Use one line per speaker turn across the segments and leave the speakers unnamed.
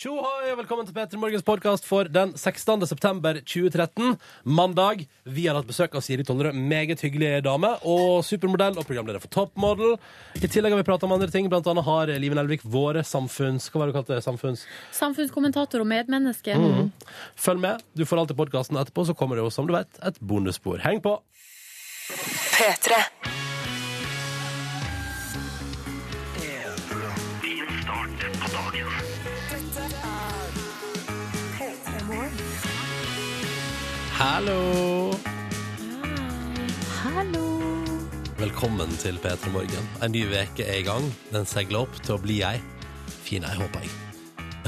Tjohoi, og velkommen til Peter Morgens podkast for den 16. september 2013. Mandag. Vi har hatt besøk av Siri Tollerød, meget hyggelig dame, og supermodell og programleder for Toppmodel. I tillegg har vi prata om andre ting, blant annet har Liven Elvik våre samfunns... Hva var det du kalte det? Samfunns...
Samfunnskommentator og medmenneske.
Følg med. Du får alltid podkasten etterpå, så kommer det jo, som du vet, et bonusspor. Heng på!
P3.
Hallo!
Hallo.
Velkommen til P3 Morgen. En ny veke er i gang. Den seiler opp til å bli ei. Fin ei, håper jeg.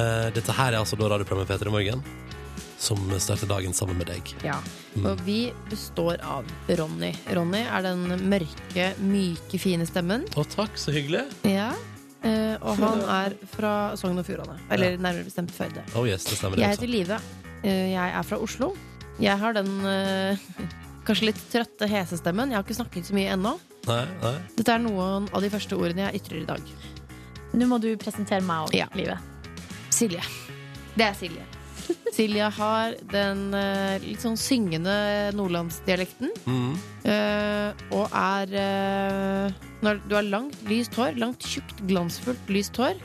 Eh, dette her er altså da radioprogrammet P3 Morgen, som starter dagen sammen med deg.
Ja. Og vi består av Ronny. Ronny er den mørke, myke, fine stemmen.
Å, takk, så hyggelig.
Ja. Eh, og han er fra Sogn og Fjordane. Eller nærmere bestemt Førde.
Oh yes, det stemmer det
Jeg
også.
heter Live. Eh, jeg er fra Oslo. Jeg har den eh, kanskje litt trøtte hesestemmen. Jeg har ikke snakket så mye ennå.
Nei, nei.
Dette er noen av de første ordene jeg ytrer i dag.
Nå må du presentere meg og
Ja.
livet.
Silje. Det er Silje. Silje har den eh, litt sånn syngende nordlandsdialekten.
Mm.
eh, og er eh, når Du har langt, lyst hår. Langt, tjukt, glansfullt, lyst hår.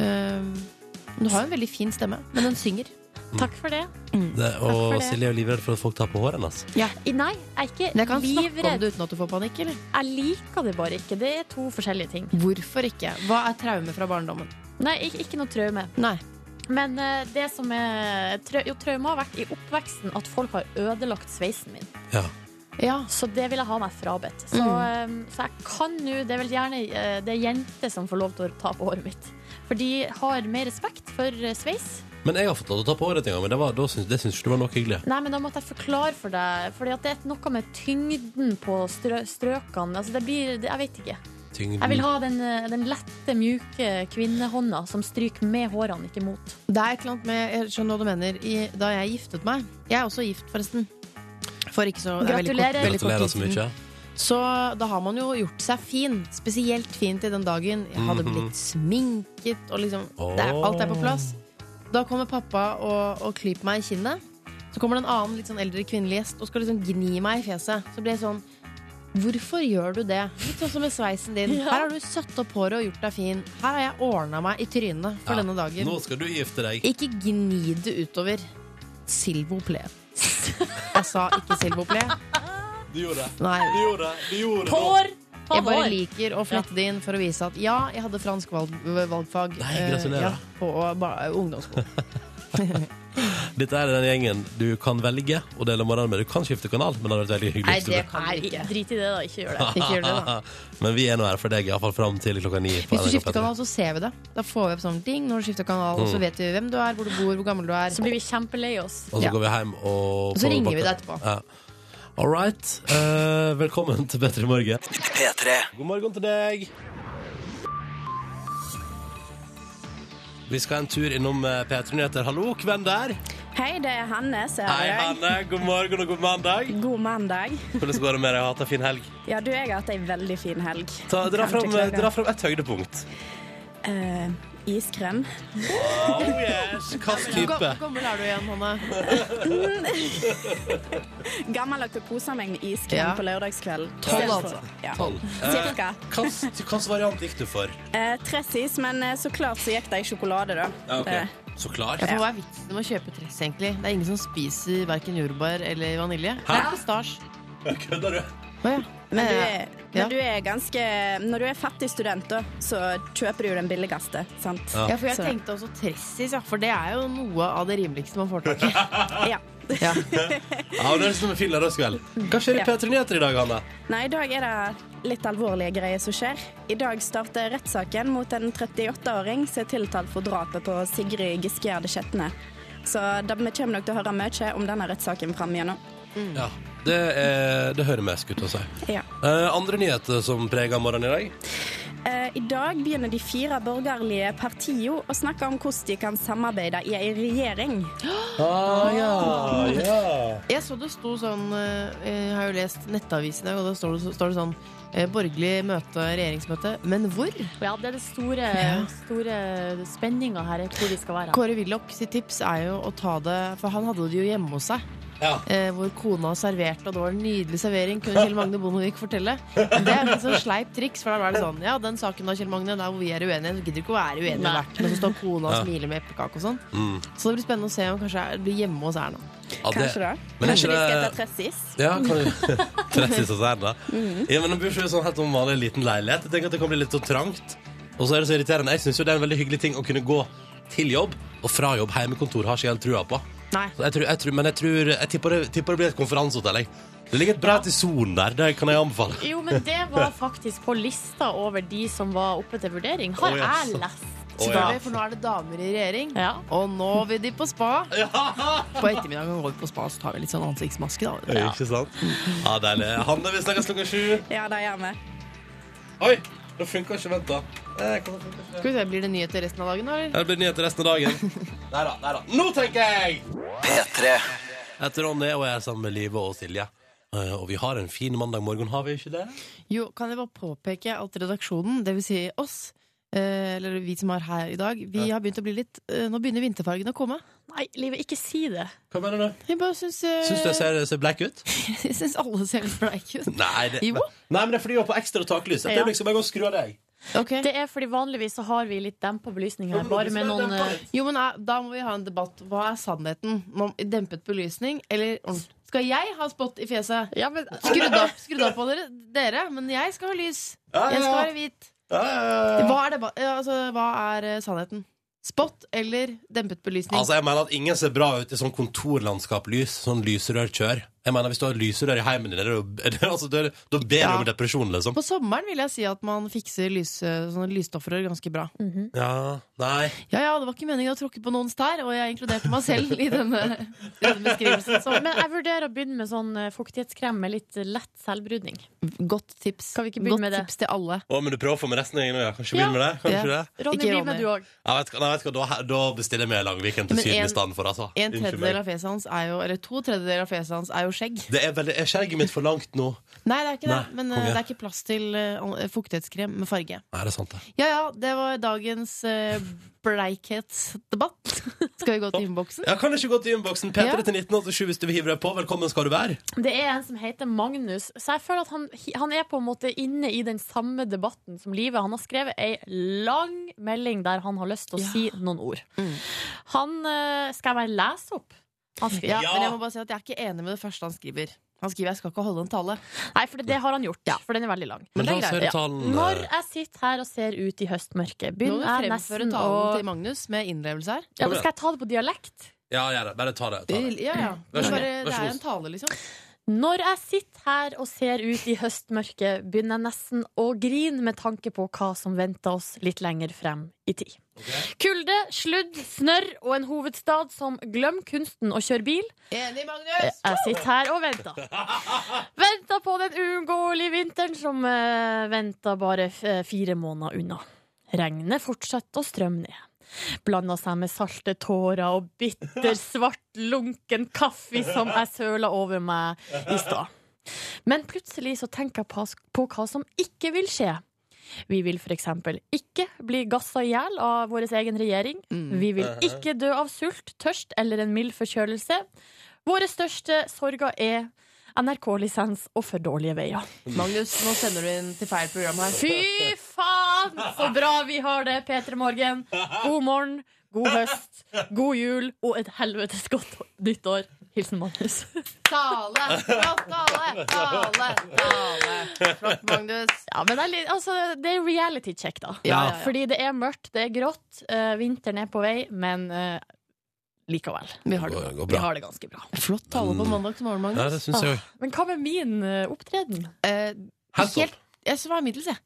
Eh, men du har en veldig fin stemme, men den synger.
Takk for det.
Det,
for
og
det.
Silje er livredd for at folk tar på håret hennes.
I- Nei, jeg er
Men jeg
ikke
kan snakke om
livredd.
det uten at du får panikk. eller?
Jeg liker det bare ikke. Det er to forskjellige ting.
Hvorfor ikke? Hva er traume fra barndommen?
Nei, ikke, ikke noe traume.
Nei.
Men eh, det som er trau Jo, traume har vært i oppveksten at folk har ødelagt sveisen min.
Ja.
Ja.
Så det vil jeg ha meg frabedt. Så,
Mm.
eh, så jeg kan nå Det er vel gjerne eh, det er jenter som får lov til å ta på håret mitt. For de har mer respekt for eh, sveis.
Men jeg har fått lov til å ta på håret en gang, men det, var, da syns- det syns ikke du var nok hyggelig.
Nei, men da måtte jeg forklare for deg. Fordi at det er noe med tyngden på strø strøkene. Altså, det blir det, Jeg vet ikke.
Tyngden.
Jeg vil ha den, eh, den lette, mjuke kvinnehånda som stryker med hårene, ikke mot.
Det er et eller annet med Jeg skjønner hva du mener. I, da jeg giftet meg Jeg er også gift, forresten. For ikke så det er veldig kort-
Gratulerer.
veldig kort
Gratulerer
tid
så
siden.
mye.
Så da har man jo gjort seg fin. Spesielt fin til den dagen. Jeg hadde
Mhm.
blitt sminket, og liksom det er, alt er på plass. Da kommer pappa og, og klyper meg i kinnet. Så kommer det en annen litt sånn eldre kvinnelig gjest og skal liksom gni meg i fjeset. Så blir jeg sånn Hvorfor gjør du det? Litt sånn som med sveisen din.
Ja.
Her har du søtt opp håret og gjort deg fin. Her har jeg ordna meg i trynet for
Ja.
denne dagen.
Nå skal du gifte deg.
Ikke gni det utover. Silvo ple. Jeg sa ikke silvo ple.
Du gjorde det.
Nei.
Du gjorde det. Du gjorde det.
Hår! Ta
Jeg bare
hår!
liker å flette det inn for å vise at ja, jeg hadde fransk valg, valgfag
Nei,
eh,
gratulerer.
ja, på ba- eh, ungdomsskolen.
Dette er den gjengen du kan velge å dele morgenen med. Du kan skifte kanal, men det hadde vært veldig hyggelig
Nei,
hvis du
det
ble-
kan
Nei,
du ikke.
drit i det, da. Ikke gjør det.
Ikke gjør det, da.
Men vi er nå her for deg, iallfall fram til klokka ni. på
Hvis du
NRK
skifter
P3.
kanal, så ser vi det. Da får vi opp sånn ding når du skifter kanal,
Mm.
og så vet vi hvem du er, hvor du bor, hvor gammel du er.
Så blir vi kjempelei oss.
Og så
Ja.
går vi hjem og
Og så ringer vi deg etterpå.
Ja. All right. Eh, velkommen til Bedre morgen. God morgen til deg. Vi skal en tur innom eh, P3 Nyheter. Hallo, hvem der?
Hei, det er Hanne. Ser
Hei,
jeg.
Hanne. God morgen og god mandag.
God mandag.
Hvordan går det med deg? Hatt en fin helg.
Ja, du, jeg har hatt ei veldig fin helg.
Ta, dra,
Kan
fram, eh,
ikke klage.
dra fram et høydepunkt.
Eh, iskrem.
Oh yes. Hvilken type?
Hvor gammel er du igjen, Hanne?
Gammel oktoposamengde iskrem
Ja.
på lørdagskvelden.
Tolv,
Ser du på-
altså.
Ja.
Tolv.
Cirka.
Hvilken Eh, variant gikk du for?
Eh, Tressis, men eh, så klart så gikk det i sjokolade, da.
Ja, ok.
Eh,
Så klart.
Jeg får hva er vitsen med å kjøpe tress, egentlig? Det er ingen som spiser verken jordbær eller vanilje. Det er pistasje.
Kødder du?
Å ja.
men, du
Eh,
er,
Ja.
men du er ganske Når du er fattig student, da, så kjøper du jo den billigste, sant?
Ja.
ja, for jeg
Så-
tenkte også tressis, ja, for det er jo noe av det rimeligste man får tak i.
Ja.
Ja.
Ja, men det er liksom en fin lørdagskveld. Hva skjer i
Ja.
P3 Nyheter i dag, Hanne?
Nei, i dag er det litt alvorlige greier som skjer. I dag starter rettssaken mot en 38-åring som er tiltalt for drapet på Sigrid Giske Gjerde Skjetne. Så da vi kommer nok til å høre mye om denne rettssaken fram igjennom.
Ja, det, er, det hører med, skulle jeg til å si.
Ja.
Eh, andre nyheter som preger morgenen i dag?
Eh, I dag begynner de fire borgerlige partiene å snakke om hvordan de kan samarbeide i ei regjering.
Ah, ja, ja.
Jeg så det sto sånn eh, Jeg har jo lest Nettavisen i dag, og da står det, står det sånn eh, borgerlig møte, regjeringsmøte. Men hvor?
Ja, det er det store, store spenninga her, er hvor vi skal være.
Kåre Willoch sitt tips er jo å ta det For han hadde det jo hjemme hos seg.
Ja.
eh, hvor kona serverte, og det var en nydelig servering, kunne Kjell Magne Bondevik fortelle. Det er et sånn sleip triks, for da var det sånn Ja, den saken da, Kjell Magne, der hvor vi er uenige, så gidder du ikke å være uenig med
Nei.
hvert, men så står kona og
Ja. Mm.
smiler med eplekake og sånn. Så det blir spennende å se om kanskje det blir hjemme hos Erna.
Ja, det-
Kanskje det.
Men er ikke
Kanskje de skal ta
det
tressis.
ja, kan du Trettis og sær, da. Ja, men de bor ikke i sånn helt sånn vanlig liten leilighet. Jeg tenker at det kan bli litt så trangt. Og så er det så irriterende. Jeg syns jo det er en veldig hyggelig ting å kunne gå til jobb og fra jobb. Heimekontor har ikke jeg helt trua på.
Nei.
Så jeg tror, jeg tror, men jeg, tror, jeg tipper, det, tipper det blir et konferansehotell. jeg. Det ligger et bra til sonen der. Det kan jeg anbefale.
Jo, men det var faktisk på lista over de som var oppe til vurdering. Har
Å, ja, så-
jeg lest.
Å,
Selvfølgelig, For nå er det damer i regjering.
Ja.
Og nå vil de på spa. På ettermiddagen går vi på spa, så tar vi litt sånn ansiktsmaske, da.
Ikke sant? Ja, deilig. Hanne, vi snakkes klokka sju.
Ja, det gjør vi.
Oi, det funka ikke. Vent, da. Eh, kan det funke?
Skal vi se, Blir det nyheter resten av dagen, da? eller?
Her blir det nyheter resten av dagen. Nei da, nei da. Nå tenker jeg!
P3
Jeg heter Ronny, og jeg er sammen med Live og Silje. Eh, Og vi har en fin mandag morgen, har vi ikke det?
Jo, kan jeg bare påpeke at redaksjonen, det vil si oss, eh, eller vi som er her i dag, vi har begynt å bli litt eh, Nå begynner vinterfargene å komme.
Nei, livet, ikke si det.
Hva mener du?
Jeg bare syns
Syns du jeg ser, ser black ut?
jeg syns alle ser litt bleike ut.
Nei, det,
Jo.
nei, men det er fordi du har på ekstra taklys. Det
Ja.
er liksom bare å skru av deg.
Ok.
Det er fordi vanligvis så har vi litt dempa belysning her,
men
bare
hvis
med
det er
noen
dempet
eh,
litt.
Jo, men eh, Da må vi ha en debatt. Hva er sannheten? Nå- Dempet belysning eller ordent- Skal jeg ha spott i fjeset?
ja, men,
Skrudd opp, skrudd opp på dere, dere, men jeg skal ha lys.
Ja, ja,
Jeg skal
ja.
være hvit.
Ja, ja, ja.
Hva er, deba- ja, altså, hva er eh, sannheten? Spott eller dempet belysning?
Altså, jeg mener at ingen ser bra ut i sånn kontorlandskap-lys. Sånn lyserørkjør. Jeg mener, hvis du har lyserør i heimen din, er det jo- er det- altså, da er det- da ber du
Ja.
om depresjon, liksom.
På sommeren vil jeg si at man fikser lys, eh, sånne lysstoffrør ganske bra.
Ja, nei.
Ja, ja, det var ikke meningen å tråkke på noens tær, og jeg inkluderte meg selv i denne, i denne beskrivelsen.
så, men jeg vurderer å begynne med sånn eh, fuktighetskrem med litt eh, lett selvbrudning.
Godt tips.
Kan vi ikke begynne
Godt
med det?
tips til alle.
Å, men du prøver å få med resten av gjengen òg, ja. Kanskje
Ja.
begynne med det? Kan du
Ja.
ikke det?
Ronny,
Ikke
bli
Ronny.
med du òg.
Ja, vet, du hva- nei, vet du hva, da, da bestiller jeg meg Langviken til
Men
Syden i
en-
stedet for, altså.
En
Unnskyld
tredjedel
meg.
av fjeset hans er jo, eller to tredjedeler av fjeset hans er jo skjegg.
det er, veldig, er skjegget mitt for langt nå?
Nei, det er ikke det,
Nei,
men eh,
konge.
det er ikke plass til eh, fuktighetskrem med farge.
Nei, det er sant, det.
Ja ja, det var dagens eh, bleikhetsdebatt. Skal vi gå til innboksen?
Ja, kan du ikke gå til innboksen? P3
Ja.
til 1987 hvis du vil hive deg på. Velkommen skal du være.
Det er en som heter Magnus. Så jeg føler at han, han er på en måte inne i den samme debatten som livet. Han har skrevet ei lang melding der han har lyst til å
Ja. Mm.
si noen ord. Han eh, Skal jeg bare lese opp? Han skri-
Ja,
Ja.
men jeg må bare si at jeg er ikke enig med det første han skriver. Han skriver 'jeg skal ikke holde en tale'.
Nei, for det, det har han gjort, for den er veldig lang.
Men
det
la
er
oss høre
greit.
talen.
Når
eh,
jeg sitter her og ser ut i høstmørket,
Nå må
begynner
du
jeg
fremføre
nesten å
talen til Magnus med innlevelse her.
ja, men Skal jeg ta det på dialekt?
Ja, gjør det. Bare ta det. Ta det.
Ja, ja.
Vær så god.
Bare, det
Vær så
er
god.
en tale, liksom.
Når jeg sitter her og ser ut i høstmørket, begynner jeg nesten å grine med tanke på hva som venter oss litt lenger frem i tid. Kulde, sludd, snørr og en hovedstad som glem kunsten å kjøre bil.
Enig, Magnus!
Jeg sitter her og venter. Venter på den uunngåelige vinteren som eh, venter bare f eh, fire måneder unna. Regnet fortsetter å strømme ned. Blander seg med salte tårer og bitter, svart, lunken kaffe som jeg søla over meg i stad. Men plutselig så tenker jeg pas- på hva som ikke vil skje. Vi vil f.eks. ikke bli gassa i hjel av vår egen regjering. Vi vil ikke dø av sult, tørst eller en mild forkjølelse. Våre største sorger er NRK-lisens og for dårlige veier.
Magnus, nå sender du inn til feil program her.
Fy faen, så bra vi har det, P3 Morgen. God morgen, god høst, god jul og et helvetes godt nyttår. Hilsen Magnus.
Tale! Flott tale! Tale! Tale! Flott, Magnus.
Ja, men det er, litt, altså, det er reality check, da.
Ja, ja, ja.
Fordi det er mørkt, det er grått, eh, vinteren er på vei, men eh, likevel.
Vi har
Det
det.
går- går
Vi
bra.
har det ganske bra.
Flott tale
Mm.
på mandag til morgen,
Ja,
Magnus.
det syns jeg òg.
Men hva med min eh, opptreden?
Eh,
Helt topp.
helt Jeg syns det var middels, jeg.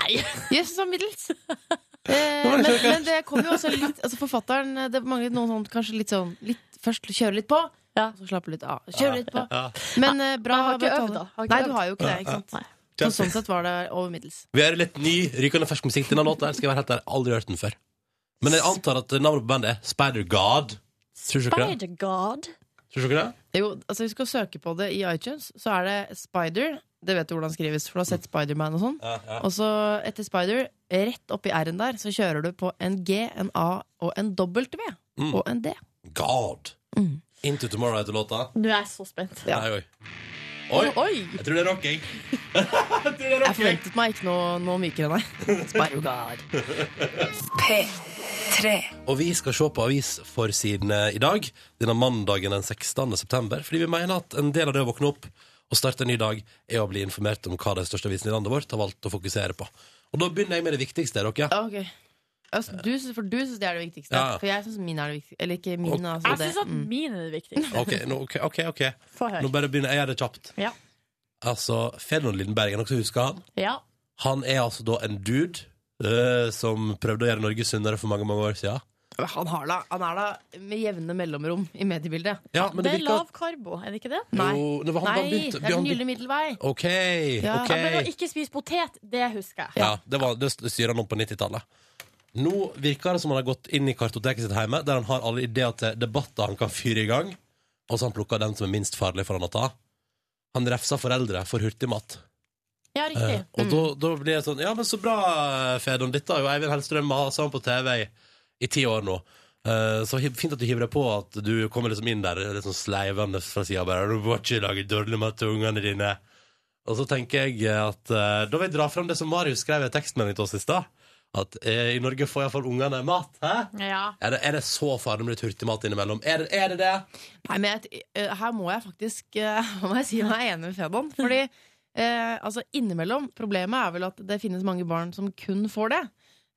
Nei.
Jeg synes det var middels. Eh, men, men det kommer jo også litt altså Forfatteren eh, Det mangler noen sånn kanskje litt sånn litt, Først kjøre litt på,
Ja.
så slappe litt av. Kjøre litt på.
Ja.
Men eh, bra.
Men jeg har ikke
bra
øvd,
tale.
da. Har ikke
Nei,
øvd.
du har jo ikke det. ikke sant?
Nei.
Så sånn sett var det over middels.
Vi har litt ny, rykende fersk musikk til denne låta. her. Skal jeg være helt ærlig, aldri hørt den før. Men jeg antar at navnet på bandet er Spider God. Tror du ikke det?
Spider God.
Tror du ikke det?
Jo, altså Hvis du skal søke på det i iTunes, så er det Spider Det vet du hvordan skrives, for du har sett Spiderman og sånn.
Ja, ja.
Og så etter Spider, rett opp i R-en der, så kjører du på en G, en A og en W.
Mm.
Og en D.
God! Into Tomorrow heter låta.
Nå er jeg så spent.
Mm. Ja.
Nei, oi. Oi!
Oi!
Jeg tror det er rock, jeg. jeg tror det er
Jeg
rock, jeg.
forventet meg ikke noe, noe mykere, nei. Spider-God.
P3.
Og vi skal se på avisforsidene eh, i dag, denne mandagen den 16. september, fordi vi mener at en del av det å våkne opp og starte en ny dag, er å bli informert om hva de største avisene i landet vårt har valgt å fokusere på. Og da begynner jeg med det viktigste, dere.
Ok. Altså, du, syns- for du syns det er det viktigste.
Ja.
For jeg syns min er det viktigste. Eller ikke min, altså.
Jeg
Det.
syns at
Mm.
min er det viktigste.
Ok, nå, ok, ok, ok.
Få
Nå
høre.
bare begynner jeg. Jeg gjør det kjapt.
Ja.
Altså, Fedron Lindenberg, er noen som husker han?
ja.
Han er altså da en dude eh, som prøvde å gjøre Norge sunnere for mange, mange år siden.
Han, har da, han er da med jevne mellomrom i mediebildet.
Ja, men
det
det
er
virker... Mm.
lav karbo, er det ikke det?
Nei.
Jo, det var han,
Nei,
han
det
begynte,
er
han
den
begynte,
gylne middelvei.
OK,
Ja.
OK.
Ja, men å ikke spise potet, det husker jeg.
Ja, det, var, det styrer han om på 90-tallet. Nå virker det som han har gått inn i kartoteket sitt hjemme, der han har alle ideer til debatter han kan fyre i gang, og så har han plukka den som er minst farlig for han å ta. Han refsa foreldre for hurtigmat.
Ja, riktig.
Eh, og da, da blir jeg sånn Ja, men så bra, Fedon. Dette har jo Eivind Hellstrøm sa han på TV i, i ti år nå. Eh, så hi- fint at du hiver deg på at du kommer liksom inn der liksom sleivende fra sida bare Du må ikke lage dårlig mat til ungene dine. Og så tenker jeg at eh, Da vil jeg dra fram det som Marius skrev i en tekstmelding til oss i stad. At eh, i Norge får iallfall ungene mat. Hæ?
Ja.
Er det, er det så farlig med litt hurtigmat innimellom? Er det er det? det?
Nei, men jeg, eh, her må jeg faktisk eh, må jeg si meg enig med Fedon. Fordi eh, altså innimellom Problemet er vel at det finnes mange barn som kun får det.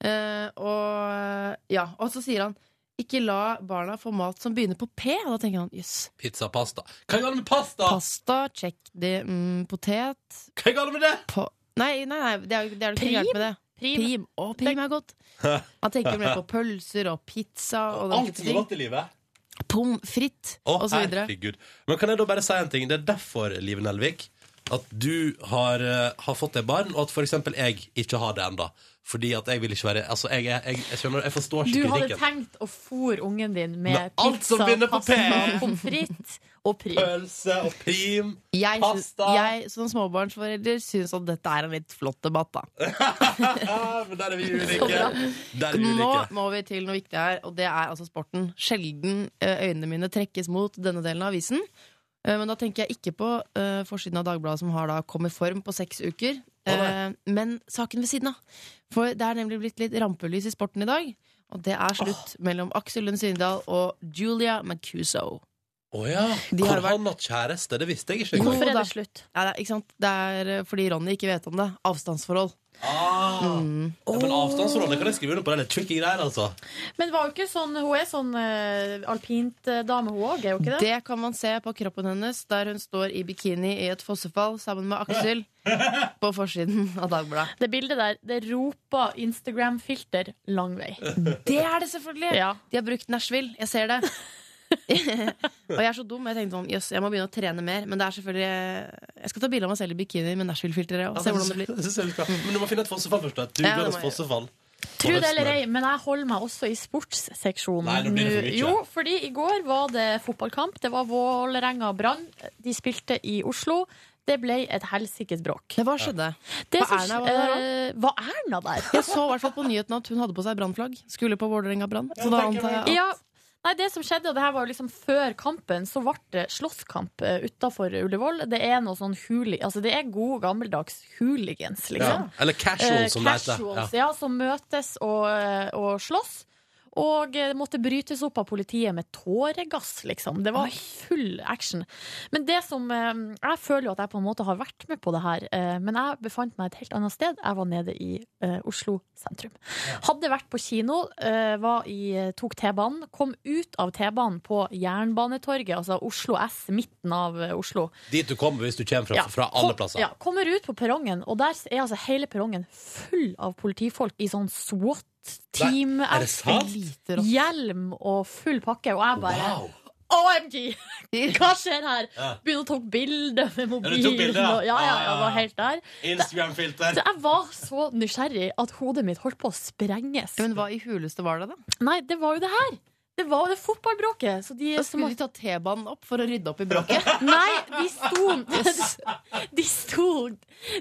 Eh, og, eh, ja, og så sier han ikke la barna få mat som begynner på P. Og da tenker han jøss.
Pizza, pasta. Hva er galt med pasta?
Pasta, check det, mm, potet
Hva er galt med det?
po Nei, nei, nei, det er jo det er jo ikke noe gærent med det.
Prim.
Prim. Å, prim er godt. Han tenker mer på pølser og pizza og den
Alt
type
som er
ting.
godt i livet.
Pommes frites
Å,
og så videre.
herregud. Men kan jeg da bare si en ting? Det er derfor, Liv Nelvik, at du har, eh, har fått deg barn, og at for eksempel jeg ikke har det enda. Fordi at jeg vil ikke være Altså, jeg, er- jeg, jeg, skjønner, jeg forstår
Du
ikke
hadde
kritikken.
tenkt å fôre ungen din
Med
med
alt
pizza,
som begynner på P.
pasta, pommes frites og prim.
Pølse og prim.
Jeg, syns-
Pasta.
jeg som småbarnsforelder syns at dette er en litt flott debatt, da.
Ja, Men der er vi
Så
ulike.
bra.
Der er vi
Nå
ulike.
må vi til noe viktig her, og det er altså sporten. Sjelden eh, øynene mine trekkes mot denne delen av avisen. Eh, Men da tenker jeg ikke på eh, forsiden av Dagbladet som har da kommet form på seks uker.
Å, nei.
Eh, men saken ved siden av. For det er nemlig blitt litt rampelys i sporten i dag. Og det er slutt mellom Aksel Lund Svindal og Julia Mancuso.
Å ja.
De har
Har han hatt kjæreste? Det visste jeg ikke. engang.
Hvorfor
Jo
er
da.
det slutt?
Ja, det, er- ikke sant? det er eh, fordi Ronny ikke vet om det. Avstandsforhold.
Ah.
Mm.
Ja, men avstandsforholdet kan jeg skrive under på. Det er litt tricky greier, altså.
Men var jo ikke sånn, hun er sånn uh, alpintdame, hun òg, er hun ikke det?
Det kan man se på kroppen hennes der hun står i bikini i et fossefall sammen med Aksel på forsiden av Dagbladet.
Det bildet der, det roper Instagram-filter lang vei.
Det er det selvfølgelig!
Ja.
De har brukt Nashville. Jeg ser det. og jeg er så dum. Jeg tenkte sånn, jøss, jeg må begynne å trene mer. Men det er selvfølgelig Jeg skal ta bilde av meg selv i bikini med Nashville-filteret. Og se hvordan det blir
synes jeg vi skal. Men du må finne et fossefall først. da. Et
Ja, det
Dugandes
må jeg
fossefall.
Tro det eller ei, men jeg holder meg også i sportsseksjonen.
Nei, nå blir det for mye.
Jo, fordi i går var det fotballkamp. Det var Vålerenga-Brann. De spilte i Oslo. Det ble et helsikes bråk.
Men Hva skjedde?
Det
Var
som-
Erna var der
eh, var Erna der?
Jeg så i hvert fall på nyheten at hun hadde på seg brannflagg. Skulle på Vålerenga brann. Så da antar jeg
Ja. Nei, det som skjedde, og det her var jo liksom før kampen, så ble det slåsskamp eh, utenfor Ullevål. Det er noe sånn huli... Altså, det er gode, gammeldags hooligans, liksom.
Ja. Eller casual,
Eh,
som det heter. Ja.
casuals, ja. som møtes og, eh, og slåss. Og eh, måtte brytes opp av politiet med tåregass, liksom. Det var full action. Men det som eh, Jeg føler jo at jeg på en måte har vært med på det her, eh, men jeg befant meg et helt annet sted. Jeg var nede i eh, Oslo sentrum. Hadde vært på kino, eh, var i, tok T-banen, kom ut av T-banen på Jernbanetorget, altså Oslo S, midten av eh, Oslo.
Dit du kommer hvis du kommer fra, fra alle
Kom-
plasser.
Ja, kommer ut på perrongen, og der er altså hele perrongen full av politifolk i sånn SWAT-team.
Er det sant?
Lite rått.
Hjelm og full pakke, og jeg bare
Wow!
OMG! Hva skjer her?
Ja.
Begynner å ta bilde med
du tok
mobilen.
bilder, ja? Ah,
og- Ja, ja,
Ja, ja,
jeg
ja.
var helt der.
Instagram-filter.
Så jeg var så nysgjerrig at hodet mitt holdt på å sprenges.
Men hva i huleste var det, da?
Nei, det var jo det her! Det var jo det fotballbråket. Så de
Da
som
skulle de ta T-banen opp for å rydde opp i bråket.
Nei, de sto De sto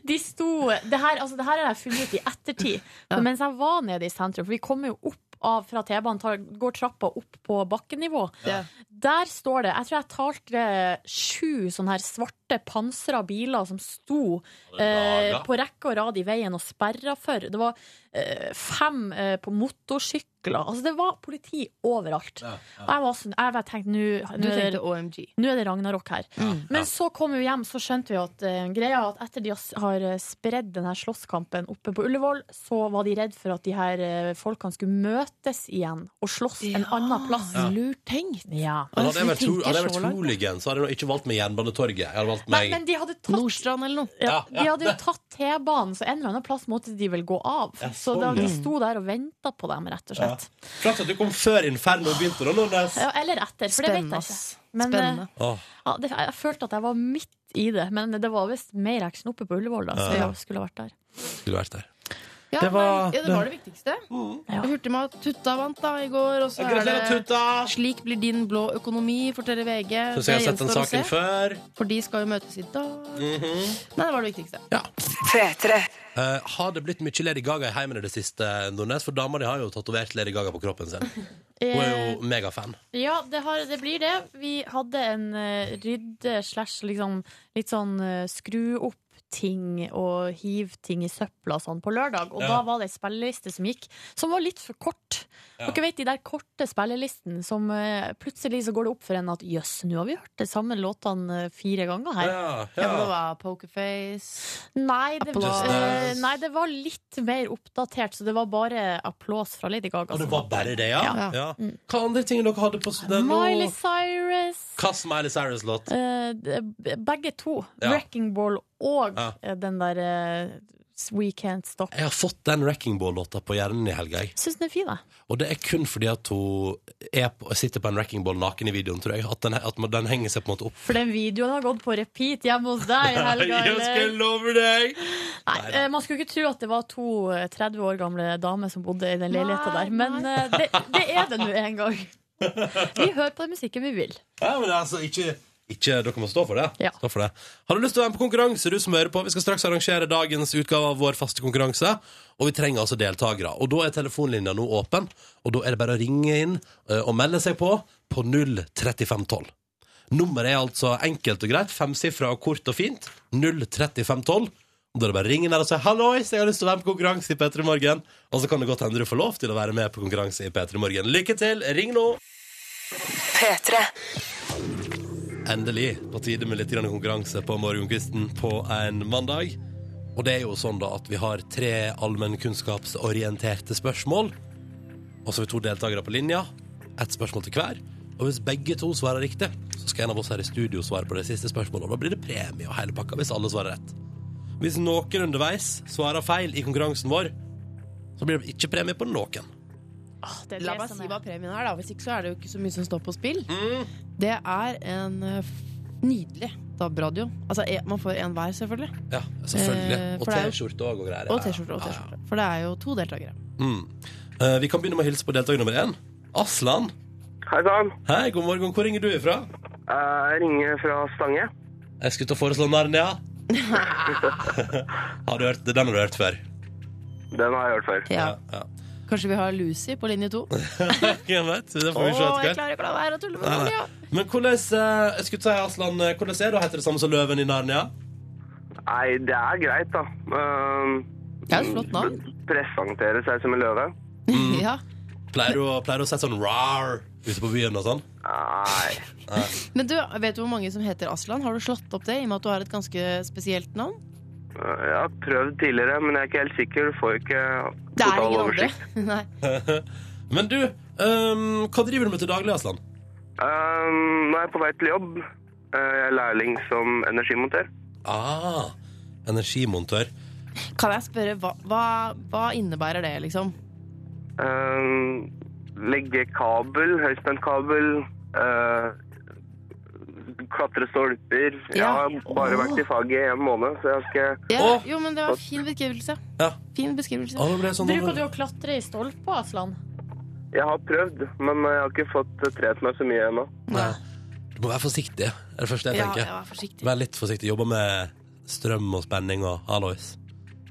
De sto Det her, altså, det her har jeg funnet ut i ettertid. For mens jeg var nede i sentrum, for vi kommer jo opp av, fra T-banen, tar- går trappa opp på bakkenivå.
Ja.
Der står det Jeg tror jeg talte sju sånne her svarte pansra biler som sto eh, på rekke og rad i veien og sperra for. Det var eh, fem eh, på motorsykler. Altså, det var politi overalt. Og jeg var sånn Jeg bare tenkte nå-
Du
nå er det-
tenkte OMG.
nå er det ragnarok her. Men så kom vi hjem, så skjønte vi at eh, greia er at etter de har s- har eh, spredd denne slåsskampen oppe på Ullevål, så var de redd for at de her eh, folkene skulle møtes igjen og slåss en annen plass.
Lurt tenkt.
Ja.
Hadde jeg vært,
Tenker
tro- hadde jeg
så
vært
langt.
hooligan, så hadde jeg nå ikke valgt meg Jernbanetorget. Jeg hadde valgt
Nei,
meg
men de hadde tatt
Nordstrand eller noe.
ja,
Ja,
De hadde jo tatt T-banen, så en eller annen plass måtte de vel gå av.
Ja,
Så
sånn,
da,
ja.
de sto der og venta på dem, rett og slett.
Flaks at du kom før Inferno begynte, da, Nordnes.
Ja, eller etter, for det vet
Spennende,
jeg
ass.
ikke. Men, eh,
Spennende.
Åh.
ja, det, jeg følte at jeg var midt i det, men det var visst mer action oppe på Ullevål, da, så
Ja.
jeg skulle ha vært der.
Skulle vært der.
Ja,
Det var-
men, ja, det var det viktigste.
Ja.
Hurtigmat Tutta vant da i går, og så er
Gratulerer,
det
Tuta!
Slik blir din blå økonomi, forteller VG.
Syns jeg har sett den
gjenstår å
saken
se,
før.
For de skal jo møtes i dag. Nei, det var det viktigste.
P3.
Eh, har det blitt mye Lady Gaga i heimen i det siste, Nordnes? For dama di har jo tatovert Lady Gaga på kroppen sin. Hun er jo megafan.
Ja, det, har, det blir det. Vi hadde en eh, rydde slash liksom, litt sånn eh, skru opp ting og hiv ting i søpla og sånn på lørdag. Og
Ja.
da var det ei spilleliste som gikk, som var litt for kort.
Ja.
Dere vet de der korte spillelistene som eh, plutselig så går det opp for en at jøss, nå har vi hørt de samme låtene eh, fire ganger her.
Ja,
Ja. men det
ja.
var Pokerface.
Nei, det,
Applaus.
eh, nei, det var litt mer oppdatert, så det var bare applaus fra Lady
Og
Gaga.
det
som
var bare det, ja?
Ja. Mm.
ja. Hva andre ting dere hadde på den nå?
Miley Cyrus.
Hva Miley Cyrus-låt?
Eh, det- begge to.
Ja.
Wrecking Ball og
Ja.
eh, den der eh, We Can't Stop.
Jeg har fått den Wrecking Ball-låta på hjernen i helga. jeg.
Syns den er fin, jeg.
Og det er kun fordi at hun er på, sitter på en Wrecking Ball naken i videoen, tror jeg. At den, at den henger seg på en måte opp.
For den videoen har gått på repeat hjemme hos deg i helga.
Jeg skal
eller?
love deg!
Nei, eh, man skulle ikke tro at det var to eh, 30 år gamle damer som bodde i den leiligheta
Nei,
der, men eh, det, det er det nå en gang. Vi hører på den musikken vi vil.
Ja, men altså, ikke... Ikke, dere må stå for, det.
Ja.
stå for det. Har du lyst til å være med på konkurranse? du som hører på? Vi skal straks arrangere dagens utgave av vår faste konkurranse. Og vi trenger altså deltakere. Og da er telefonlinja nå åpen. Og da er det bare å ringe inn eh, og melde seg på på 03512. Nummeret er altså enkelt og greit. Femsifra og kort og fint. 03512. Og Da er det bare å ringe der og si 'hallois, jeg har lyst til å være med på konkurranse i P3 Morgen'. Og så kan det godt hende du får lov til å være med på konkurranse i P3 Morgen. Lykke til! Ring nå!
P3.
Endelig på tide med litt grann konkurranse på morgenkvisten på en mandag. Og det er jo sånn da at vi har tre allmennkunnskapsorienterte spørsmål. Og så har vi to deltakere på linja. Ett spørsmål til hver. Og hvis begge to svarer riktig, så skal en av oss her i studio svare på det siste spørsmålet. Og da blir det premie og hele pakka hvis alle svarer rett. Hvis noen underveis svarer feil i konkurransen vår, så blir det ikke premie på noen.
Det
La meg si hva premien er, Mm. da. Hvis ikke så er det jo ikke så mye som står på spill. Det er en eh, f- nydelig DAB-radio. Altså, en- man får en hver, selvfølgelig.
Ja, selvfølgelig.
Eh,
Og
for det er jo-
T-skjorte òg og greier.
Og
Ja, ja.
T-skjorte. og
Ja, ja.
T-skjorte. For det er jo to deltakere.
Mm. Eh, vi kan begynne med å hilse på deltaker nummer én. Aslan.
Hei sann.
Hei, god morgen. Hvor ringer du ifra?
Jeg ringer fra Stange.
Jeg skulle til å foreslå Narnia. har du hørt, den har du hørt før.
Den har jeg hørt før.
Ja.
ja.
Kanskje vi har Lucy på linje to? Å,
Hvem vet? Det får vi se
jeg
etter hvert.
klarer ikke å la være å tulle med
Nei, nei.
Narnia!
Men hvordan, eh, jeg skulle til å si, Aslan, eh, hvordan er det å hete det samme som løven i Narnia?
Nei, det er greit, da. Ehm,
Det er et flott navn.
presentere seg som en løve.
Mm.
Ja.
Pleier du, å- pleier du å si sånn rar ute på byen og sånn?
Nei.
Men du, vet du hvor mange som heter Aslan? Har du slått opp det, i og med at du har et ganske spesielt navn?
Jeg har prøvd tidligere, men jeg er ikke helt sikker. Du får ikke
Det er
total
ingen andre.
oversikt.
Nei.
Men du, ehm, hva driver du med til daglig, Aslan?
Ehm, nå er jeg på vei til jobb. Eh, Jeg er lærling som energimontør.
Ah, energimontør.
Kan jeg spørre, hva, hva, hva innebærer det, liksom?
Ehm, legge kabel, høyspentkabel. eh, klatre stolper. Jeg
Ja.
har bare vært i faget i en måned, så jeg skal
Ja,
Åh!
Jo, men det var en fin beskrivelse.
Ja.
Fin beskrivelse.
Ah, nå ble jeg sånn,
Bruker du å klatre i stolper, Aslan?
Jeg har prøvd, men jeg har ikke fått eh, trent meg så mye ennå.
Nei. Du må være forsiktig, er det første jeg
Ja,
tenker.
jeg var forsiktig.
Vær litt forsiktig. Jobber med strøm og spenning og hallois.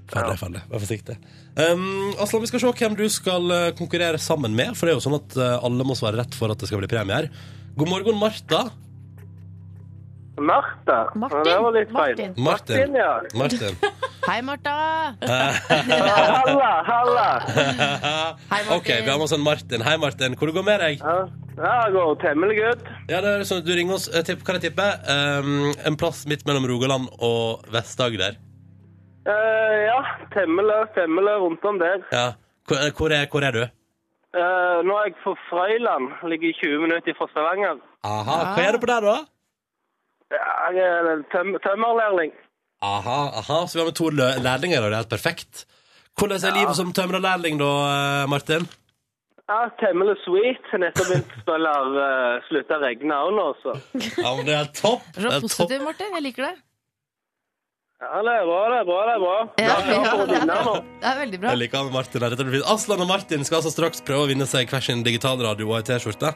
Ferdig,
Ja.
ferdig. Vær forsiktig. Um, Aslan, vi skal se hvem du skal eh, konkurrere sammen med, for det er jo sånn at eh, alle må svare rett for at det skal bli premie her. God morgen, Marta.
Martha!
Martin,
Det var litt feil.
Martin.
Martin.
ja.
Martin.
Hei, Marta!
Halla, halla!
Hei, Martin.
OK, vi har med oss en Martin. Hei, Martin. Hvor det går med deg?
Ja, Ja, det går temmelig godt.
Ja, det er sånn at Du ringer oss. eh, Tipp, kan jeg tippe? Um, en plass midt mellom Rogaland og Vest-Agder.
Eh, ja, temmelig, temmelig rundt om der.
Ja. Hvor, hvor, er, hvor er du?
Eh, nå er jeg på Frøyland, ligger 20 minutter fra Stavanger.
Aha. Hva er det på der, da?
Ja, Jeg er en tøm tømmerlærling.
Aha, aha. Så vi har med to lø- lærlinger i dag. Det er helt perfekt. Hvordan er livet som tømrerlærling, da, eh, Martin?
Ja, temmelig sweet. Nettopp begynt å spille uh, Slutta å regne òg nå, så.
Ja, men Det er helt topp.
Du
Det
er
er topp.
positiv, Martin. Jeg liker det.
Ja, det er bra, det er bra. det er bra.
Ja,
Jeg er klar for å
ja,
vinne nå.
Det er veldig bra.
Jeg liker med Martin her. Dette blir fint. Aslan og Martin skal altså straks prøve å vinne seg hver sin digitalradio og ei T-skjorte.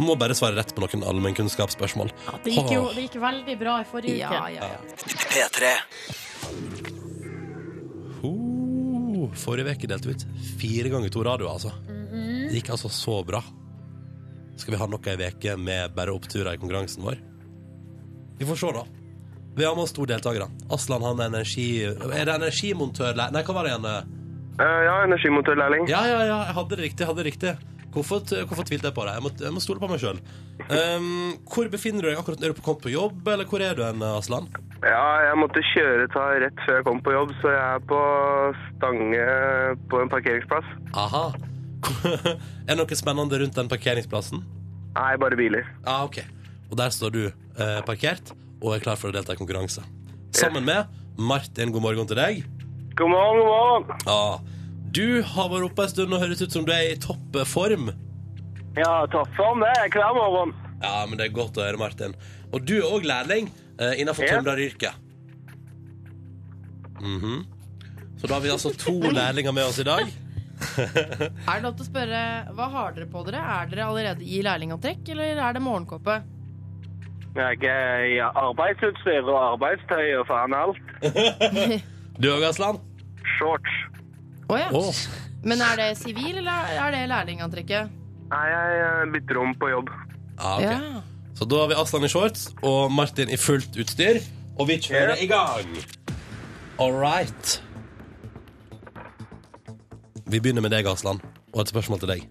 Må bare svare rett på noen allmennkunnskapsspørsmål.
Ja, det gikk jo det gikk veldig bra i forrige uke.
Ja, ja, ja.
P3.
Oh, forrige uke delte vi ut fire ganger to radioer, altså. Det gikk altså så bra. Skal vi ha nok ei uke med bare oppturer i konkurransen vår? Vi får se, da. Vi har med oss to deltakere. Aslan han er energi... Er det energimontør... Nei, hva var det igjen?
Eh, ja, energimotorlærling.
Ja, ja, ja, jeg hadde det riktig. jeg hadde det riktig Hvorfor, t- hvorfor tvilte jeg på det? Jeg må, jeg må stole på meg sjøl. Um, hvor befinner du deg akkurat? Er du på kommet på jobb, eller hvor er du hen, Aslan?
Ja, jeg måtte kjøre ta rett før jeg kom på jobb, så jeg er på Stange på en parkeringsplass.
Aha. er det noe spennende rundt den parkeringsplassen?
Nei, bare biler.
Ah, ok. Og der står du eh, parkert og er klar for å delta i konkurranse. Sammen med Martin, god morgen til deg.
God morgen, god morgen.
Ah, du har vært oppe en stund og høres ut som du er i toppform.
Ja, toppform det. Jeg er klar morgen.
Ja, men det er godt å høre, Martin. Og du er òg lærling eh, innenfor
Ja.
tømreryrket. Mhm. Så da har vi altså to lærlinger med oss i dag.
Er det lov til å spørre, hva har dere på dere? Er dere allerede i lærlingantrekk, eller er det morgenkåpe?
Jeg er i arbeidsutstyr og arbeidstøy og faen alt.
Du òg, Aslan?
Shorts.
Å ja.
Åh.
Men er det sivil, eller er det lærlingantrekket?
Nei, jeg eh, bytter om på jobb.
Ah, ok.
Ja.
Så da har vi Aslan i shorts og Martin i fullt utstyr. Og vi kjører i gang. All right. Vi begynner med deg, Aslan, og et spørsmål til deg.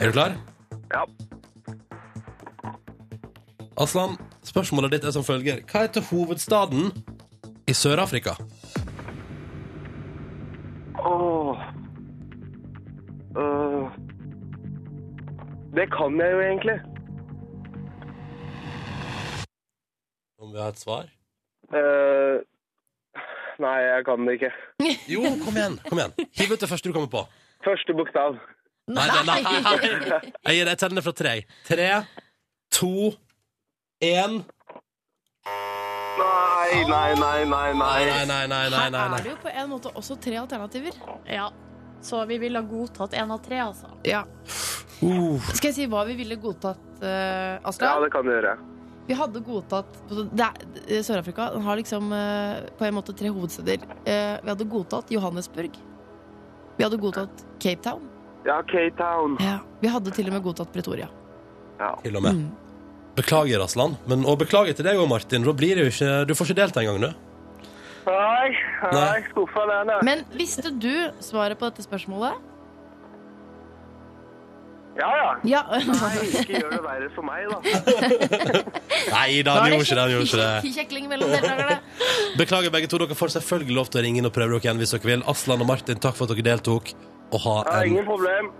Er du klar?
Ja.
Aslan, spørsmålet ditt er som følger. Hva heter hovedstaden i Sør-Afrika?
Åh. Øh. Det kan jeg jo egentlig.
Om vi har et svar?
Eh, nei, jeg kan det ikke.
Jo, kom igjen. kom igjen. Hiv ut det første du kommer på.
Første bokstav.
Nei, nei, nei. Jeg gir deg tellene fra tre. Tre, to, én
Nei, nei, nei, nei,
Nei,
nei.
nei, nei. nei, nei,
Her
nei,
er
nei.
det jo på en måte også tre alternativer.
Ja. Så vi ville ha godtatt én av tre, altså.
Ja.
Uh.
Skal jeg si hva vi ville godtatt, eh,
Ja,
Aslan?
det kan du gjøre.
Vi hadde godtatt det er- eh, Sør-Afrika har liksom eh, på en måte tre hovedsteder. Eh, Vi hadde godtatt Johannesburg. Vi hadde godtatt Cape Town.
Ja, Cape Town.
Vi hadde til og med godtatt Pretoria.
Ja.
Til og med. Beklager, Aslan. Men, og beklager til deg òg, Martin. Da blir det jo ikke, du får ikke delta engang, du.
Nei, nei,
Nei.
skuffa den. jeg.
Men visste du svaret på dette spørsmålet?
Ja, ja.
Ja.
Nei, ikke gjør det verre for meg, da.
Nei da, han gjorde ikke det. han gjorde ikke det.
Kjekling mellom deltakerne.
Beklager, begge to. Dere får selvfølgelig lov til å ringe inn og prøve dere igjen hvis dere vil. Aslan og Martin, takk for at dere deltok. Og ha
Ja,
en
ingen problem.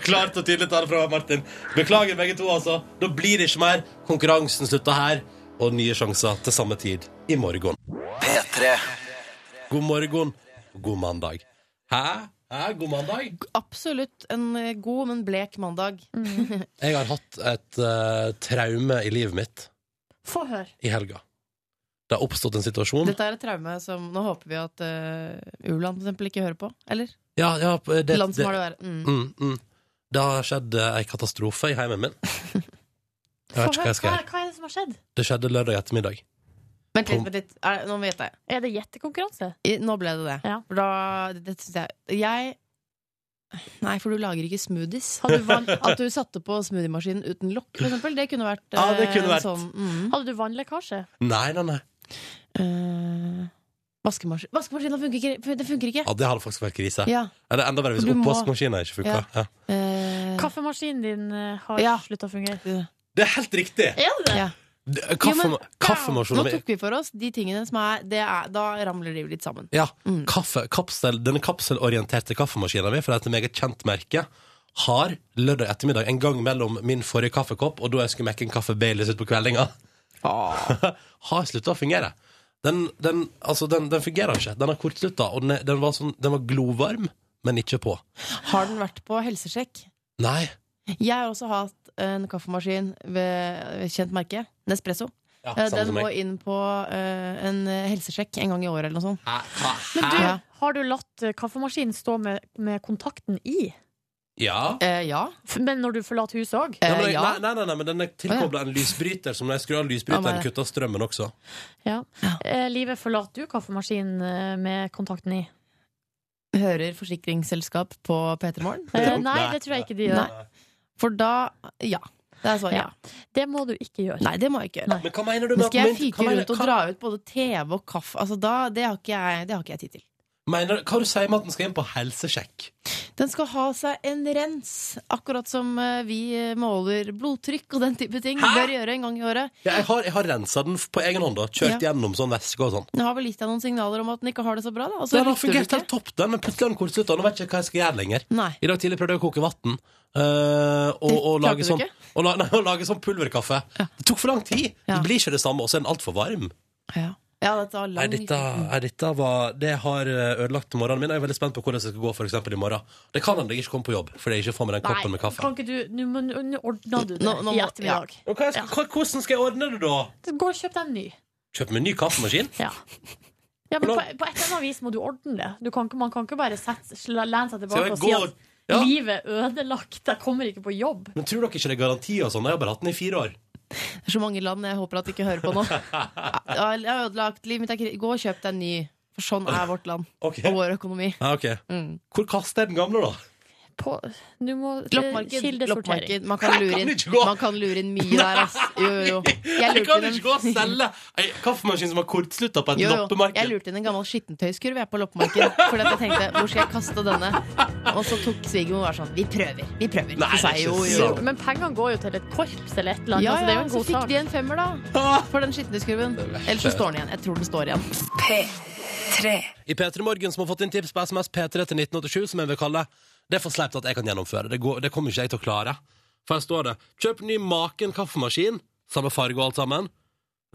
Klart og tydelig ta det fra Martin. Beklager, begge to, altså. Da blir det ikke mer. Konkurransen slutter her, og nye sjanser til samme tid i morgen.
P3.
God morgen, god mandag. Hæ? Hæ? God mandag?
Absolutt en eh, god, men blek mandag.
Mm.
Jeg har hatt et eh, traume i livet mitt
Få høre.
i helga. Det har oppstått en situasjon
Dette er et traume som Nå håper vi at eh, uh, U-land for eksempel ikke hører på. Eller?
Ja, ja, det,
Land som har
det-
det verre. Mm.
Mm, mm. Det har skjedd eh, ei katastrofe i heimen min. Jeg vet ikke hva jeg skal
hva,
gjøre.
hva er det som har skjedd?
Det skjedde lørdag ettermiddag.
Vent litt,
Tom.
vent litt. Er- Nå vet jeg.
Er det gjettekonkurranse?
I- Nå ble det det.
Ja.
For da det synes jeg Jeg Nei, for du lager ikke smoothies. Hadde du valgt at du satte på smoothiemaskinen uten lokk, for eksempel, det kunne vært
Ja, det
eh,
kunne
en
vært.
sånn mm.
Hadde du vannlekkasje?
Nei, nei, nei.
Eh, vaskemaskin. Vaskemaskinen funker ikke. Det funker ikke.
Ja, det hadde faktisk vært krise.
Ja.
Eller enda verre hvis
Du må-
oppvaskmaskinen ikke funka. Ja.
Eh,
Kaffemaskinen din eh, har
Ja.
slutta å fungere.
Det er helt riktig!
Er det det?
ja.
Det-
Jo,
Kaffe,
men- Nå
kaffemasjonen min
tok vi for oss de tingene som er, det er Da ramler livet litt sammen.
Ja,
Mm.
kaffe, kapsel, denne kapselorienterte kaffemaskinen min fra et meget kjent merke har lørdag ettermiddag en gang mellom min forrige kaffekopp og da jeg skulle mekke en kaffe Baileys ut på kveldinga, Ah. har slutta å fungere. Den, den, altså den, den fungerer ikke. Den har kortslutta, og den, er- den, var sånn, den var glovarm, men ikke på.
Har den vært på helsesjekk?
Nei.
Jeg har også hatt eh, en kaffemaskin ved ved kjent merke. Nespresso.
Ja,
Eh,
samme
Den
som
må
meg.
inn på eh, en helsesjekk en gang i året eller noe sånt.
Hæ? Hæ?
Men du,
Hæ?
Hæ?
har du latt eh, kaffemaskinen stå med, med kontakten i?
Ja.
Eh, ja.
F- Men når du forlater huset òg?
Nei,
Eh,
men, jeg-
ja.
nei, nei, nei, nei, men den er tilkobla en lysbryter, som når jeg skrur av
Ja,
lysbryteren,
men-
kutter strømmen også.
Ja. Eh, Live, forlater du kaffemaskinen eh, med kontakten i?
Hører forsikringsselskap på P3 Morgen?
Eh,
Nei.
nei, det tror jeg ikke de gjør.
Nei. For da Ja. Det er svaret.
Ja.
Ja.
Det må du ikke gjøre.
Nei, det må jeg ikke gjøre.
Men hva mener du
Men
med
skal jeg
men- hva
fyke
mener-
rundt og
hva-
dra ut både TV og kaffe? Altså, da, det, har ikke jeg, det har ikke jeg tid til.
Mener, hva du sier med at den skal inn på helsesjekk?
Den skal ha seg en rens, akkurat som eh, vi måler blodtrykk og den type ting. Bør gjøre en gang i året.
Ja, jeg har, jeg har rensa den på egen hånd. da Kjørt
Ja.
gjennom sånn væske og sånn.
Den har vel gitt deg noen signaler om at den ikke har det så bra, da? Og så
Den har
lytter du
fungert
ikke.
helt topp, den, men plutselig har den kortslutta. Nå vet jeg ikke hva jeg skal gjøre lenger.
Nei.
I dag tidlig prøvde jeg å koke vann. og, og,
Det klarte
lage
du
sånn,
ikke?
og, la, nei, og lage sånn pulverkaffe. Det tok for lang tid!
Ja.
Det blir ikke det samme, og så er den altfor varm.
Ja, ja dette var
Nei,
lang
dette, nei, dette var, det har eh, ødelagt morgenen min. Jeg er veldig spent på hvordan jeg skal gå for eksempel, i morgen. Det kan hende jeg ikke kommer på jobb fordi jeg ikke får med den koppen med kaffe.
kan ikke du Nå må- nå ordna du det
Nå- nå må-
i ettermiddag.
Og hva jeg skal, hva- hvordan skal jeg ordne det, da?
Gå og kjøp deg en ny.
Kjøpe meg en ny kaffemaskin?
Ja. Ja, men
Hvordan-
på, på et eller annet vis må du ordne det. Du kan, ikke- man kan ikke bare sette, sla- lene seg
Skal
tilbake
jeg
og si
gå
at
ja.
livet er ødelagt, jeg kommer ikke på jobb.
Men tror dere ikke det er garanti og sånn? Jeg har bare hatt den i fire år.
Det er så mange land jeg håper at de ikke hører på nå. Ja, Jeg har ødelagt livet mitt. er kri- Gå og kjøp deg en ny. For sånn er vårt land
Ok.
og vår økonomi.
Ja, ok.
Mm.
Hvor kaster jeg den gamle, da?
På, du må eh,
Loppemarked.
kildesortering.
loppemarked. Man, kan lure inn,
Kan ikke gå.
man kan lure inn mye der, ass. Jo, jo, jo. Jeg
Jeg
lurte
kan
inn en-
ikke gå og selge ei kaffemaskin som har kortslutta på et
Jo, jo. Jeg
loppemarked.
lurte inn en gammel skittentøyskurv jeg på loppemarked. Fordi at jeg tenkte, hvor skal jeg kaste denne? Og så tok svigermor og var sånn, vi prøver. vi prøver
Nei,
Så sa
det
jeg,
er
jo,
ikke
jo, jo.
sant.
Men pengene går jo til et korps eller et eller annet.
Ja,
altså, det er jo
ja,
en
så
god
fikk
sak.
de en femmer, da.
Ah!
For den skittentøyskurven. Ellers så står den igjen. Jeg tror den står igjen.
P3.
I P3 Morgen som har fått inn tips på SMS P3 til 1987, som jeg vil kalle det er for sleipt at jeg kan gjennomføre. Det, går, det kommer ikke jeg til å klare. For her står det Kjøp ny maken kaffemaskin, samme farge og alt sammen.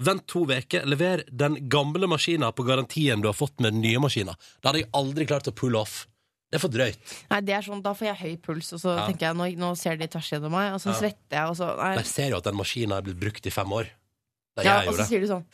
Vent to uker, lever den gamle maskina på garantien du har fått med den nye maskina. Det hadde jeg aldri klart å pull off. Det er for drøyt.
Nei, det er sånn, Da får jeg høy puls, og så
Ja.
tenker jeg nå, nå ser de tvers gjennom meg, og så
Ja.
svetter jeg, og så nei.
Jeg ser jo at den maskina er blitt brukt i fem år. Det
ja,
jeg
Og så
gjorde.
sier du sånn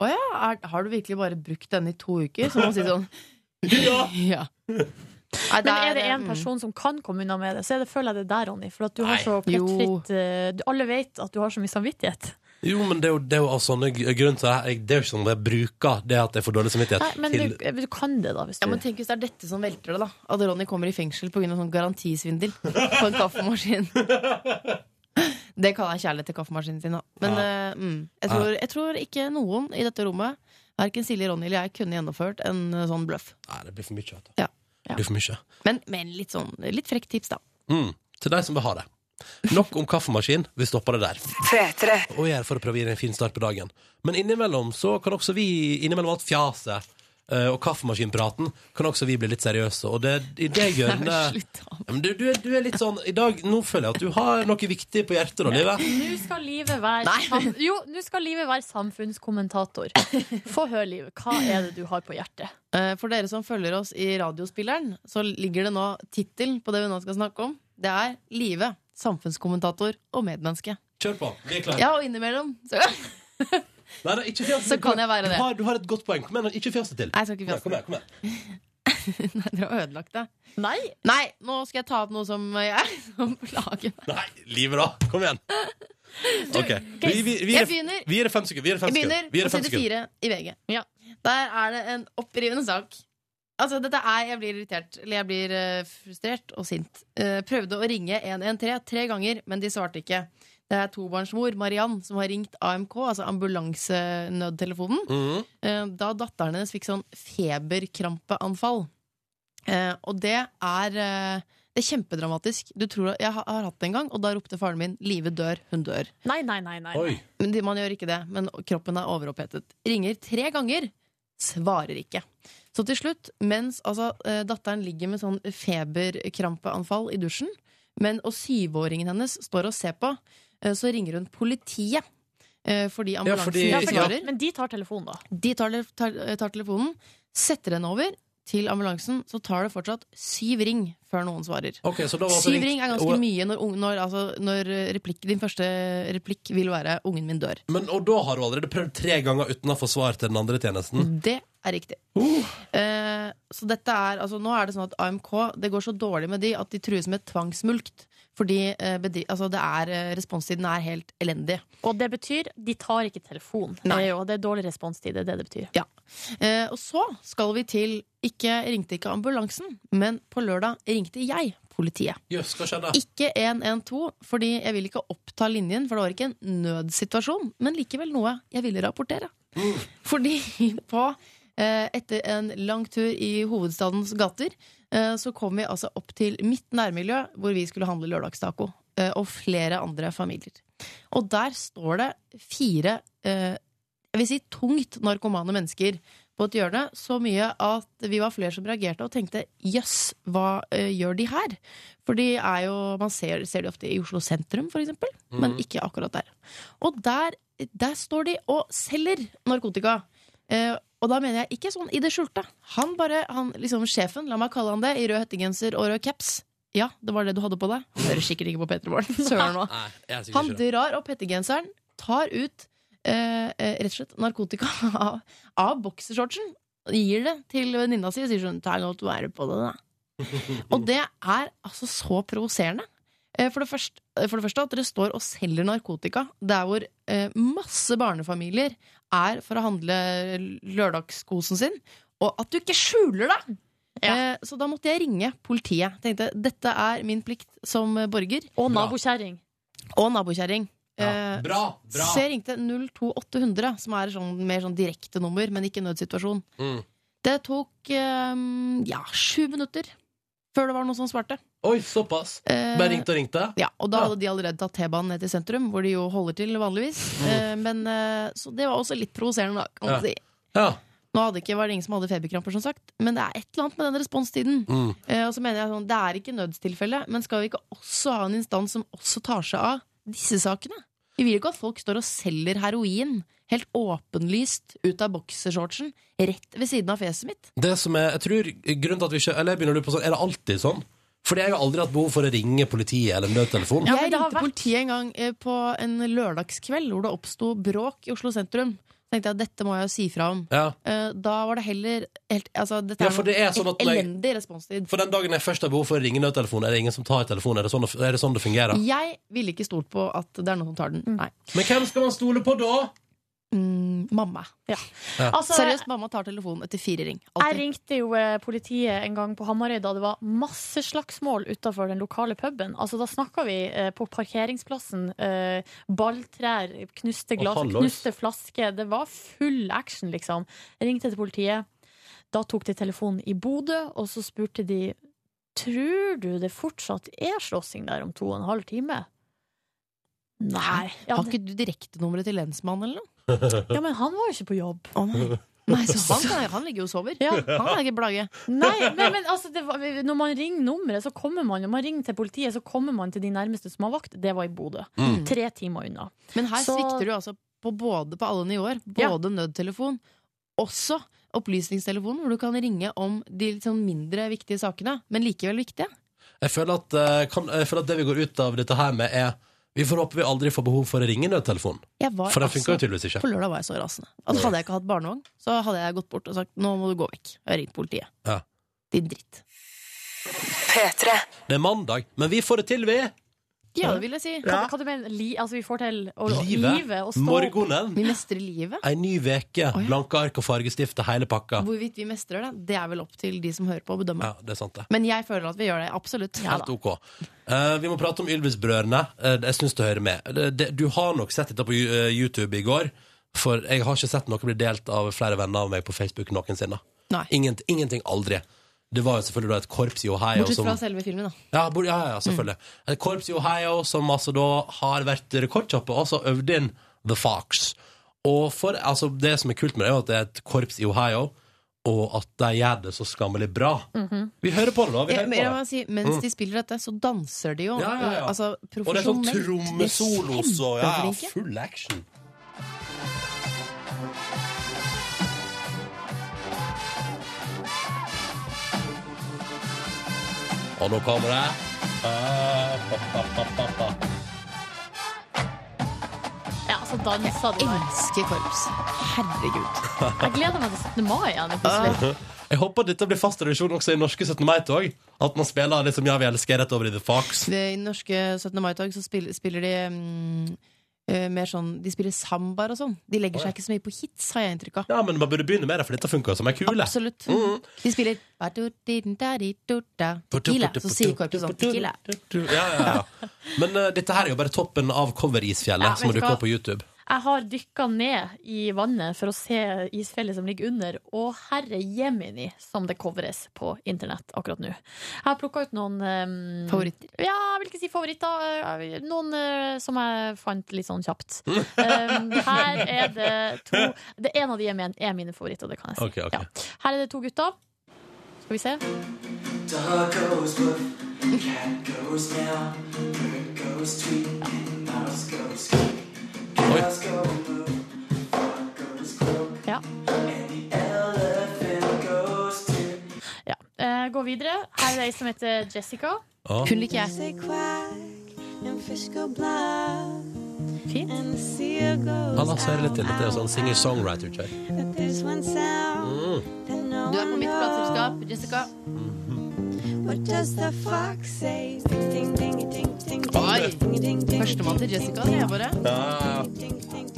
Å ja, er, har du virkelig bare brukt denne i to uker? Så må man si sånn Ja. Nei,
Men er det
eh,
en
mm.
person som kan komme unna med det, så er det, føler jeg det der, Ronny. For at du har
Nei.
så
Jo.
plettfritt eh, du- Alle vet at du har så mye samvittighet.
Jo, men det er jo, det er jo av sånne gr- grunn til det her. Jeg- Det er jo ikke sånn at jeg bruker det at jeg får dårlig
Nei,
samvittighet
men
til
du, eh, du kan det, da, hvis
Ja,
du
men Tenk hvis det er dette som velter det, da. At Ronny kommer i fengsel pga. sånn garantisvindel på en kaffemaskin. Det kaller jeg kjærlighet til kaffemaskinen sin, da. Men eh, mm, jeg, tror, jeg tror ikke noen i dette rommet, verken Silje, Ronny eller jeg, kunne gjennomført en eh, sånn bløff.
Nei, det blir for mye. vet du.
Ja.
Det blir for mye.
Men, men litt sånn litt frekt tips, da.
Mm. Til deg som vil ha det. Nok om kaffemaskin. Vi stopper det der.
P3.
Og gjør for å prøve å gi deg en fin start på dagen. Men innimellom så kan også vi, innimellom alt fjaset eh, og kaffemaskinpraten, kan også vi bli litt seriøse. Og det, i det hjørnet
Slutt, da.
Ja, men du, du, er, du er litt sånn I dag, nå føler jeg at du har noe viktig på hjertet, da, Live.
Nå skal livet være
Nei.
sam Jo, nå skal livet være samfunnskommentator. Få høre, Liv. Hva er det du har på hjertet?
Eh, For dere som følger oss i radiospilleren, så ligger det nå tittel på det vi nå skal snakke om. Det er Live. Samfunnskommentator og medmenneske.
Kjør på. Vi er klare.
Ja, og innimellom så,
Nei, nei, ikke fjas
Så kan jeg være
Du
det.
har, du har et godt poeng. Kom igjen, ikke fjas det til.
Nei, jeg skal ikke
Kom igjen,
fjaste.
kom igjen, kom igjen.
Nei, dere har ødelagt det.
Nei!
Nei, nå skal jeg ta opp noe som jeg som plager meg.
Nei, livet da! Kom igjen. OK. Vi, vi, vi,
Jeg
gir det-
begynner,
vi gir det fem sekunder. Vi gir det
jeg
fem sekunder.
begynner
Vi gir
på
det fem
side
sekunder.
fire i VG. Der er det en opprivende sak. Altså, dette er Jeg blir irritert. Eller jeg blir eh, frustrert og sint. Eh, prøvde å ringe 113 tre ganger, men de svarte ikke. Det er tobarnsmor Mariann som har ringt AMK, altså ambulansenødtelefonen.
Mhm.
eh, da datteren hennes fikk sånn feberkrampeanfall. Eh, og det er eh, Det er kjempedramatisk. Du tror at, jeg har, har hatt det en gang, og da ropte faren min 'Live dør, hun dør'.
Nei, nei, nei. nei.
Oi.
Men de- Man gjør ikke det, men kroppen er overopphetet. Ringer tre ganger, svarer ikke. Så til slutt, mens altså, eh, datteren ligger med sånn feberkrampeanfall i dusjen, men, og syvåringen hennes står og ser på, eh, så ringer hun politiet. eh, Fordi ambulansen
fordi-
Ja,
ikke
for
Ja.
svarer.
de, men de tar telefonen, da.
De tar, tar, eh, tar telefonen, setter henne over til ambulansen, så tar det fortsatt syv ring før noen svarer.
Ok, så da var altså
Syv
ringt-
ring er ganske mye når, ung- når, altså, når replikk, din første replikk vil være 'ungen min dør'.
Men, og da har hun allerede prøvd tre ganger uten å få svar til den andre tjenesten.
Det er riktig. Eh, så dette er, altså, nå er det sånn at AMK Det går så dårlig med de at de trues med tvangsmulkt. Fordi eh, bedri, altså, det er, eh, responstiden er helt elendig.
Og det betyr de tar ikke telefonen. Det er,
Nei.
jo, det er dårlig responstid. Det er det det betyr.
Ja. Eh, og så skal vi til Ikke ringte ikke ambulansen, men på lørdag ringte jeg politiet.
Jøss, hva skjedde?
Ikke 112, fordi jeg vil ikke oppta linjen, for det var ikke en nødsituasjon, men likevel noe jeg ville rapportere. Fordi på eh, etter en lang tur i hovedstadens gater, eh, så kom vi altså opp til mitt nærmiljø, hvor vi skulle handle lørdagstaco. eh, Og flere andre familier. Og der står det fire eh, jeg vil si tungt narkomane mennesker på et hjørne. Så mye at vi var flere som reagerte og tenkte jøss, hva eh, gjør de her? For de er jo, man ser, ser de ofte i Oslo sentrum, for eksempel, men ikke akkurat der. Og der, der står de og selger narkotika. Eh, og da mener jeg ikke sånn i det skjulte. Han bare, han, liksom sjefen, la meg kalle han det, i rød hettegenser og rød caps. Ja, det var det du hadde på deg. Hører sikkert ikke på Peter Morgen. Søren òg.
Nei, jeg er sikkert
Han
ikke det.
drar opp hettegenseren, tar ut eh, eh, rett og slett narkotika av, av boksershortsen. og Gir det til venninna si og sier sånn Ta godt vare på det, da. og det er altså så provoserende. Eh, For det, første, for det første at dere står og selger narkotika der hvor eh, masse barnefamilier er for å handle lørdagskosen sin, og at du ikke skjuler det! Eh, så da måtte jeg ringe politiet. Tenkte dette er min plikt som eh, borger
Og
Bra.
nabokjerring.
og nabokjerring.
Ja.
Eh,
Bra, bra.
så jeg ringte 02800, som er sånn, mer sånn direkte nummer, men ikke nødsituasjon.
Mm.
Det tok eh, ja, sju minutter før det var noen som svarte.
Oi, såpass.
Eh,
Bare ringte og ringte?
ja, og da
Ja.
hadde de allerede tatt T-banen ned til sentrum, hvor de jo holder til vanligvis. Eh, men, eh, så det var også litt provoserende, da. Kan man
Mm. Ja.
si.
Ja.
Nå hadde ikke, var det ingen som hadde feberkramper, som sagt, men det er et eller annet med den responstiden.
Mm.
Eh, og så mener jeg sånn, Det er ikke nødstilfelle, men skal vi ikke også ha en instans som også tar seg av disse sakene? Vi vil ikke at folk står og selger heroin helt åpenlyst ut av boksershortsen rett ved siden av fjeset mitt.
Det som er, jeg tror grunnen til at vi ikke Eller jeg begynner å lure på sånn, er det alltid sånn? Fordi jeg har aldri hatt behov for å ringe politiet eller nødtelefonen.
Ja, men
jeg
det har
ringte
vært-
politiet en gang eh, på en lørdagskveld hvor det oppsto bråk i Oslo sentrum. Så tenkte jeg at dette må jeg jo si fra om.
Ja.
Eh, Da var det heller helt, altså, Dette
Ja,
er,
for det er sånn
en
at når jeg-
elendig responstid.
For den dagen jeg først har behov for å ringe nødtelefonen, er det ingen som tar telefonen? Er det sånn, er det, sånn det Mm. fungerer?
Jeg ville ikke stolt på at det er noen som tar den. Nei.
Men hvem skal man stole på da?
Mm, mamma.
Altså,
Seriøst, mamma tar telefonen etter fire ring.
Jeg
Alltid.
ringte jo eh, politiet en gang på Hamarøy da det var masse slagsmål utafor den lokale puben. Altså, da snakka vi eh, på parkeringsplassen. Eh, balltrær, knuste glass,
hallois.
knuste flasker. Det var full action, liksom. Jeg ringte til politiet. Da tok de telefonen i Bodø, og så spurte de Tror du det fortsatt er slåssing der om to og en halv time? Nei. Ja,
Har ikke du direktenummeret til lensmannen eller noe?
ja, men han var jo ikke på jobb.
nei. så han, kan- han ligger jo og sover. Han kan ikke blage.
Nei, men, men altså, det var, når man ringer nummeret, så kommer man Når man ringer til politiet, så kommer man til de nærmeste som har vakt. Det var i Bodø. Tre timer unna.
Men her
Så-
svikter du altså på, både, på alle nivåer.
Ja.
Både nødtelefon, også opplysningstelefonen, hvor du kan ringe om de litt sånn mindre viktige sakene, men likevel viktige.
Jeg føler, at, eh, kan, jeg føler at det vi går ut av dette her med, er Vi får håpe vi aldri får behov for å ringe nødtelefonen.
Jeg var
For den
altså-
funker jo tydeligvis ikke.
På lørdag var jeg så rasende. Altså, hadde jeg ikke hatt barnevogn, så hadde jeg gått bort og sagt nå må du gå vekk. Og jeg ringt politiet.
Ja.
De Din dritt.
P3.
Det er mandag, men vi får det til, vi.
Ja, det vil jeg si.
Hva, hva du mener Li, altså, vi får til å,
Livet.
livet og stå opp.
Morgenen.
Vi mestrer livet.
Ei ny veke.
Å, ja.
Blanke ark og fargestift og hele pakka.
Hvorvidt vi mestrer det, det er vel opp til de som hører på å bedømme.
Ja, det er sant, det.
Men jeg føler at vi gjør det. Absolutt.
Helt ok. Eh, vi må prate om Ylvis-brødrene. Eh, jeg syns det hører med. Det- det- du har nok sett dette på Ju- eh, YouTube i går, for jeg har ikke sett noe bli delt av flere venner av meg på Facebook noensinne.
Nei.
Ingent, ingenting. Aldri. Det var jo selvfølgelig da et korps i Ohio
Bortsett
som
fra selve filmen, da.
Ja, bor, ja, ja, ja, selvfølgelig.
Mm.
Et korps i Ohio som altså da har vært rekordkjappe, og altså øvd inn The Fox. Og for, altså, det som er kult med det, er jo at det er et korps i Ohio, og at de gjør det så skammelig bra. Vi hører på det, da. Vi
Mhm. Ja,
hører
men jeg
på
må
det.
si, mens de spiller dette, så danser de jo.
Ja, ja, ja.
eh, Altså,
Og det er sånn
profesjonelt.
trommesolos og ja, ja,
kjempeflinke.
full action. Og nå kommer det. Ah, pa, pa, pa, pa, pa.
Ja, så dansa du der.
Elsker korps. Herregud.
Jeg gleder meg til 17. mai
Ah.
igjen. plutselig.
Jeg håper dette blir fast tradisjon også i norske 17. mai-tog. At man spiller liksom Ja, vi elsker rett over i The Fox.
Ved, I norske 17. mai-tog så spiller, spiller de mm, eh, mer sånn De spiller sambar og sånn. De legger seg ikke så mye på hits, har jeg inntrykk av.
Ja, men man burde begynne med det, for dette funker jo som ei kule.
Absolutt. De spiller Tequila. Så sier korpset sånn Tequila.
Ja, ja, ja. Men eh, dette her er jo bare toppen av coverisfjellet
Ja,
som
vet du
dukker
hva?
opp på YouTube.
Jeg har dykka ned i vannet for å se isfjellet som ligger under, og herre jemini som det covres på internett akkurat nå. Jeg har plukka ut noen eh,
Favoritter.
Ja, jeg vil ikke si favoritter. eh, Noen eh, som jeg fant litt sånn kjapt. Um, her er det to det En av de er, min, er mine favoritter, det kan jeg si.
Ok, ok.
Ja. Her er det to gutter. Skal vi se.
Dog goes woof, cat goes meow, bird goes tweet, mouse goes squeak, cows go moo, frog goes croak,
Ja.
and the elephant goes toot.
ja. Eh, gå videre. Her er ei som heter Jessica.
Ja.
Hun liker jeg.
Fint.
Han har seg litt til at det er sånn Mm. singer-songwriter-kjør.
Du er på mitt plateselskap, Jessica. Oi! Førstemann til Jessica, det er bare.
Ja,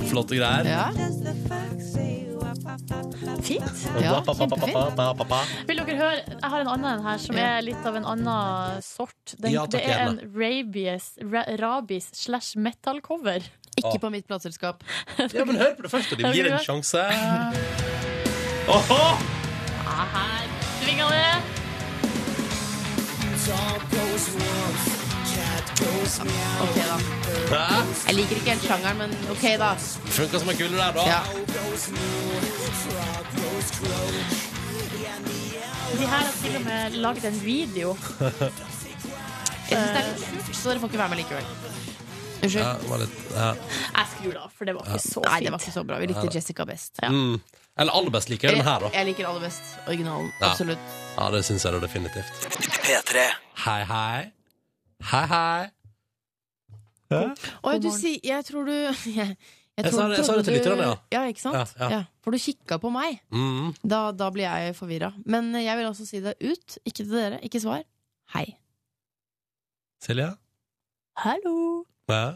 flotte greier.
Ja.
Fint.
Ja,
Pa, pa, pa, pa, pa, pa, pa, pa.
Vil dere høre? Jeg har en annen en her som er litt av en annen sort. Den,
Ja, takk,
det er en
gjerne.
rabies, ra, rabies slash metal-cover.
Ikke på mitt plateselskap.
Ja, men hør på det første. De gir en sjanse. Åhå!
Ja, her svinger det.
Ok, da.
Hæ?
Jeg liker ikke helt sjangeren, men ok, da.
Funka som ei kule der, da.
Ja.
De her har til og med laget en video.
Jeg syns det er litt sjukt, så dere får ikke være med likevel. Unnskyld.
Ja, det var litt, ja.
Jeg skrur av, for det var ikke så
Nei, det var
fint.
ikke så bra. Vi likte Jessica best.
Mm. Eller aller best liker jeg den her, da.
Jeg liker aller best originalen.
Ja.
Absolutt.
Ja, det syns jeg da definitivt.
P3.
Hei, hei. Hei, hei.
Oi, du
morgen.
sier Jeg tror du Jeg,
Jeg sa det- jeg sa det til
trodde du-
lytterne, ja.
Ja, ikke sant?
Ja,
Ja,
ja.
For du kikka på meg.
Mm.
Da, da blir jeg forvirra. Men jeg vil også si det ut. Ikke til dere. Ikke svar. Hei.
Silje?
Hallo.
Ja.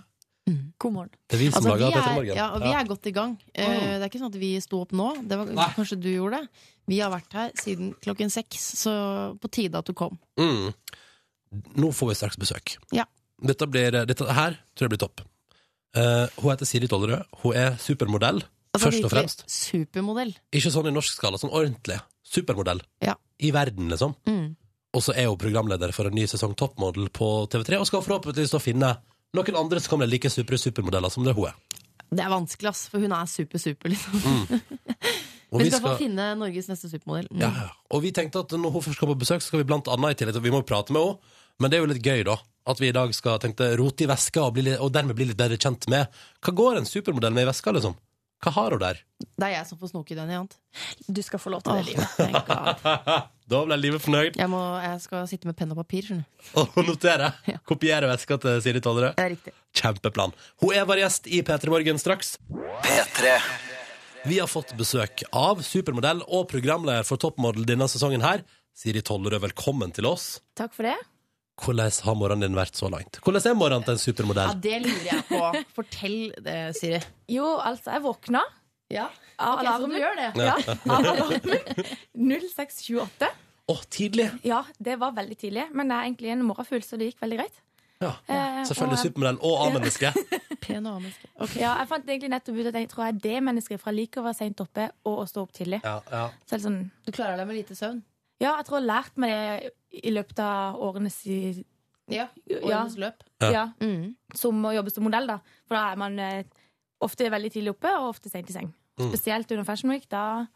God morgen.
Det er vi som
Altså, vi,
lager Petter
er,
Morgen.
ja, og vi er godt i gang. Eh, Det er ikke sånn at vi sto opp nå. Det var,
Nei.
kanskje du gjorde det. Vi har vært her siden klokken seks, så på tide at du kom.
Mm. Nå får vi straks besøk.
Ja.
Dette, blir, dette her tror jeg blir topp. Eh, hun heter Siri Tollerød. Hun er supermodell,
Altså,
først og
virkelig
fremst.
Supermodell.
Ikke sånn i norsk skala, sånn ordentlig. Supermodell.
Ja.
I verden, liksom.
Mm.
Og så er hun programleder for en ny sesong Toppmodell på TV3, og skal forhåpentligvis da finne noen andre som kan bli like supre supermodeller som det hun er.
Det er vanskelig, ass, for hun er super-super, liksom.
Og
vi skal, få finne Norges neste supermodell. Mm.
Ja, ja. og vi tenkte at når hun først kommer på besøk, så skal vi blant annet i tillegg til at Vi må jo prate med henne, men det er jo litt gøy, da. At vi i dag skal tenkte, rote i veska og, bli litt, og dermed bli litt bedre kjent med Hva går en supermodell med i veska, liksom? Hva har hun der?
Det er jeg som får snoke i den, Jant.
Du skal få lov til det,
Åh,
livet.
thank God.
Da ble livet fornøyd.
Jeg, må, jeg skal sitte med penn og papir, skjønner du.
Og notere. Kopiere veska til Siri Tollerød.
Det er riktig.
Kjempeplan. Hun er vår gjest i P3 Morgen straks.
P3.
Vi har fått besøk av supermodell og programleder for Toppmodell denne sesongen her, Siri Tollerød, velkommen til oss.
Takk for det.
Hvordan har morgenen din vært så langt? Hvordan er morgenen til en
Ja,
supermodell?
det lurer jeg på. Fortell det, Siri.
Jo, altså, jeg våkna
Ja.
av
Ok, så du
alarmen.
gjør det.
Ja, av alarmen. 0628.
Å, tidlig!
Ja, det var veldig tidlig, men jeg er egentlig en morgenfugl, så det gikk veldig greit.
Ja,
Eh,
Selvfølgelig
og-
supermodell og A-menneske.
Pen og A-menneske. Ok.
Ja, jeg fant egentlig nettopp ut at jeg tror jeg er det mennesket, for jeg liker å være seint oppe og å stå opp tidlig.
Ja, ja.
Så det er sånn,
Du klarer deg med lite søvn.
ja, jeg tror jeg har lært meg det i løpet av årene si,
Ja.
Ja.
Årens løp.
Ja.
ja,
Mm.
som å jobbe som modell, da. For da er man eh, ofte veldig tidlig oppe, og ofte seint i seng.
Mm.
Spesielt under Fashion Week, da.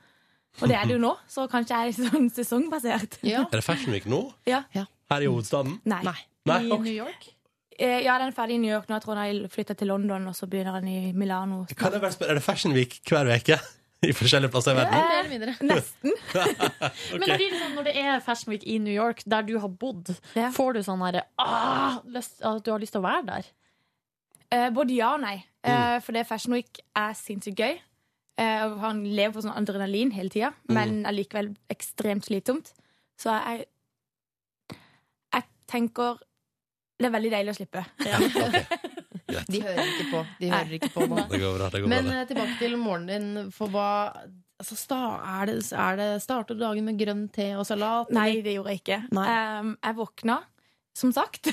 Og det er det jo nå, så kanskje jeg er sånn sesongbasert.
Ja.
Er det Fashion Week nå?
Ja.
Ja.
Her i hovedstaden?
Nei.
Nei.
Nei,
I
ok.
New York.
Eh, Ja, den er ferdig i New York nå. Jeg tror den har flytta til London, og så begynner den i Milano.
Kan jeg bare spørre, Er det Fashion Week hver uke i forskjellige plasser i verden?
Mer eller mindre.
Nesten.
Men blir det sånn, når det er Fashion Week i New York, der du har bodd,
Ja.
får du sånn herre ah, lyst- At du har lyst til å være der?
Eh, både ja og nei.
Mm.
Eh, for det Fashion Week er sinnssykt gøy. Eh, og han lever på sånn adrenalin hele tida,
Mm.
men allikevel ekstremt slitsomt. Så jeg Jeg tenker det er veldig deilig å slippe.
De hører ikke på. De hører ikke på nå.
Det går bra. det går
Men
bra
eh, tilbake til morgenen din. For hva altså, sta, er det, er det, Starter du dagen med grønn te og salat?
Nei, det gjorde jeg ikke.
Nei.
Eh, jeg våkna, som sagt.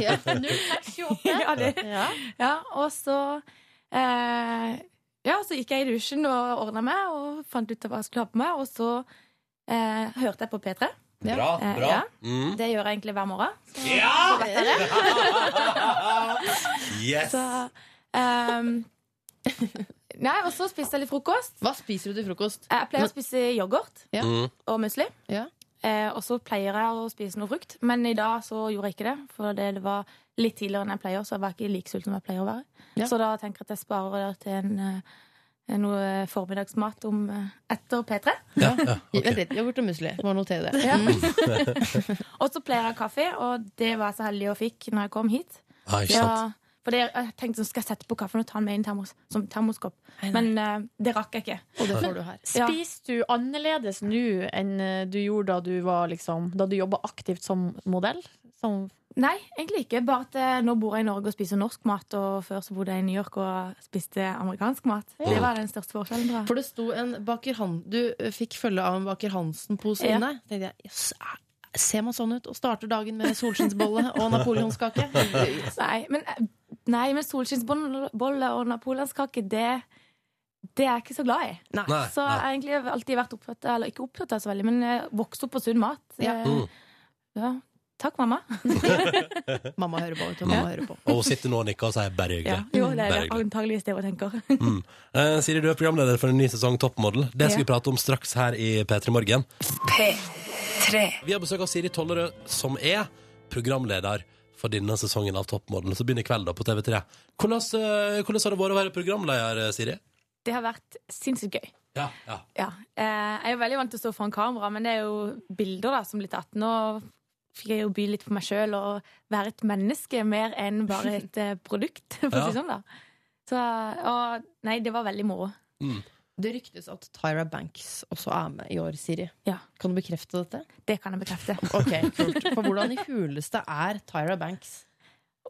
Ja.
0628.
ja, det,
Ja.
Ja, og så eh, Ja, så gikk jeg i dusjen og ordna meg og fant ut hva jeg skulle ha på meg. Og så eh, hørte jeg på P3.
Ja.
Bra,
Eh,
bra.
ja.
Mm.
Det gjør jeg egentlig hver morgen.
Yes!
Så ehm, Nei, og så spiste jeg litt frokost.
Hva spiser du til frokost?
Jeg pleier å spise yoghurt
Ja.
Mm.
og musli.
Ja.
Eh, og så pleier jeg å spise noe frukt, men i dag så gjorde jeg ikke det. For det var litt tidligere enn jeg pleier, så jeg var ikke like sulten som jeg pleier å være.
Ja.
Så da tenker jeg at jeg sparer det til en, eh, noe formiddagsmat om, eh, etter P3.
Ja, ja, ok.
Vent litt. Yoghurt og musli. Må notere det.
Mm.
Og så pleier jeg å ha kaffe, og det var jeg så heldig og fikk når jeg kom hit.
Ah, ikke sant.
Ja, for det, jeg tenkte sånn, skal jeg sette på kaffen og ta den med inn termos, som termoskopp. Men eh, det rakk jeg ikke.
Og det får du her.
Ja.
Spiser du annerledes nå enn eh, du gjorde da du var liksom Da du jobba aktivt som modell? Som,
Nei, egentlig ikke. Bare at eh, nå bor jeg i Norge og spiser norsk mat, og før så bodde jeg i New York og spiste amerikansk mat. Det var den største forskjellen, tror jeg.
For det sto en baker Han Du eh, fikk følge av en baker Hansen-pose
Ja.
inne. Tenkte jeg, jøss, er- ser man sånn ut? Og starter dagen med solskinnsbolle og napoleonskake?
Nei, men, eh, nei, men solskinnsbolle og napoleonskake, det, det er jeg ikke så glad i.
Nei.
Nei,
Så jeg har egentlig alltid vært opptatt av, eller ikke opptatt av så veldig, men jeg vokste opp på sunn mat.
Ja.
Eh,
Mm.
ja. Takk, mamma.
Mamma hører på. Vet du, mamma hører på.
Og hun sitter nå og nikker og sier bare hyggelig.
Ja. Jo, det
Det er
er det.
hyggelig.
antageligvis det hun tenker.
Eh, Siri, du er programleder for en ny sesong Toppmodell. Det skal
Ja.
vi prate om straks her i P3 Morgen.
P3.
Vi har besøk av Siri Tollerød, som er programleder for denne sesongen av Toppmodell. Så begynner i kveld da på TV3. Hvordan, eh, hvordan har det vært å være programleder, eh, Siri?
Det har vært sinnssykt gøy.
Ja, ja.
Ja. Eh, Jeg er jo veldig vant til å stå foran kamera, men det er jo bilder da, som blir tatt. Nå fikk jeg jo by litt på meg sjøl og være et menneske mer enn bare et eh, produkt, for å
Ja.
si det sånn, da. Så, og, nei, det var veldig moro.
Det ryktes at Tyra Banks også er med i år, Siri.
Ja.
Kan du bekrefte dette?
Det kan jeg bekrefte.
Ok, kult. For hvordan i huleste er Tyra Banks?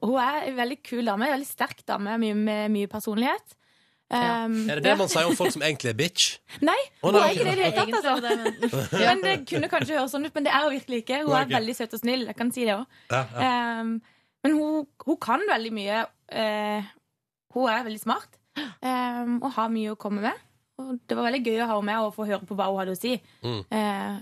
Hun er en veldig kul dame, en veldig sterk dame mye, med mye personlighet.
Ja.
Um,
Er det det man sier om folk som egentlig er bitch?
Nei,
Å,
hun
nei,
er ikke det i det hele tatt, altså.
Egentlig er det det, men-
Men det kunne kanskje høres sånn ut, men det er hun virkelig ikke. Hun
Hun er
er
ikke.
veldig søt og snill, jeg kan si det òg.
Ja, ja.
Ehm, men hun, hun kan veldig mye. Eh, hun er veldig smart ehm, og har mye å komme med. Og det var veldig gøy å ha henne med og få høre på hva hun hadde å si.
Mm.
Eh,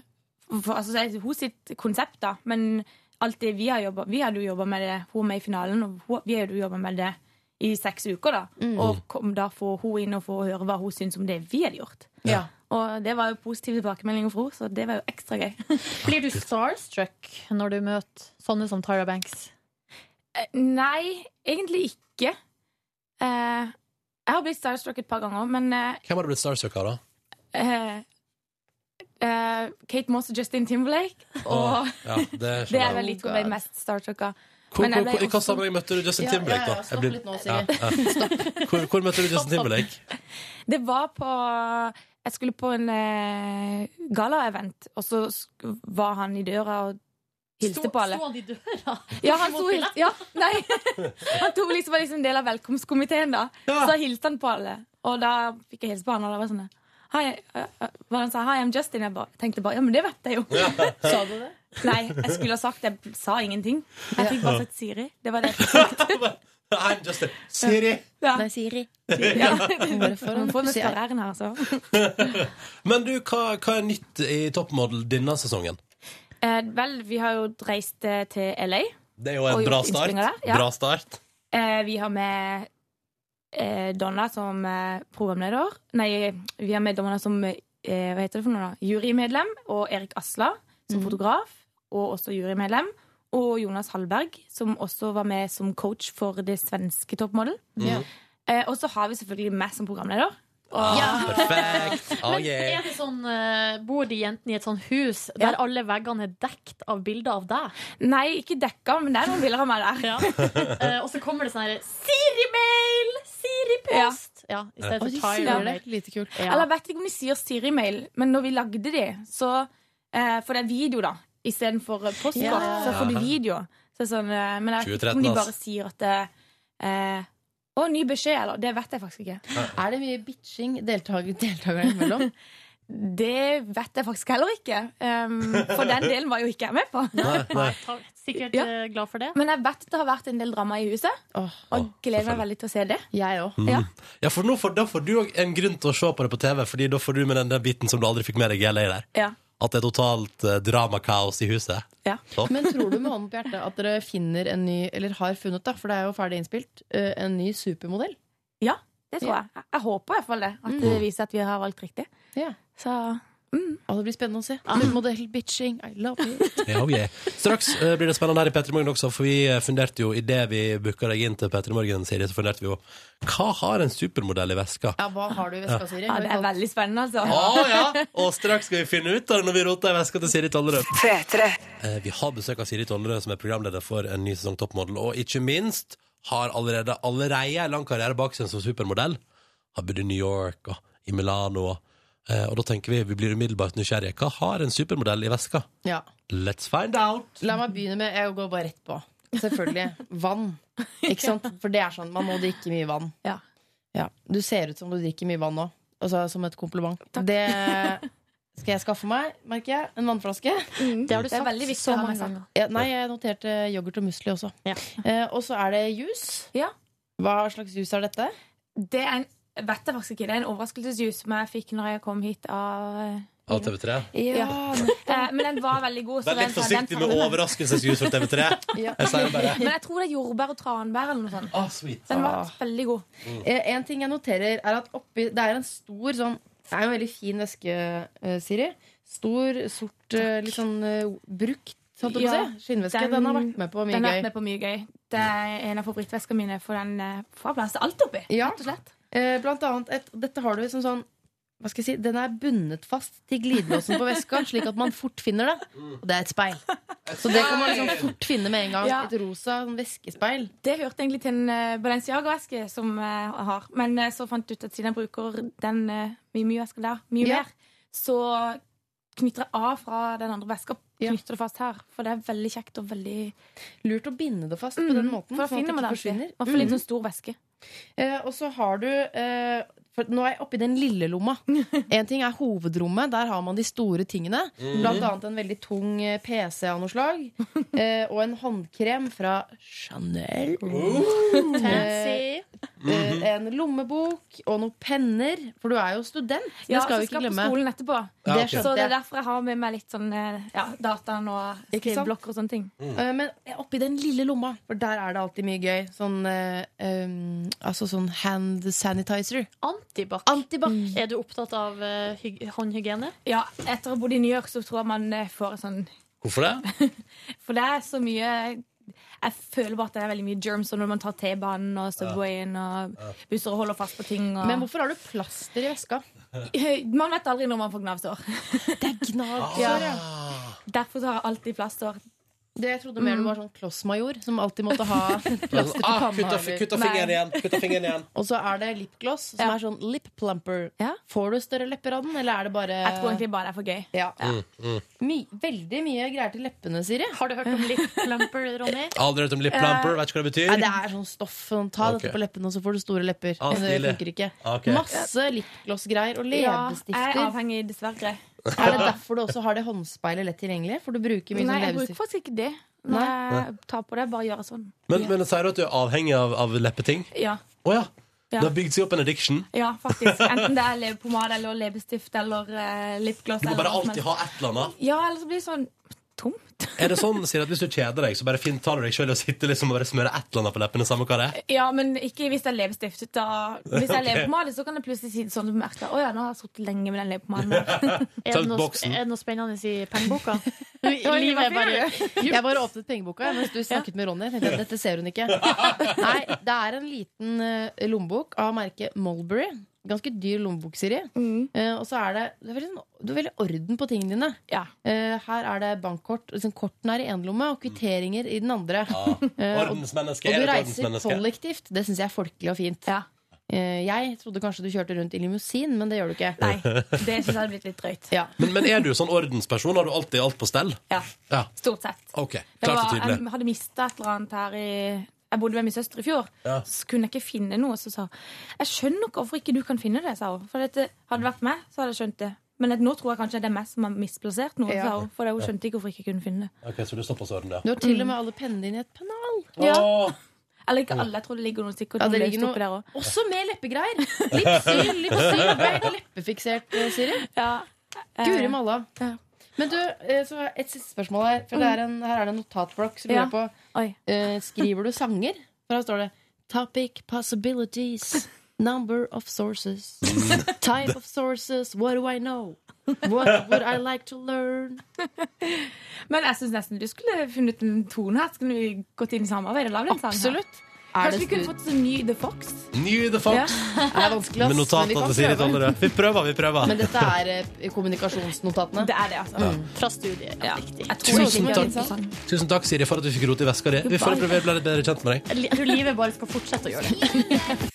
for, altså, det er hun sitt konsept, da, men alt det vi har jobbet, Vi hadde jo jobba med det, hun er med i finalen, og hun, vi hadde jo jobba med det i seks uker, da.
Mm.
Og kom da få hun inn og få høre hva hun syns om det vi hadde gjort.
Ja.
Og det var jo positive tilbakemeldinger fra henne, så det var jo ekstra gøy.
blir du starstruck når du møter sånne som Tyra Banks?
Eh, Nei, egentlig ikke. Eh, jeg har blitt starstruck et par ganger, men eh,
Hvem har du blitt starstruck av, da?
eh, eh, Kate Moss og Justin Timberlake. Og
ja, det
det
skjønner
er
jeg.
vel
Oh
litt hvor jeg ble mest starstruck av.
Hvor,
Men
hvor,
jeg ble
hvor, I hvilken
også-
sammenheng møtte du Justin
Ja, ja,
Timberlake? da?
ja, stopp
Jeg blir-
litt nå, Siri.
Ja, ja. Hvor, hvor møtte du Justin Timberlake?
Det var på Jeg skulle på en eh, galaevent, og så sk- var han i døra og hilste på alle.
Sto han i døra?
Ja, han sto
Mot
hilt, ja, nei. Han tok liksom, var liksom en del av velkomstkomiteen, da. Så hilste han på alle. Og da fikk jeg hilse på han, og det var sånn Hi, eh, eh, hva han sa, Hi, I'm Justin. Jeg bare, tenkte bare Ja, men det vet jeg jo.
Sa du det?
Nei, jeg skulle ha sagt det. Jeg sa ingenting. Jeg fikk bare sett Siri. Det var det. jeg fikk sagt.
I'm just a Siri.
Ja.
Nei, Siri.
Ja.
Hvorfor
Man får mest
sier-
æren her, altså.
Men du, hva, hva er nytt i Toppmodell denne sesongen?
Eh, vel, vi har jo reist eh, til LA.
Det er jo
Og
en
gjort
bra start.
innspillinger der, ja.
Bra start.
Eh, vi har med eh, Donna som eh, programleder. Nei, vi har med Donna som eh, hva heter det for noe da? jurymedlem, og Erik Asla som fotograf, og også jurymedlem. Og Jonas Hallberg, som også var med som coach for det svenske toppmodell.
Ja.
Eh, og så har vi selvfølgelig meg som programleder.
Perfekt. Oh, yeah.
Er det sånn, eh, bor de jentene i et sånt hus der
Ja.
alle veggene er dekt av bilder av deg?
Nei, ikke dekka, men det er noen bilder av meg der.
Ja. Eh, og så kommer det sånn her Siri-mail! Siri-post! Ja. i stedet
Å,
for
de sier det.
Tyra-mail.
Lite kult.
Eller jeg vet ikke om de sier Siri-mail, men når vi lagde de, så eh, For det er video, da. Istedenfor eh, postkort,
Ja.
så får du video. Så det er sånn, eh, men jeg vet
2013,
ikke om de
ass.
bare sier at det, eh, Å, ny beskjed, eller? Det vet jeg faktisk ikke.
Er det mye bitching deltaker, deltakerne imellom?
Det vet jeg faktisk heller ikke. em, for den delen var jo ikke jeg med på.
Nei, nei.
Nei, takk. Sikkert
Ja.
eh, glad for det.
Men jeg vet at det har vært en del drama i huset,
Åh,
og
Å,
gleder meg veldig til å se det.
jeg òg.
Ja.
Ja, for nå får, da får du òg en grunn til å se på det på TV, Fordi da får du med den der biten som du aldri fikk med deg i LA der.
Ja.
At det er totalt eh, dramakaos i huset.
Ja.
Topp.
Men tror du med hånden på hjertet at dere finner en ny, eller har funnet, da, for det er jo ferdig innspilt, eh, en ny supermodell?
ja, det tror jeg. Jeg- Jeg håper i hvert fall det. At det viser at vi har valgt riktig.
Ja.
Så
Å, det blir spennende å se.
Ah.
Supermodell, bitching, I love it.
Ja, oh yeah. Straks eh, blir det spennende her i Petter Morgen også, for vi eh, funderte jo idet vi booka deg inn til Petter Morgen-serie, så funderte vi jo hva har en supermodell i veska?
Ja, hva har du i veska, Siri?
ja, det er veldig spennende, altså.
Å ja! Og straks skal vi finne ut av det når vi roter i veska til Siri Tollerød. Eh, vi har besøk av Siri Tollerød, som er programleder for en ny sesong Toppmodell, og ikke minst har allerede allerede en lang karriere bak seg som supermodell. Har bodd i New York og i Milano. Og, eh, og da tenker vi vi blir umiddelbart nysgjerrige. Hva har en supermodell i veska?
Ja.
Let's find out!
La meg begynne med Jeg går bare rett på. Selvfølgelig. Vann. Ikke sant? For det er sånn, man må drikke mye vann.
Ja.
Ja. Du ser ut som du drikker mye vann nå. Altså som et kompliment. Det skal jeg skaffe meg, merker jeg. En vannflaske.
Mm. Det har du
Det er
sagt
veldig viktig
så
å ha med
mange
seg.
ganger.
Ja, nei, jeg noterte yoghurt og musli også.
Ja.
Eh, og så er det juice.
Ja.
Hva slags juice er dette?
Det er en, vet jeg faktisk ikke, det er en overraskelsesjuice som jeg fikk når jeg kom hit av
Av TV3.
Ja,
eh, Men den var veldig god. så
Vær litt
den-
forsiktig
den
med
tar vi med.
overraskelsesjus for TV3.
Ja.
Jeg sier det bare.
Men jeg tror det er jordbær og tranbær eller noe sånt.
Ah, sweet.
Den var
Ah.
veldig god.
Eh, En ting jeg noterer er at oppi Det er en stor sånn Det er jo en veldig fin veske, eh, Siri. Stor, sort, eh, litt sånn eh, brukt sånn å
Ja,
si. skinnveske.
den-
Den, har vært med på mye
Den har vært
gøy.
med på mye gøy. Det er en av favorittveskene mine, for den eh, får plass til alt oppi.
Ja.
Rett og slett.
Eh, Blant annet et, Dette har du som sånn hva skal jeg si, Den er bundet fast til glidelåsen på veska, slik at man fort finner det. Og det er et speil. Så det kan man liksom fort finne med en gang.
Ja.
Et rosa sånn væskespeil.
Det hørte egentlig til en eh, Balenciaga-veske som eh, jeg har. Men eh, så fant jeg ut at siden jeg bruker den eh, mye mye veska der, mye
Ja.
mer, så knytter jeg av fra den andre veska og
Ja.
knytter det fast her. For det er veldig kjekt og veldig
Lurt å binde det fast på den måten.
Mm. For da
sånn at
finner man
det ikke
det alltid.
forsvinner.
Man får litt sånn stor veske.
Eh, og så har du eh, for Nå er jeg oppe i den lille lomma. En ting er hovedrommet. Der har man de store tingene.
Mm.
Blant annet en veldig tung eh, PC av noe slag. Eh, og en håndkrem fra Chanel.
Fancy.
Eh, en lommebok og noen penner. For du er jo student. Det
Ja,
skal vi
så
ikke glemme.
på skolen etterpå.
Ja,
Det
ok.
skjønte
Så det er
jeg.
derfor jeg har med meg litt sånn eh, ja, dataen og
Ikke sant?
skriveblokker og sånne ting.
Eh, Men jeg er oppe i den lille lomma, for der er det alltid mye gøy. Sånn, eh, em, altså sånn hand sanitizer.
Antibac.
Antibac.
Mm.
Er du opptatt av eh, hyg håndhygiene?
Ja, etter å ha bodd i New York, så tror jeg man eh, får en sånn
Hvorfor det?
For det er så mye Jeg føler bare at det er veldig mye germs og når man tar T-banen og Subwayen og busser og holder fast på ting. Og...
Men hvorfor har du plaster i veska?
Man vet aldri når man får gnavsår.
Ah.
Gnag.
Ja. Derfor så har jeg alltid plaster.
Det jeg trodde mer du var sånn klossmajor som alltid måtte ha plaster til
Ah,
panna.
kutt av
eller-
kutt av fingeren igjen! Kutt av fingeren igjen
Og så er det lipgloss, som
Ja.
er sånn lip plumper.
Ja.
Får du større lepper av den, eller er det bare
Jeg tror egentlig bare det er for gøy.
Ja.
Mm,
My, veldig mye greier til leppene, Siri.
Har du hørt om lip plumper, Ronny?
Aldri hørt om lip plumper, vet ikke hva det
Nei,
betyr.
det er sånn stoff. Sånn, ta
Ok.
dette på leppene, og så får du store lepper.
Ah,
Men det
stilig.
funker ikke.
Ok.
Masse lipglossgreier og
jeg
leppestifter.
er avhengig, dessverre.
er det derfor du også har det håndspeilet lett tilgjengelig? For du bruker mye
Nei,
sånn
jeg bruker
leppestift.
faktisk ikke det. Når jeg tar på det, bare gjør jeg sånn.
Men, men sier du at du er avhengig av, av leppeting?
Ja,
Å ja.
Ja.
Det har bygd seg opp en addiction.
ja faktisk. Enten det er leppepomade eller leppestift eller eh, lipgloss.
Du må
eller
bare
noe som
alltid
helst.
ha et eller annet.
Ja, ellers blir det sånn tomt.
Er det sånn, Siri, at hvis du kjeder deg, så bare fint tar du deg sjøl og sitter liksom og bare smører et eller annet på leppene, samme hva det er?
Ja, men ikke hvis det er leppestift. Da, hvis det er
Ok.
leppepomade, så kan det plutselig si sånn at du merker Å ja, nå har jeg sittet lenge med den leppepomaden.
Er det
Tømt
noe,
boksen.
er det noe spennende i pengeboka?
Oi,
Livet er bare
Jeg bare åpnet pengeboka jeg, mens du snakket med Ronny. Jeg tenkte at dette ser hun ikke. Nei, det er en liten eh, lommebok av merket Mulberry. Ganske dyr lommebok, Siri. Eh, og så er det Du har veldig, sånn- du har veldig orden på tingene dine.
Ja.
Eh, her er det bankkort. Liksom, kortene er i én lomme, og kvitteringer i den andre.
Ah.
Eh, og,
Ordensmenneske.
og
Er
du
du et
reiser
ordensmenneske?
kollektivt. Det syns jeg er folkelig og fint.
Ja.
Eh, jeg trodde kanskje du kjørte rundt i limousin, men det gjør du ikke.
Nei, det syns jeg hadde blitt litt drøyt.
Ja.
Men, men er du sånn ordensperson? Har du alltid alt på stell?
Ja,
Ja.
Stort sett.
OK.
Det
Klart og
var,
tydelig.
jeg hadde mista et eller annet her i Jeg bodde med min søster i fjor.
Ja.
Så kunne jeg ikke finne noe. Så sa hun jeg skjønner ikke hvorfor ikke du kan finne det. sa hun. For dette hadde det vært meg, så hadde jeg skjønt det. Men at nå tror jeg kanskje det er meg som har misplassert noe.
Ja.
sa hun. For hun skjønte ikke hvorfor jeg ikke kunne finne det.
Ok, Så du er såpass orden, ja.
Du har til og med alle pennene dine i et pennal.
Ja.
Åh,
Eller ikke alle. Jeg tror det ligger noe sikkert
Ja,
noe
det ligger
løst oppi
noe-
der òg.
Også med leppegreier. Lipsyl, lipsyl. Du er helt leppefiksert, eh, Siri.
Ja. Eh,
Guri malla.
Ja.
Men du, eh, så har jeg et siste spørsmål her. For det er en, her er det en notatblokk. Så lurer
Ja.
jeg på
Oi.
Eh, skriver du sanger? For her står det Topic possibilities Number of sources Type of sources What do I know? What would I like to learn?
Men jeg syns nesten du skulle funnet en tone her. Skulle vi gått inn i samarbeid og lagd en sang? her?
Absolutt Er
Kanskje
det,
vi kunne
stud-
fått en ny The Fox?
New the fox.
er det vanskelig
Med
ass, men vi
notatene
kan
til Siri
prøve.
Tollerød. Vi prøver, vi prøver.
Men dette er eh, kommunikasjonsnotatene
Det er det, altså.
fra studiet. Ja, riktig.
Jeg tror
Tusen
ikke det er
takk.
sånn.
Tusen takk, Siri, for at du fikk rote i veska di. Vi får prøve å bli litt bedre kjent med deg.
Jeg tror livet bare skal fortsette å gjøre det.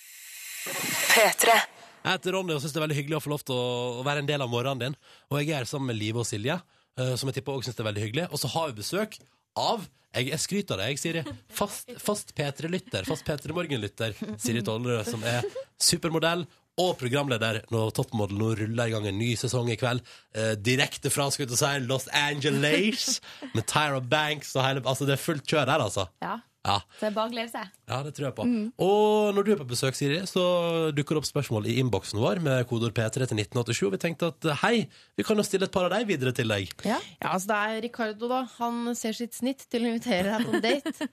P3.
Jeg heter Ronny og syns det er veldig hyggelig å få lov til å, å være en del av morgenen din. Og jeg er her sammen med Live og Silje, eh, som jeg tipper også syns det er veldig hyggelig. Og så har vi besøk av jeg, jeg skryter av deg, jeg, Siri. Fast, fast P3-lytter. Fast P3 Morgen-lytter. Siri Tollerød, som er supermodell og programleder når Toppmodell nå ruller i gang en ny sesong i kveld. Eh, direkte fra skal vi til å si, Los Angeles med Tyra Banks og hele Altså, det er fullt kjør her, altså.
Ja.
Ja.
Så det er bare å glede seg.
Ja, det tror jeg på.
Mm.
Og når du er på besøk, Siri, så dukker det opp spørsmål i innboksen vår med kodeord P3 til 1987. Vi tenkte at eh, hei, vi kan jo stille et par av deg videre til deg.
Ja, altså det er Ricardo da Han ser sitt snitt til å invitere deg på en date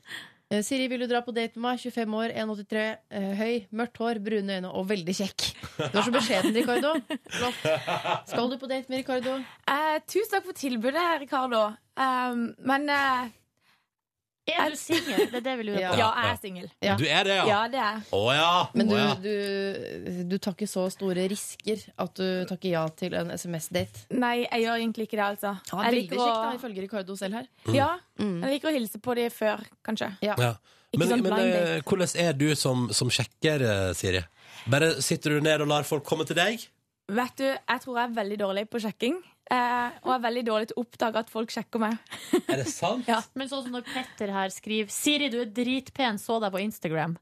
Eh, Siri, vil du dra på date med meg? 25 år, 1,83, eh, høy, mørkt hår, brune øyne og veldig kjekk Du er så beskjeden, Ricardo Flott. Skal du på date med Ricardo?
Eh, tusen takk for tilbudet, Ricardo. Um, men eh,
Er du singel? Det er det vi lurer
Ja.
på.
ja, jeg
ja.
er singel.
Ja.
Du er det,
Ja.
ja?
det er jeg.
Å ja.
Men du,
Å, ja.
du, du tar ikke så store risker at du takker ja til en SMS-date.
Nei, jeg gjør egentlig ikke det, altså.
Han er
jeg,
veldig
liker
kjekk, da,
å,
ifølge Ricardo selv her.
ja,
Mm.
jeg liker å hilse på dem før, kanskje.
ja.
Ikke
Men,
sånn
men
blind
eh, hvordan er du som, som sjekker, eh, Siri? Bare sitter du ned og lar folk komme til deg?
Vet du, jeg tror jeg er veldig dårlig på sjekking. Eh, og jeg er veldig dårlig til å oppdage at folk sjekker meg.
Er det sant?
Ja.
Men sånn som når Petter her skriver 'Siri, du er dritpen, så deg på Instagram'.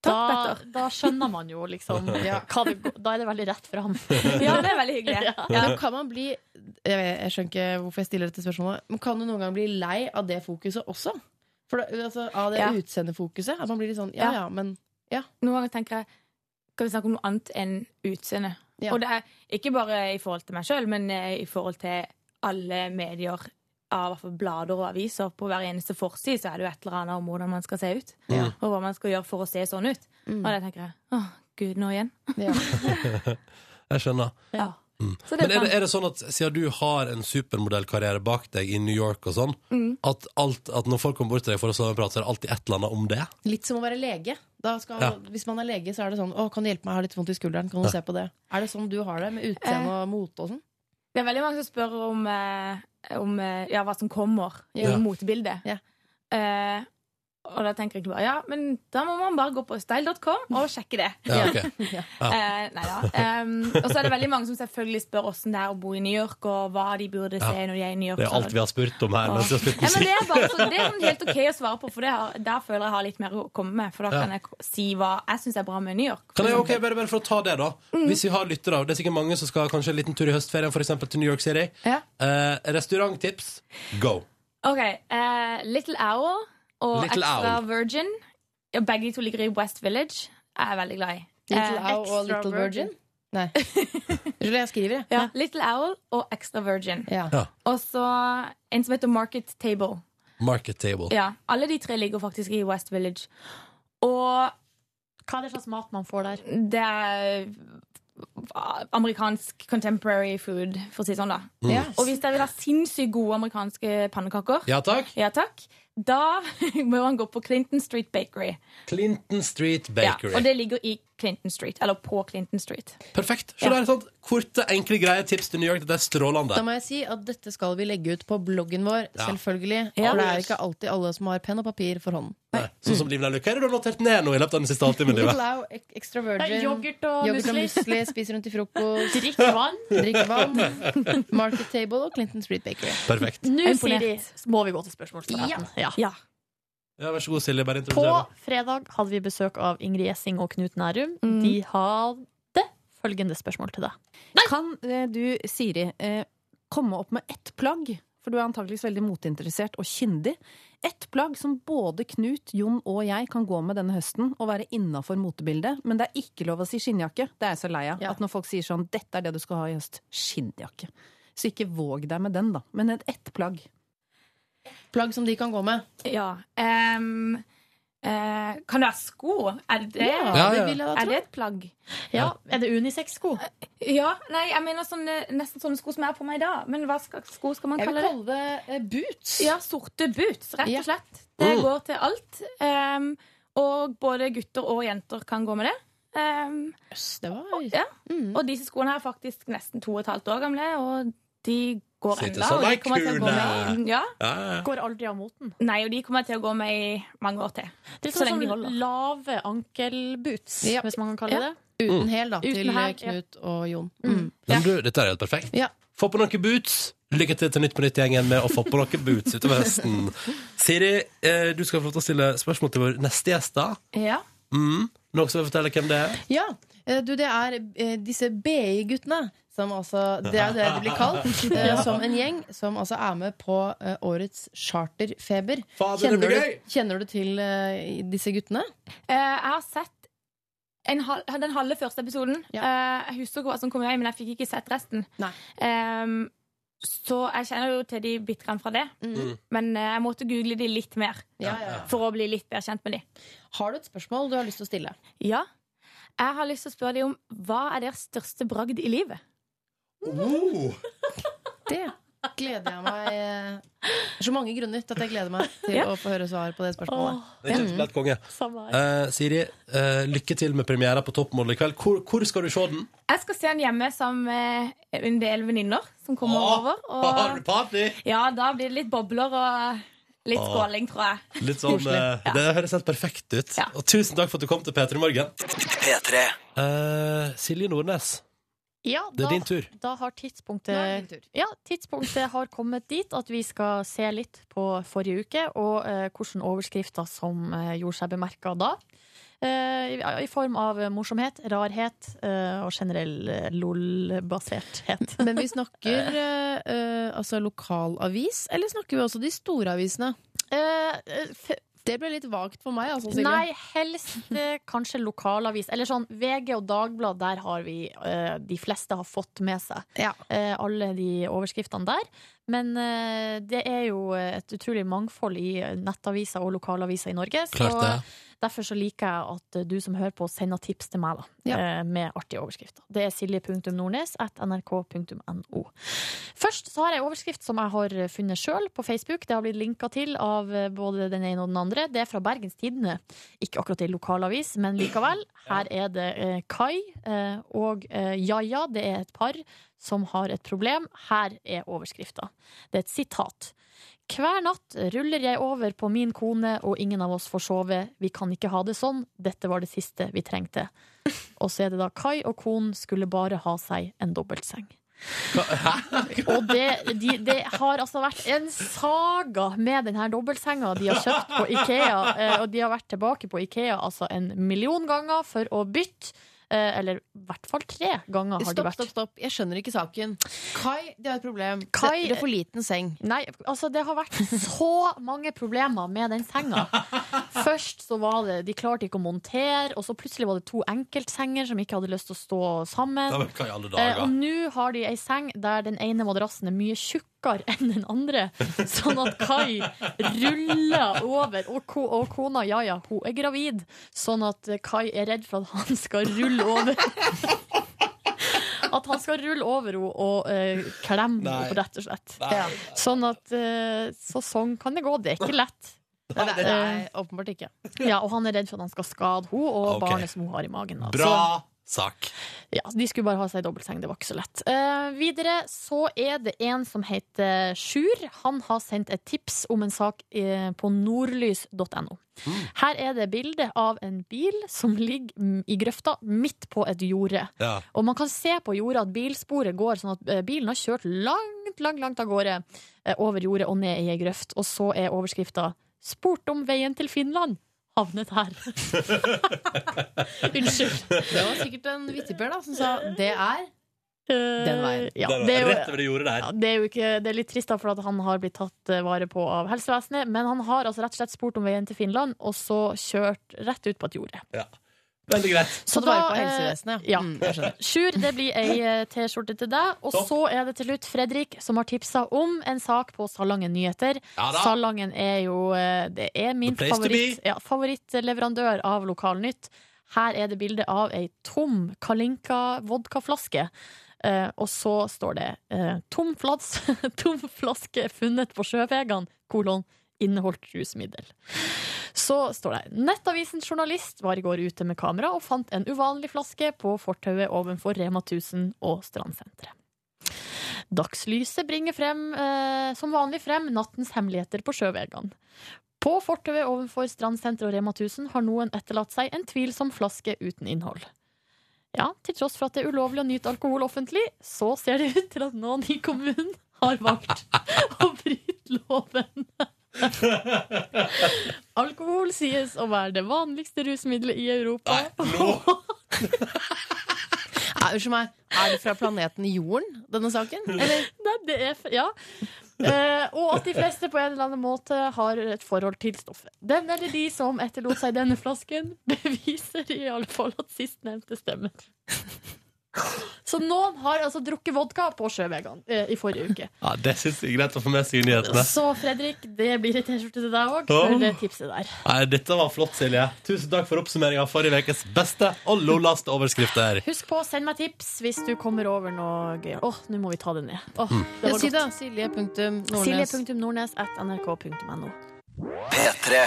Takk,
Da,
Petter.
da skjønner man jo liksom
Ja.
hva det, går- Da er det veldig rett fram.
Ja, det er veldig hyggelig.
Da kan man bli jeg, vet- jeg skjønner ikke hvorfor jeg stiller dette spørsmålet, men kan du noen gang bli lei av det fokuset også? For det, altså, av det
Ja.
utseendefokuset? At man blir litt sånn ja
Ja.
ja, men
Noen ganger tenker jeg Skal vi snakke om noe annet enn utseende?
Ja.
Og det er ikke bare i forhold til meg sjøl, men eh, i forhold til alle medier, av hvert fall blader og aviser. På hver eneste forside så er det jo et eller annet om hvordan man skal se ut.
Ja.
Og hva man skal gjøre for å se sånn ut.
Mm.
Og det tenker jeg åh, gud, nå igjen.
ja.
Jeg skjønner.
Ja. Så det
Men er
er
det,
sånn.
er det sånn at siden du har en supermodellkarriere bak deg i New York og sånn,
Mm.
at, alt, at når folk kommer bort til deg for å sammenprate, så er det alltid et eller annet om det?
Litt som å være lege. Da skal,
Ja.
Hvis man er lege, så er det sånn Å, kan du hjelpe meg? Jeg har litt vondt i skulderen. Kan du
Eh,
se på det? Er det sånn du har det? Med utseende og mote og sånn?
det er veldig mange som spør om eh, om eh, ja, hva som kommer i
Ja.
motebildet.
Ja.
Eh, og da tenker jeg ikke bare ja, men da må man bare gå på style.com og sjekke det.
Ja, ok.
Eh, nei da. Em, og så er det veldig mange som selvfølgelig spør åssen det er å bo i New York, og hva de burde se når de er i New York. sånn.
Det er alt vi har spurt om her. Mens vi har spilt
Ja, men det
musikk.
er, bare, så, det er sånn helt ok å svare på, for det har, der føler jeg jeg har litt mer å komme med. For da
Ja.
kan jeg k- si hva jeg syns er bra med New York.
Kan jeg, ok, bare, bare for å ta det, da.
Mm.
Hvis vi har lyttere, og det er sikkert mange som skal kanskje en liten tur i høstferien, f.eks. til New York City.
Ja.
Eh, restauranttips go.
Ok, eh, Little Owl og
Little
Extra
Owl.
Virgin. Ja, Begge de to ligger i West Village. Jeg er veldig glad i.
Little
Eh,
Owl og
Extra
Little Virgin? Nei. Unnskyld, jeg skriver, jeg.
Ja, Little Owl og Extra Virgin.
Ja.
Ja.
Og så en som heter Market Table.
Market table.
Ja, Alle de tre ligger faktisk i West Village. Og
Hva er det slags mat man får der?
det er eh, amerikansk contemporary food, for å si det sånn, da.
Ja.
Og hvis dere vil ha sinnssykt gode amerikanske pannekaker,
Ja takk.
ja takk, da må man gå på Clinton Street Bakery.
Clinton Street
Ja,
Bakery.
og det ligger i Clinton Street, eller på Clinton Street.
Perfekt. Så det er sånn Korte, enkle, greie tips til New York. Det er strålende.
Da må jeg si at dette skal vi legge ut på bloggen vår,
Ja.
selvfølgelig.
Ja.
For det er ikke alltid alle som har penn og papir for hånden.
Nei, Sånn som Livna Lukke. Hva er det du har notert ned nå i løpet av den siste halvtimen? Live?
Little Owl, ek- Extra Virgin,
Yoghurt og
yoghurt og
musli.
musli, spis rundt i frokost,
Drikk vann.
drikk vann, Market Table og Clinton Street Bakery.
Perfekt.
Nå,
Imponert.
Siri, må vi gå til spørsmålsforretten. Ja.
Ja.
Ja, Vær så god, Silje. Bare
På
introduser.
fredag hadde vi besøk av Ingrid Gjessing og Knut Nærum. De hadde følgende spørsmål til deg.
Kan eh, du, Siri, eh, komme opp med ett plagg? For du er antakeligvis veldig moteinteressert og kyndig. Ett plagg som både Knut, Jon og jeg kan gå med denne høsten og være innafor motebildet. Men det er ikke lov å si skinnjakke. Det er jeg så lei av.
Ja.
At når folk sier sånn 'dette er det du skal ha i høst', skinnjakke. Så ikke våg deg med den, da. Men et ett plagg.
Plagg som de kan gå med.
ja. ehm, eh, kan det være sko? Er det,
Ja,
det
ja.
vil jeg da
er det
tro.
et plagg?
Ja, Er det unisex-sko?
Ja, nei, jeg mener sånne, nesten sånne sko som jeg har på meg i dag. Men hva skal, sko skal man
Jeg vil
kalle det?
kalle det eh, boots.
Ja, sorte boots, rett
Ja.
og slett. Det
Mm.
går til alt. Ehm, og både gutter og jenter kan gå med det. Ehm,
Jøss, det var
ja.
Mm.
Og disse skoene her er faktisk nesten to og et halvt år gamle, og de går
Sitter sånn
enda.
som
Og de
ei
kommer til å gå
kule.
med i, ja.
Ja, ja.
Går aldri av moten.
Nei, og de kommer til å gå med i mange år til.
Det er
Så lenge de
sånn
holder.
lave ankelboots,
Ja.
hvis man kan kalle
Ja.
det.
Uten hæl, da, til
Uten hæl,
eh,
ja.
Knut og Jon. Mm.
Men du, dette er helt perfekt.
Ja.
Få på noen boots. Lykke til til Nytt på Nytt-gjengen med å få på noen boots utover høsten. Siri, eh, du skal få lov til å stille spørsmål til vår neste gjest. da.
Ja.
Mm. Noen som vil fortelle hvem det er?
Ja, eh, du, det er eh, disse BI-guttene. Som altså, det er jo det de blir kalt. eh, Som en gjeng som altså er med på eh, årets charterfeber.
Fader, det
Kjenner
blir
du,
gøy!
kjenner du til eh, disse guttene?
Eh, jeg har sett en hal den halve første episoden. Eh, jeg husker hva som kom i vei, men jeg fikk ikke sett resten.
Nei.
Ehm, så jeg kjenner jo til de bitte grann fra det.
Mm.
Mhm.
Men eh, jeg måtte google de litt mer
Ja, ja.
for å bli litt bedre kjent med de.
Har du et spørsmål du har lyst til å stille?
Ja. Jeg har lyst til å spørre deg om hva er deres største bragd i livet?
Oh.
Det gleder jeg meg eh, Så mange grunner til at jeg gleder meg til
Ja.
å få høre svar på det spørsmålet.
Det er ikke helt konge.
Samme her.
Eh, Siri, eh, lykke til med premiera på Toppmodell i kveld. Hvor, hvor skal du se den?
Jeg skal se han hjemme sammen med en del venninner som kommer
Åh,
over.
Har
Og
du party?
ja, da blir det litt bobler og litt
Åh.
skåling, tror jeg.
Litt sånn, eh, Det høres helt perfekt ut.
Ja.
Og tusen takk for at du kom til P3 Morgen.
P3.
Eh, Silje Nordnes,
Ja,
det
da,
er din tur.
da har
Nå er det
tidspunktet
din tur.
Ja, tidspunktet har kommet dit at vi skal se litt på forrige uke, og eh, hvilke overskrifter som eh, gjorde seg bemerka da. Eh, i, I form av morsomhet, rarhet eh, og generell eh, LOL-baserthet.
Men vi snakker eh, eh, altså lokalavis, eller snakker vi også de store avisene?
Eh, eh, f-
Det ble litt vagt for meg, altså. Sigrid.
nei, helst eh, kanskje lokalavis. Eller sånn VG og Dagblad, der har vi eh, De fleste har fått med seg.
Ja.
eh, alle de overskriftene der. Men eh, det er jo et utrolig mangfold i nettaviser og lokalaviser i Norge. Så
Klart det.
Derfor så liker jeg at eh, du som hører på, sender tips til meg da,
Ja.
eh, med artige overskrifter. Det er silje.nordnes.nrk.no. Først så har jeg en overskrift som jeg har funnet sjøl på Facebook. Det har blitt linka til av eh, både den ene og den andre. Det er fra Bergens Tidende. Ikke akkurat ei lokalavis, men likevel. Her er det eh, Kai eh, og eh, Jaja. Det er et par som har et problem. Her er overskrifta. Det er et sitat. Hver natt ruller jeg over på min kone, og ingen av oss får sove. Vi kan ikke ha det sånn. Dette var det siste vi trengte. Og så er det da Kai og konen skulle bare ha seg en dobbeltseng. Og det, de, det har altså vært en saga med den her dobbeltsenga de har kjøpt på Ikea. eh, Og de har vært tilbake på Ikea altså en million ganger for å bytte. eh, Eller i hvert fall tre ganger har de
Stopp,
vært.
stopp, stopp. Jeg skjønner ikke saken. Kai, det er et problem.
Kai-
det, det er for liten seng.
Nei, altså det har vært så mange problemer med den senga. Først så var det De klarte ikke å montere, og så plutselig var det to enkeltsenger som ikke hadde lyst til å stå
Ja,
sammen.
men hva i alle
Eh, og
dager?
nå har de ei seng der den ene madrassen er mye tjukkere enn den andre, sånn at Kai ruller over. Og, ko og kona, ja ja, hun er gravid, sånn at eh, Kai er redd for at han skal rulle over. At han skal rulle over henne og eh, klemme
Nei.
henne, rett og slett.
Nei.
Ja.
Sånn at eh, så sånn kan det gå. Det er ikke lett.
Nei, det er åpenbart ikke.
Ja, og han er redd for at han skal skade henne og
Ok.
barnet som hun har i magen. da.
Bra sak.
Så, ja, de skulle bare ha seg dobbeltseng. Det var ikke så lett. Eh, videre så er det en som heter Sjur. Han har sendt et tips om en sak eh, på nordlys.no.
Mm.
Her er det bilde av en bil som ligger mm, i grøfta midt på et jorde.
Ja.
Og man kan se på jorda at bilsporet går sånn at eh, bilen har kjørt langt, langt, langt av gårde eh, over jordet og ned i ei grøft. Og så er overskrifta 'Spurt om veien til Finland'. Havnet her. Unnskyld.
Det var sikkert en vittiper da, som sa det er Den veien.
Eh, Ja,
Der,
det, er
rett
jo,
over det jordet der.
ja, det er jo ikke Det er litt trist, da, for at han har blitt tatt eh, vare på av helsevesenet. Men han har altså rett og slett spurt om veien til Finland, og så kjørt rett ut på et jorde.
Veldig greit.
Så
da,
vare på
eh,
helsevesenet.
ja.
Mm, jeg skjønner.
Sjur, det blir ei eh, T-skjorte til deg. Og
Topp.
så er det til slutt Fredrik som har tipsa om en sak på Salangen Nyheter.
Ja da.
Salangen er jo eh, Det er min
The place to
favoritt, ja, favorittleverandør av Lokalnytt. Her er det bilde av ei tom Kalinka-vodkaflaske. Eh, og så står det eh, tom, flats, tom flaske funnet på sjøvegene, kolon, inneholdt rusmiddel. Så står det her. Nettavisen Journalist var i går ute med kamera og fant en uvanlig flaske på fortauet ovenfor Rema 1000 og Strandsenteret. Dagslyset bringer frem, eh, som vanlig frem nattens hemmeligheter på sjøvegene. På fortauet ovenfor Strandsenteret og Rema 1000 har noen etterlatt seg en tvilsom flaske uten innhold. Ja, til tross for at det er ulovlig å nyte alkohol offentlig, så ser det ut til at noen i kommunen har valgt å bryte loven. Alkohol sies å være det vanligste rusmiddelet i Europa.
Nei, Unnskyld meg, er det fra planeten Jorden, denne saken? Eller?
Nei, det er f- Ja. Eh, og at de fleste på en eller annen måte har et forhold til stoffet. Den eller de som etterlot seg denne flasken, beviser i alle fall at sistnevnte stemmer. Så noen har altså drukket vodka på sjøvegan eh, i forrige uke.
Ja, det syns jeg er greit å få med seg i nyhetene.
Så Fredrik, det blir ei T-skjorte til deg òg,
Åh.
for det tipset der.
Nei, dette var flott, Silje. Tusen takk for oppsummeringen av forrige ukes beste og lolaste overskrifter.
Husk på å sende meg tips hvis du kommer over noe gøy. Åh, nå må vi ta det ned. Åh, det
Ja,
var
si
godt.
da, Silje.nordnes.
Silje.nordnes.nrk.no.
P3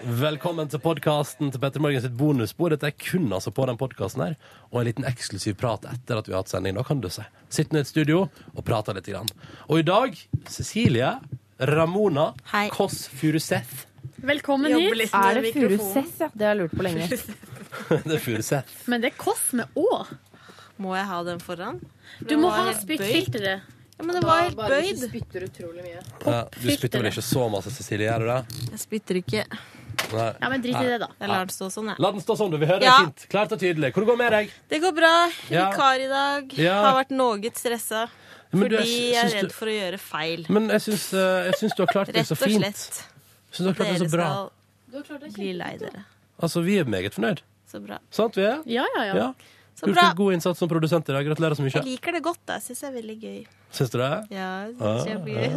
Velkommen til podkasten til Petter Morgen sitt bonusbord. Dette er kun altså på den podkasten her. Og en liten eksklusiv prat etter at vi har hatt sending. Da kan du se. Sitt ned i et studio og prate litt. Grann. Og i dag Cecilie Ramona
Hei.
Kåss Furuseth.
Velkommen
Jobbe
hit.
litt med
Er det
mikrofonen.
Furuseth, ja? Det har jeg lurt på lenge.
Det er Furuseth.
Men det er Kåss med Å.
Må jeg ha den foran?
Du må ha
bøyd.
spyttfilteret.
Ja, men det var helt bøyd.
spytter utrolig mye.
Ja, du spytter vel ikke så masse, Cecilie? Gjør du det?
Jeg spytter ikke.
Nei.
Ja, men drit i det, da.
Jeg lar det stå sånn, jeg.
La den stå sånn, du. Vi hører deg
Ja.
fint. Klart og tydelig. Hvor det går med deg?
Det går bra.
Ja.
Vikar i dag.
Ja.
Har vært noe stressa.
Men du,
Fordi
syns
jeg er
du-
redd for å gjøre feil.
Men jeg syns, eh, jeg syns du har klart det så
Rett og
fint.
slett.
Jeg Syns du har klart det
Dere
så bra.
skal bli lei dere.
Altså, vi er meget fornøyd.
Så bra.
Sant vi er?
Ja, ja, ja.
Ja.
Så
Gjort
bra.
en god innsats som produsent i dag. Gratulerer så mye.
Jeg liker det godt. da. Jeg syns det er veldig gøy.
Syns du det?
Ja, jeg synes jeg blir...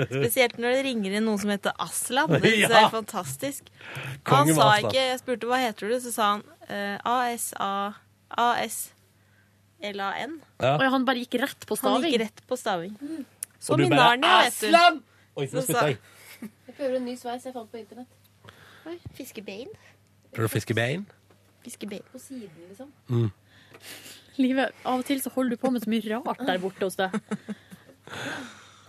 Ah.
Spesielt når det ringer inn noen som heter Aslan. Det synes jeg
Ja.
er fantastisk. Og
Kongen
han
med
sa
Aslan.
ikke Jeg spurte hva heter du, så sa han eh, ASA ASLAN.
Ja. Oi,
han bare gikk rett på
staving.
Han gikk rett på staving.
Og
Som
du
i
bare,
Narnia, vet du.
Aslan! Oi, nå
Så
spytta jeg.
Jeg prøver en ny sveis jeg fant på internett.
Oi, fiskebein.
Prøver du å fiske bein?
Fiskebein.
På siden, liksom.
Mm.
Livet, av og til så holder du på med så mye rart der borte hos deg.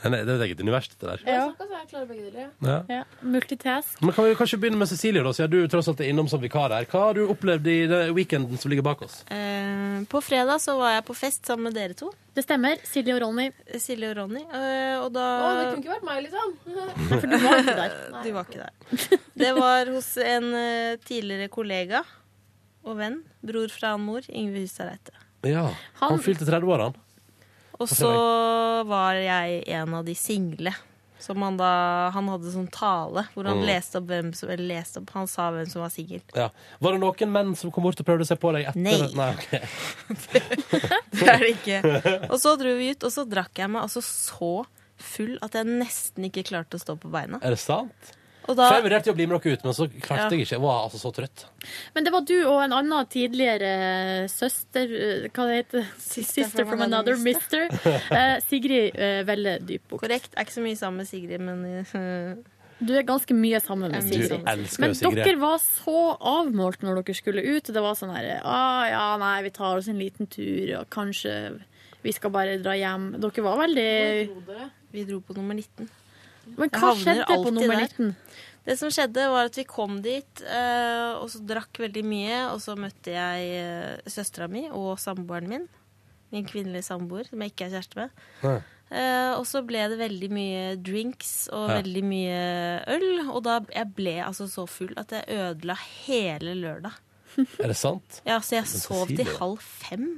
Nei, det er et eget univers, dette der.
Ja. Jeg klarer begge deler.
Ja.
Ja. Multitask.
Men kan vi kanskje begynne med Cecilie, da, siden du tross alt er innom som vikar her. Hva har du opplevd i den weekenden som ligger bak oss?
Eh, på fredag så var jeg på fest sammen med dere to.
Det stemmer. Silje og Ronny.
Silje og Ronny. eh, og da
Å, det kunne ikke vært meg, liksom.
for du var ikke der. Du var ikke der. Det var hos en eh, tidligere kollega og venn. Bror fra en mor. Yngve Hustad Reite.
Ja, Han,
Han-
fylte 30 år, han.
Og så var jeg en av de single. Som han da Han hadde sånn tale hvor han
Mm.
leste opp hvem som eller leste opp, Han sa hvem som var singel.
Ja. Var det noen menn som kom bort og prøvde seg på deg etter
Nei.
Nei ok.
Det er det ikke. Og så dro vi ut, og så drakk jeg meg altså så full at jeg nesten ikke klarte å stå på beina.
Er det sant?
Og da
For jeg vurderte jo å bli med dere ut, men så klarte
Ja.
jeg ikke. Jeg var altså så trøtt.
Men det var du og en annen tidligere søster eh, Hva det heter Sister, from, another mister. Eh, Sigrid uh, Velle Dybbukt.
Korrekt. Jeg er ikke så mye sammen med Sigrid, men eh,
Du er ganske mye sammen med
Jeg er mye
Sigrid.
sammen. Du elsker jo
Men
Sigrid.
dere var så avmålt når dere skulle ut. Det var sånn her Å ja, nei, vi tar oss en liten tur, og kanskje vi skal bare dra hjem. Dere var veldig
Vi dro på nummer 19.
Men
Jeg
hva
havner
skjedde på
alltid
nummer
der.
19?
Det som skjedde, var at vi kom dit, eh, og så drakk veldig mye. Og så møtte jeg eh, søstera mi og samboeren min. Min kvinnelige samboer, som jeg ikke er kjæreste med. Eh, og så ble det veldig mye drinks og
Ja.
veldig mye øl. Og da jeg ble altså så full at jeg ødela hele lørdag.
Er det sant?
Ja, Så
Men
jeg sov til
Cecilie.
halv fem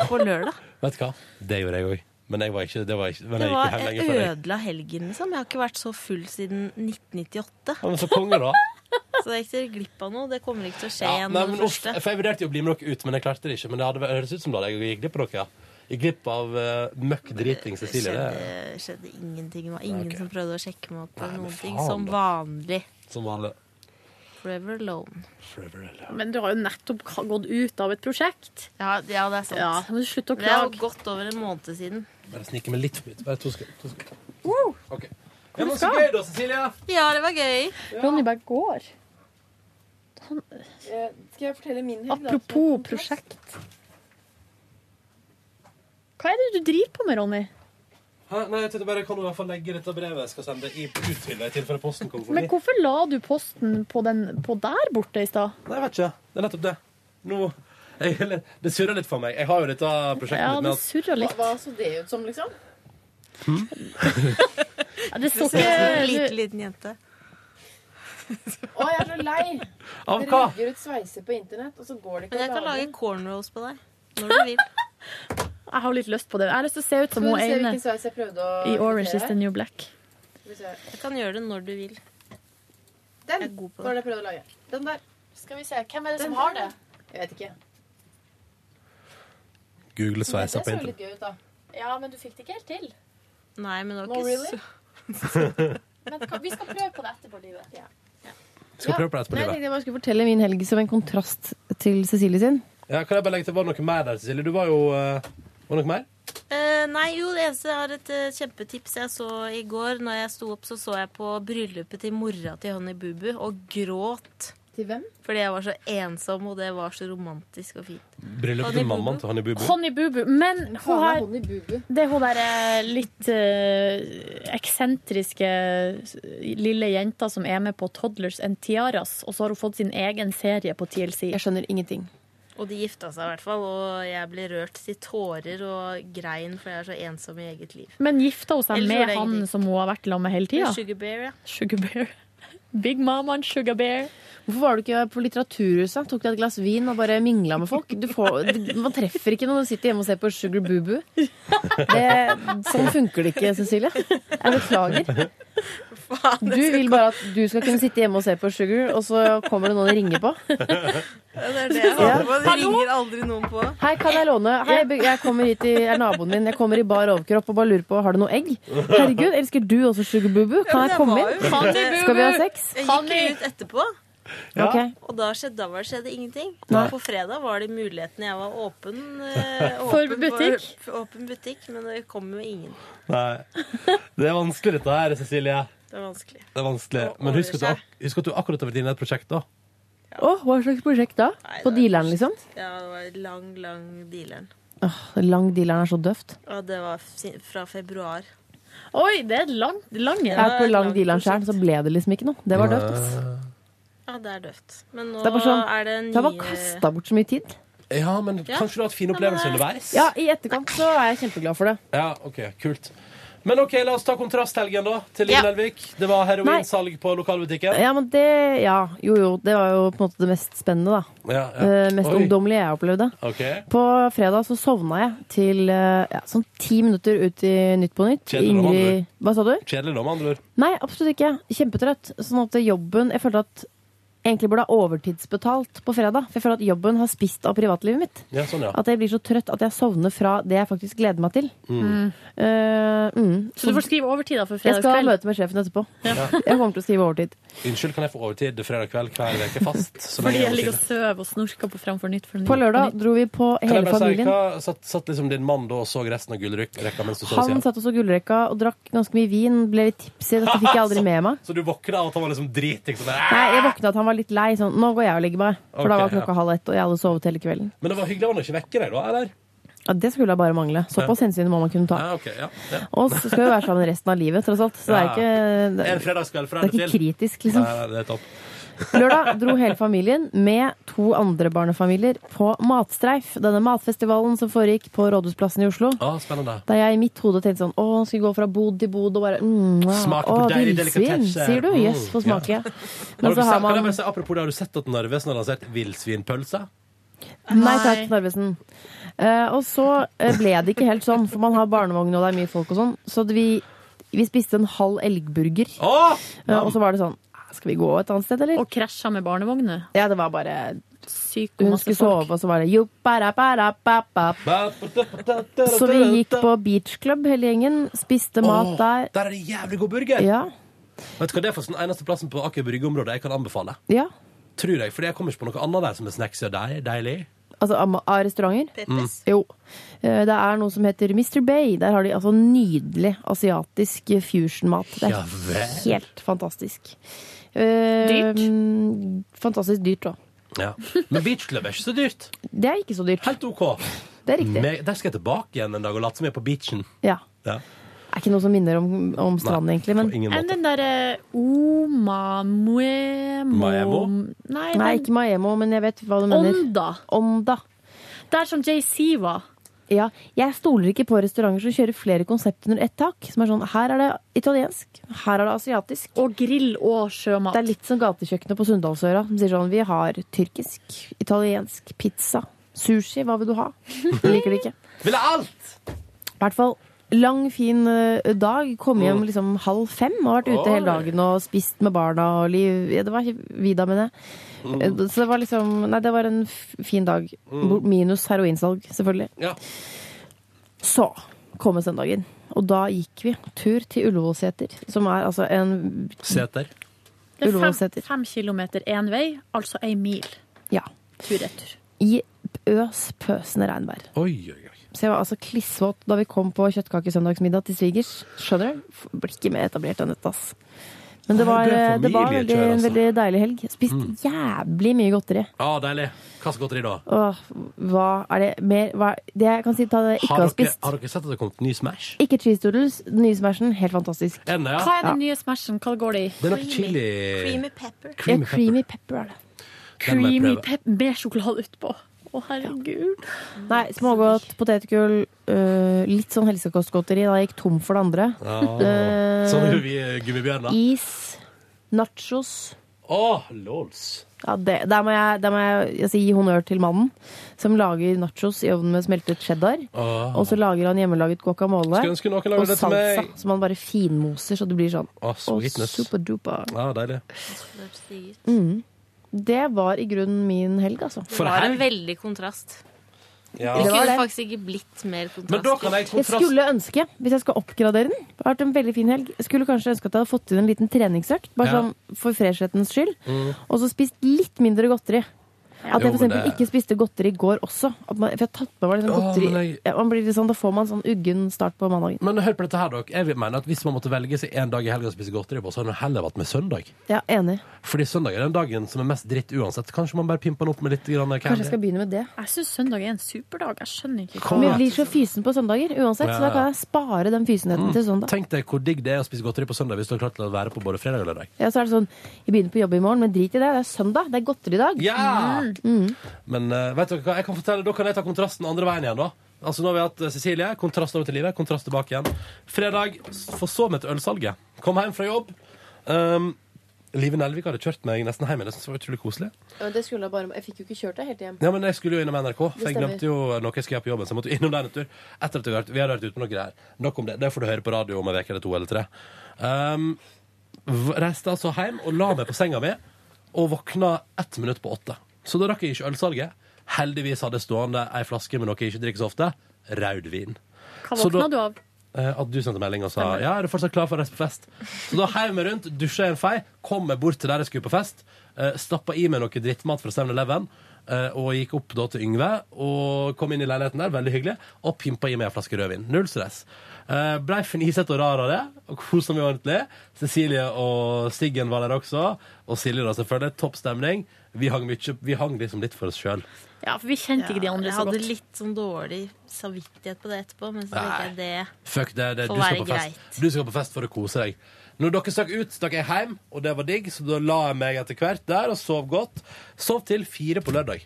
på lørdag.
Vet du hva? Det gjorde jeg òg. Men jeg var ikke, det var ikke, men
Det
jeg gikk
var
jo hjem
jeg
lenge før jeg.
ødela helgen, liksom. Jeg har ikke vært så full siden 1998.
Ja, men så konge, da.
Så jeg gikk til glipp av noe. Det kommer ikke til å skje
Ja,
igjen.
nei,
med
men
det
uff,
første.
for jeg vurderte jo å bli med dere ut, men jeg klarte det ikke. Men det hadde høres ut som da jeg gikk glipp av dere. ja. Gikk glipp av eh, møkk driting Cecilie. Det,
skjedde, skjedde ingenting. Det var ingen
Ok.
som prøvde å sjekke meg opp. eller
men
noen ting
faen,
Som
da.
vanlig.
som vanlig.
Forever alone.
Men du har jo nettopp ka- gått ut av et prosjekt.
Ja, ja, det er sant.
Ja, men slutt å
Det er jo
klage.
godt over en måned siden.
Bare snike meg litt forbi. Bare to sekunder. To sekunder. Ok.
Hvor
Ja, men så
skal?
gøy da, Cecilie.
Ja, det var gøy.
Ronny bare går. Han,
Skal jeg fortelle min helg? da?
apropos prosjekt. Hva er det du driver på med, Ronny?
Hæ? Nei, jeg tenkte bare jeg kan jo i hvert fall legge dette brevet jeg skal sende i ut til deg, i tilfelle posten kommer forbi.
Men hvorfor la du posten på, den, på der borte i stad?
Nei, jeg vet ikke. Det er nettopp det. Nå jeg, Det surrer litt for meg. Jeg har jo dette prosjektet
Ja,
mitt med
det
at
surra litt.
Hva så det ut som, liksom?
Ja, det står
Du ser ut som en
ikke
liten, liten jente.
Å, jeg er så lei!
Av
Dere
hva?
legger ut sveiser på internett, og så går det
Men
ikke
jeg kan
lage
lage
den.
cornrows på deg. Når du vil.
Jeg har litt lyst på det. Jeg har lyst til å se ut som
Skal
hun
du se
ene
hvilken sveis jeg prøvde
eh,
å
i Orange is
imitere?
the New Black.
Skal vi se.
Jeg kan gjøre det når du vil.
Den
Jeg er god på
var
det.
det jeg prøvde å lage. Den der.
Skal vi se. Hvem er det
Den
som har det?
Jeg vet ikke.
Google sveiser på
Det så litt
internett.
gøy ut, da. Ja, men du fikk det ikke helt til.
Nei, men det var
No,
ikke
really?
så
Men ka- vi skal prøve på det etterpå, livet.
Skal prøve på det etterpå livet.
Nei, jeg tenkte jeg bare skulle fortelle min helg som en kontrast til Cecilie sin.
Ja, kan jeg bare legge til, Var det noe mer der, Cecilie? Du var jo eh, Var det noe mer?
Eh, nei, jo, det eneste jeg har et eh, kjempetips jeg så i går. Når jeg sto opp, så så jeg på bryllupet til mora til Honey Bubu og gråt.
Til hvem?
Fordi jeg var så ensom, og det var så romantisk og fint.
Bryllupet til mammaen til Honey Bubu.
Honey Boo Boo. Men hun
Faen,
har
er hun i bubu.
det er hun derre litt eh, eksentriske eh, lille jenta som er med på Toddlers and Tiaras, og så har hun fått sin egen serie på TLC.
Jeg skjønner ingenting.
Og de gifta seg i hvert fall, og jeg ble rørt til tårer og grein, for jeg er så ensom i eget liv.
Men gifta hun seg
Ellers gjorde
med
jeg
han
ingenting.
som hun har vært sammen med hele tida?
Sugar Bear, ja.
Sugar Bear. Big Mama and Sugar Bear.
Hvorfor var du ikke på Litteraturhuset? Tok deg et glass vin og bare mingla med folk? Du får, man treffer ikke når du sitter hjemme og ser på Sugar Boo Boo. Det, sånn funker det ikke, Cecilie. Jeg beklager.
faen.
Du vil bare at du skal kunne sitte hjemme og se på Sugar, og så kommer det noen og ringer på.
Det er det jeg håper på. Det
Hallo?
ringer aldri noen på.
Hei, kan jeg låne? Hei, be- jeg kommer hit i jeg er naboen min. Jeg kommer i bar overkropp og bare lurer på har du noe egg. Herregud, elsker du også Sugar Boo Boo? Kan jeg komme inn? Skal vi ha sex?
Jeg gikk ut etterpå,
Ja. Ok.
og da skjedde, da var det skjedde ingenting.
Nei.
På fredag var det muligheten jeg var åpen, eh,
For
åpen
butikk?
For, for åpen butikk, men det kom jo ingen.
Nei. Det er vanskelig, dette her, Cecilie.
Det var vanskelig.
Det er vanskelig. Men husk at, du ak- husk at du akkurat har vært inne i et prosjekt, da.
Å, hva slags prosjekt da? På dealeren, liksom?
Ja, det var lang, lang dealeren.
Åh, lang dealeren er så døvt.
Og det var si- fra februar.
Oi, det er et langt, lang
Jeg
en.
har vært på lang dealeren sjøl, så ble det liksom ikke noe. Det var døvt, ass.
Ja, det er døvt. Men nå
Det er bare sånn,
er det nye
jeg var kasta bort så mye tid.
Ja, men
Ja.
kanskje du har hatt fine
Ja, men det-
opplevelser underveis?
eh, Ja, i etterkant så er jeg kjempeglad for det.
Ja, ok, kult. Men ok, la oss ta kontrasthelgen, da, til Line
Ja. Eh,
Elvik. Det var heroinsalg på lokalbutikken.
Ja, men det Ja, jo jo, det var jo på en måte det mest spennende, da.
Ja, ja.
Eh, mest
Oi.
ungdommelige jeg opplevde.
Ok.
På fredag så sovna jeg til eh, ja, sånn ti minutter ut i Nytt på Nytt.
Kjedelig roman, du.
Hva sa du?
Kjedelig, da, med andre ord.
Nei, absolutt ikke. Kjempetrøtt. Sånn at jobben Jeg følte at jeg egentlig burde ha overtidsbetalt på fredag. For jeg føler at jobben har spist av privatlivet mitt.
Ja, sånn, ja.
At jeg blir så trøtt at jeg sovner fra det jeg faktisk gleder meg til.
Mm.
Eh, mm.
Så du får skrive overtid da for
Jeg skal ha
fredagskveld?
møte med sjefen etterpå.
Ja.
Jeg kommer til å skrive overtid.
Unnskyld, kan jeg få overtid fredag kveld hver uke fast? Så lenge
Fordi jeg
må
ligger og
til.
sover og snorker på Framfor Nytt. For
På lørdag dro vi på
Kan jeg
hele
bare si,
familien.
hva- satt, satt liksom din mann da og så resten av gullrekka mens du så
Han satt også gullrekka og drakk ganske mye vin, ble litt tipsy. Dette fikk jeg aldri med meg.
Så du våkna av at han var liksom dritings? Sånn, "Æ!"
Nei, Jeg våkna at han var litt lei. Sånn, nå går jeg og legger meg. For da
Ok,
var klokka
ja.
halv ett, og jeg hadde sovet hele kvelden.
Men det var hyggelig av han å ikke vekke deg, da? eller?
Ja, Det skulle jeg bare mangle. Såpass hensyn må man kunne ta.
Ja, ok, ja, ja.
Og så skal vi være sammen resten av livet, tross alt. Så det er
Ja.
ikke, det,
En fredagskveld fra
det er
eller
ikke
til.
kritisk, liksom.
Nei, nei, det er topp.
Lørdag dro hele familien med to andre barnefamilier på Matstreif. Denne matfestivalen som foregikk på Rådhusplassen i Oslo.
Ah, spennende.
Da jeg i mitt hode tenkte sånn Å, nå skal vi gå fra bod til bod og bare mm, wow.
Smake på
Å,
deilig
villsvin,
delikatesse.
sier du. Jøss,
Mm,
få smake.
Har dere sett,
Men så har
kan jeg
man
bare si, apropos det, har du sett at Narvesen har lansert villsvinpølse?
Nei takk, Narvesen. Eh, og så eh, ble det ikke helt sånn, for man har barnevogn og det er mye folk og sånn. Så vi, vi spiste en halv elgburger. Eh, og så var det sånn Skal vi gå et annet sted, eller?
Og krasja med barnevogner.
Ja, det var bare
Sykt
Hun
masse
skulle
folk.
sove, og så var det jo, bara, bara, ba, ba. Så vi gikk på beach club hele gjengen, spiste
Åh,
mat der.
Der er det jævlig god burger!
Ja,
Vet du hva, Det er faktisk den eneste plassen på Aker Brygge-området jeg kan anbefale.
ja.
Tror jeg, fordi jeg kommer ikke på noe annet der som er snacks og deig- deilig.
Altså av ma- av restauranter.
Peppes.
Jo. Eh, Det er noe som heter Mr. Bay. Der har de altså nydelig asiatisk fusion-mat. Det
Ja
er
vel.
helt fantastisk. Dyrt? Fantastisk dyrt, da.
Ja. Men beachclub er ikke så dyrt.
Det er ikke så dyrt.
Helt OK.
Det er riktig.
Me- Der skal jeg tilbake igjen en dag og late som jeg er på beachen.
Ja.
Ja.
Det er ikke noe som minner om, om stranden, egentlig. Men
ingen
Enn den eh, derre Oma Muemo
Maemo?
Nei,
Nei,
den
ikke Maemo, men jeg vet hva du mener.
Onda.
Onda.
Der som JC var.
Ja, jeg stoler ikke på restauranter som kjører flere konsept under ett tak. Som er sånn, her er det italiensk, her er det asiatisk.
Og grill og sjømat.
Det er litt som gatekjøkkenet på Sunndalsøra. De sier sånn, vi har tyrkisk, italiensk, pizza, sushi, hva vil du ha? Det liker de ikke.
Ville alt!
I hvert fall lang, fin eh, dag. Kom hjem
Mm.
liksom halv fem og vært ute hele
Oi.
dagen og spist med barna og liv. Ja, det var Vida, mener jeg. Eh, Så det var liksom Nei, det var en f- fin dag. Bo- Minus heroinsalg, selvfølgelig.
Ja.
Så kom søndagen, og da gikk vi tur til Ullevålseter, som er altså en
Seter.
Det er fem,
Ullevålseter.
fem kilometer én vei, altså ei mil
Ja.
tur-retur.
I øs pøsende regnvær.
Oi, oi, oi.
Så jeg var altså klissvåt da vi kom på kjøttkakesøndagsmiddag til svigers. Skjønner du? F- Blir ikke mer etablert enn dette, ass. Men det
Nei,
var, eh,
det er
det var
familiekjør,
veldig, en
altså. Mm.
veldig deilig helg. Spist jævlig mye
Ja,
godteri.
Ah, deilig. Hva skal godteri, da?
Åh, hva er det mer hva, Det jeg kan si ta det jeg ikke
Har
har
dere,
spist.
har dere sett at det har kommet ny Smash?
Ikke cheese doodles. Den nye smashen, helt fantastisk.
Er den det,
Hva
ja?
er den nye smashen? Hva går det i?
Den er på chili
Creamy pepper.
Ja,
Creamy pepper.
Eh, creamy pepper er det.
Den må jeg
Creamy
prøve.
pep med sjokolade utpå. Å, herregud.
Nei, smågodt, potetgull, øh, litt sånn helsekostgodteri. Da jeg gikk tom for det andre.
Ah. Ja. Sånn er vi gummibjørn, da.
Is, nachos.
Åh, Ah, lols.
Ja, det, der må jeg, der må jeg, altså, gi honnør til mannen som lager nachos i ovnen med smeltet cheddar.
Åh.
Og så lager han hjemmelaget guacamole
Ah. Skulle ønske noen lagde
og
det til meg.
salsa, som han bare finmoser så det blir sånn.
Å, sweetness.
superduper.
Ja, Ah, deilig.
Mm. Det var i grunnen min helg, altså.
Det var en veldig kontrast.
Ja.
Det
Det var
kunne
det.
faktisk ikke blitt mer kontrast.
Men da kan jeg
Jeg
kontrast...
skulle ønske, hvis jeg skal oppgradere den Det har vært en veldig fin helg Jeg skulle kanskje ønske at jeg hadde fått inn en liten treningsøkt Bare
Ja.
sånn for freshhetens skyld
Mm.
Og så spist litt mindre godteri
Jo,
At jeg for
men
eksempel
det-
ikke spiste godteri i går også At man, For jeg har tatt med meg litt sånn
Åh,
godteri
men jeg-
Ja, man blir litt sånn, Da får man sånn uggen start på mandagen
Men hør på dette her, dere. Jeg vil mene at Hvis man måtte velge seg en dag i helga å spise godteri på, så hadde man heller vært med søndag.
Ja, enig
Fordi søndag er den dagen som er mest dritt uansett. Kanskje man bare pimper den opp med litt grann
Kanskje jeg skal begynne med det
Jeg syns søndag er en superdag. Jeg skjønner ikke
Kom
Men
igjen.
jeg blir så fysen på søndager uansett
Ja, Mm.
Så da
ja.
kan jeg spare den fysenheten til søndag
Tenk deg hvor digg det er å spise godteri på søndag hvis du har klart å være på både fredag og lørdag.
Ja, så er det sånn Jeg begynner på jobb i morgen, men drit i det Det er søndag, det er godteridag
Ja!
Mm. Mm.
Men eh, vet dere hva, jeg kan fortelle, da kan jeg ta kontrasten andre veien igjen, da. Altså Nå har vi hatt eh, Cecilie, kontrast over til livet, kontrast tilbake igjen. Fredag s- forsov meg til ølsalget. Kom hjem fra jobb. Um, Live Nelvik hadde kjørt meg nesten hjem igjen. Det synes jeg var utrolig koselig.
Det skulle jeg bare Jeg fikk jo ikke kjørt deg helt hjem
Ja, men Jeg skulle jo innom NRK,
Det
for jeg
stemmer.
glemte jo noe jeg skulle gjøre på jobben. Så jeg måtte jo innom der en tur Etter at vi hadde vært- vi hadde vært ute med noe greier. Nok om det. Det får du høre på radio om en uke eller to eller tre. Um, v- reiste altså hjem og la meg på senga mi, og våkna ett minutt på åtte. Så da rakk jeg ikke ølsalget. Heldigvis hadde jeg stående ei flaske med noe jeg ikke drikker så ofte. Rødvin.
Hva
Så da-
våkna du av?
Eh, at du sendte melding og sa Ja, er du fortsatt klar for å reise på fest. Så da heiv jeg meg rundt, dusja i en fei, kom meg bort til der jeg skulle på fest, eh, stappa i meg noe drittmat fra 7-Eleven, eh, og gikk opp da til Yngve og kom inn i leiligheten der, veldig hyggelig, og pimpa i meg en flaske rødvin. Null stress. Eh, Blei fnisete og rar av det, og kosa meg ordentlig. Cecilie og Siggen var der også, og Silje da selvfølgelig. Topp stemning. Vi hang, mye, vi hang liksom litt for oss sjøl.
Ja, for vi kjente ikke de andre
jeg
så
hadde
godt.
litt sånn dårlig samvittighet på det etterpå, men så tenkte jeg det
Fuck det, det
Får
du, skal
være
på fest. du skal på fest for å kose deg. Når dere stakk ut, stakk jeg hjem, og det var digg, så da la jeg meg etter hvert der og sov godt. Sov til fire på lørdag.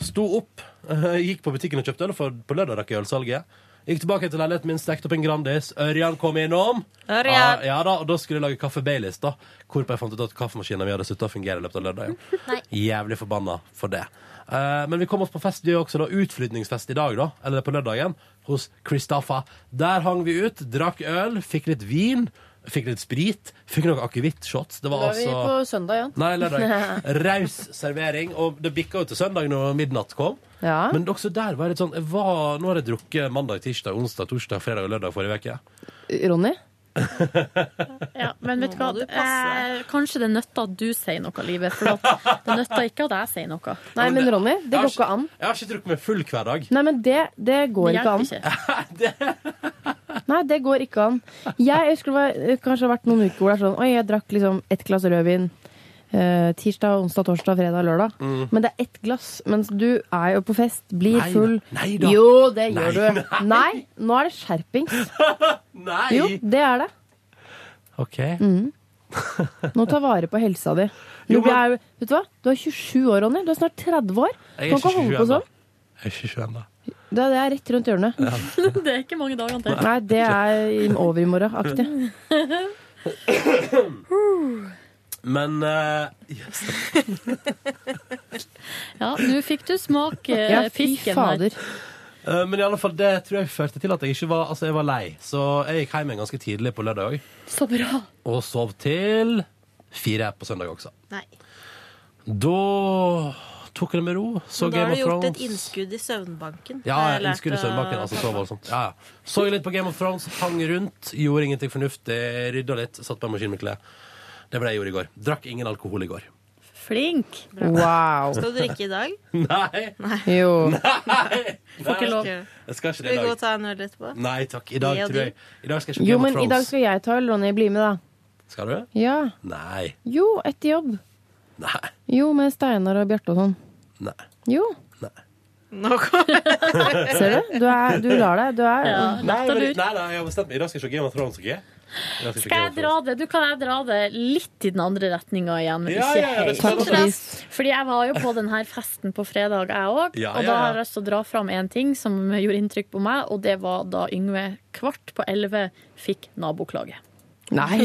Sto opp, eh, gikk på butikken og kjøpte øl, for på lørdag rakk jeg ølsalget. Gikk tilbake til leiligheten min, stekte opp en Grandis. Ørjan kom innom.
Ørjan!
Ja, ja da, og da skulle jeg lage kaffe Baileys, da. Hvorpå jeg fant ut at kaffemaskinen min hadde slutta å fungere i løpet av lørdagen. Jævlig forbanna for det. Eh, men vi kom oss på fest, vi gjør også da utflytningsfest i dag, da. Eller på lørdagen, hos Kristaffa. Der hang vi ut, drakk øl, fikk litt vin, fikk litt sprit, fikk noen akevittshots. Det
Da
var
er vi på
altså
søndag igjen
Nei, lørdag. Raus servering. Og det bikka jo til søndag når midnatt kom.
Ja.
Men også der var det sånn jeg var, Nå har jeg drukket mandag, tirsdag, onsdag, torsdag, fredag og lørdag forrige uke.
Ronny?
Ja, men vet du hva? Eh, kanskje det nytter at du sier noe, Livet. For at det nytter ikke at jeg sier noe.
Nei, men Ronny,
Jeg
det
har
går ikke an.
ikke- Jeg har ikke drukket meg full hver dag.
Nei, men det, det går
Det
ikke an. Nei, det går ikke an. Jeg husker det var, det kanskje har vært noen uker hvor det er sånn Oi, jeg drakk liksom ett glass rødvin eh, tirsdag, onsdag, torsdag, fredag, lørdag.
Mm.
Men det er ett glass. Mens du er jo på fest, blir
Nei,
full.
nei da.
Jo, det
Nei,
gjør du.
nei.
Nei, nå er det skjerpings.
Nei!
Jo, det er det.
OK.
Mm. Nå ta vare på helsa di. Du,
Jo, men-
er, vet du hva? Du er 27 år, Ronny. Du er snart 30 år. Du
Jeg er
kan
ikke 27
ikke holde på
ennå.
sånn.
Jeg er ikke 27 ennå.
Det er, det er rett rundt hjørnet.
Ja.
Det er ikke mange dagene til.
Nei, det er i- over i morgen-aktig.
Men eh, yes.
Ja, nå fikk du smake eh,
Ja, fy
pisken
fader.
her.
Eh, Men i alle fall, det tror jeg førte til at jeg ikke var Altså, jeg var lei. Så jeg gikk hjem igjen ganske tidlig på lørdag òg.
Så bra.
Og sov til fire på søndag også.
Nei.
Da tok jeg det med ro. Så
Men da
Game
har
of
du gjort et
Thrones.
innskudd i søvnbanken.
Ja,
har jeg
jeg
lært
skulle
av
søvnbakken. Altså, så
pappa.
voldsomt. Ja, ja. Så jeg litt på Game of Thrones, hang rundt, gjorde ingenting fornuftig, rydda litt, satt på en maskin med klær. Det var det jeg gjorde i går. Drakk ingen alkohol i går.
Flink.
Wow.
Skal du drikke i dag?
Nei.
Jo.
Får ikke lov.
Jeg skal ikke
Skal
det
vi
i
gå og
dag.
ta en øl etterpå?
Nei takk. I dag
Jeg og
tror
du.
jeg I dag skal jeg ikke på
Jo,
Game of
men i dag
Thrones.
skal jeg ta øl. Ronny, bli med, da.
Skal du?
Ja.
Nei.
Jo, etter jobb.
Nei.
Jo, med Steinar og Bjarte og sånn.
Nei.
Jo. Ser du? Du, er, du lar deg. Du er
nei, men, nei, nei, jeg har bestemt meg. I dag skal jeg se Game of Thrones. Okay? I dag jeg se
Skal jeg
Game of
dra det? Du kan jeg dra det litt i den andre retninga igjen, men
Ja,
ikke
ja, ja, det
helt.
skal jeg godt vise.
Fordi jeg var jo på denne festen på fredag, jeg òg.
Ja,
og da
ja, ja.
har jeg lyst til å dra fram én ting som gjorde inntrykk på meg, og det var da Yngve kvart på elleve fikk naboklage.
Nei.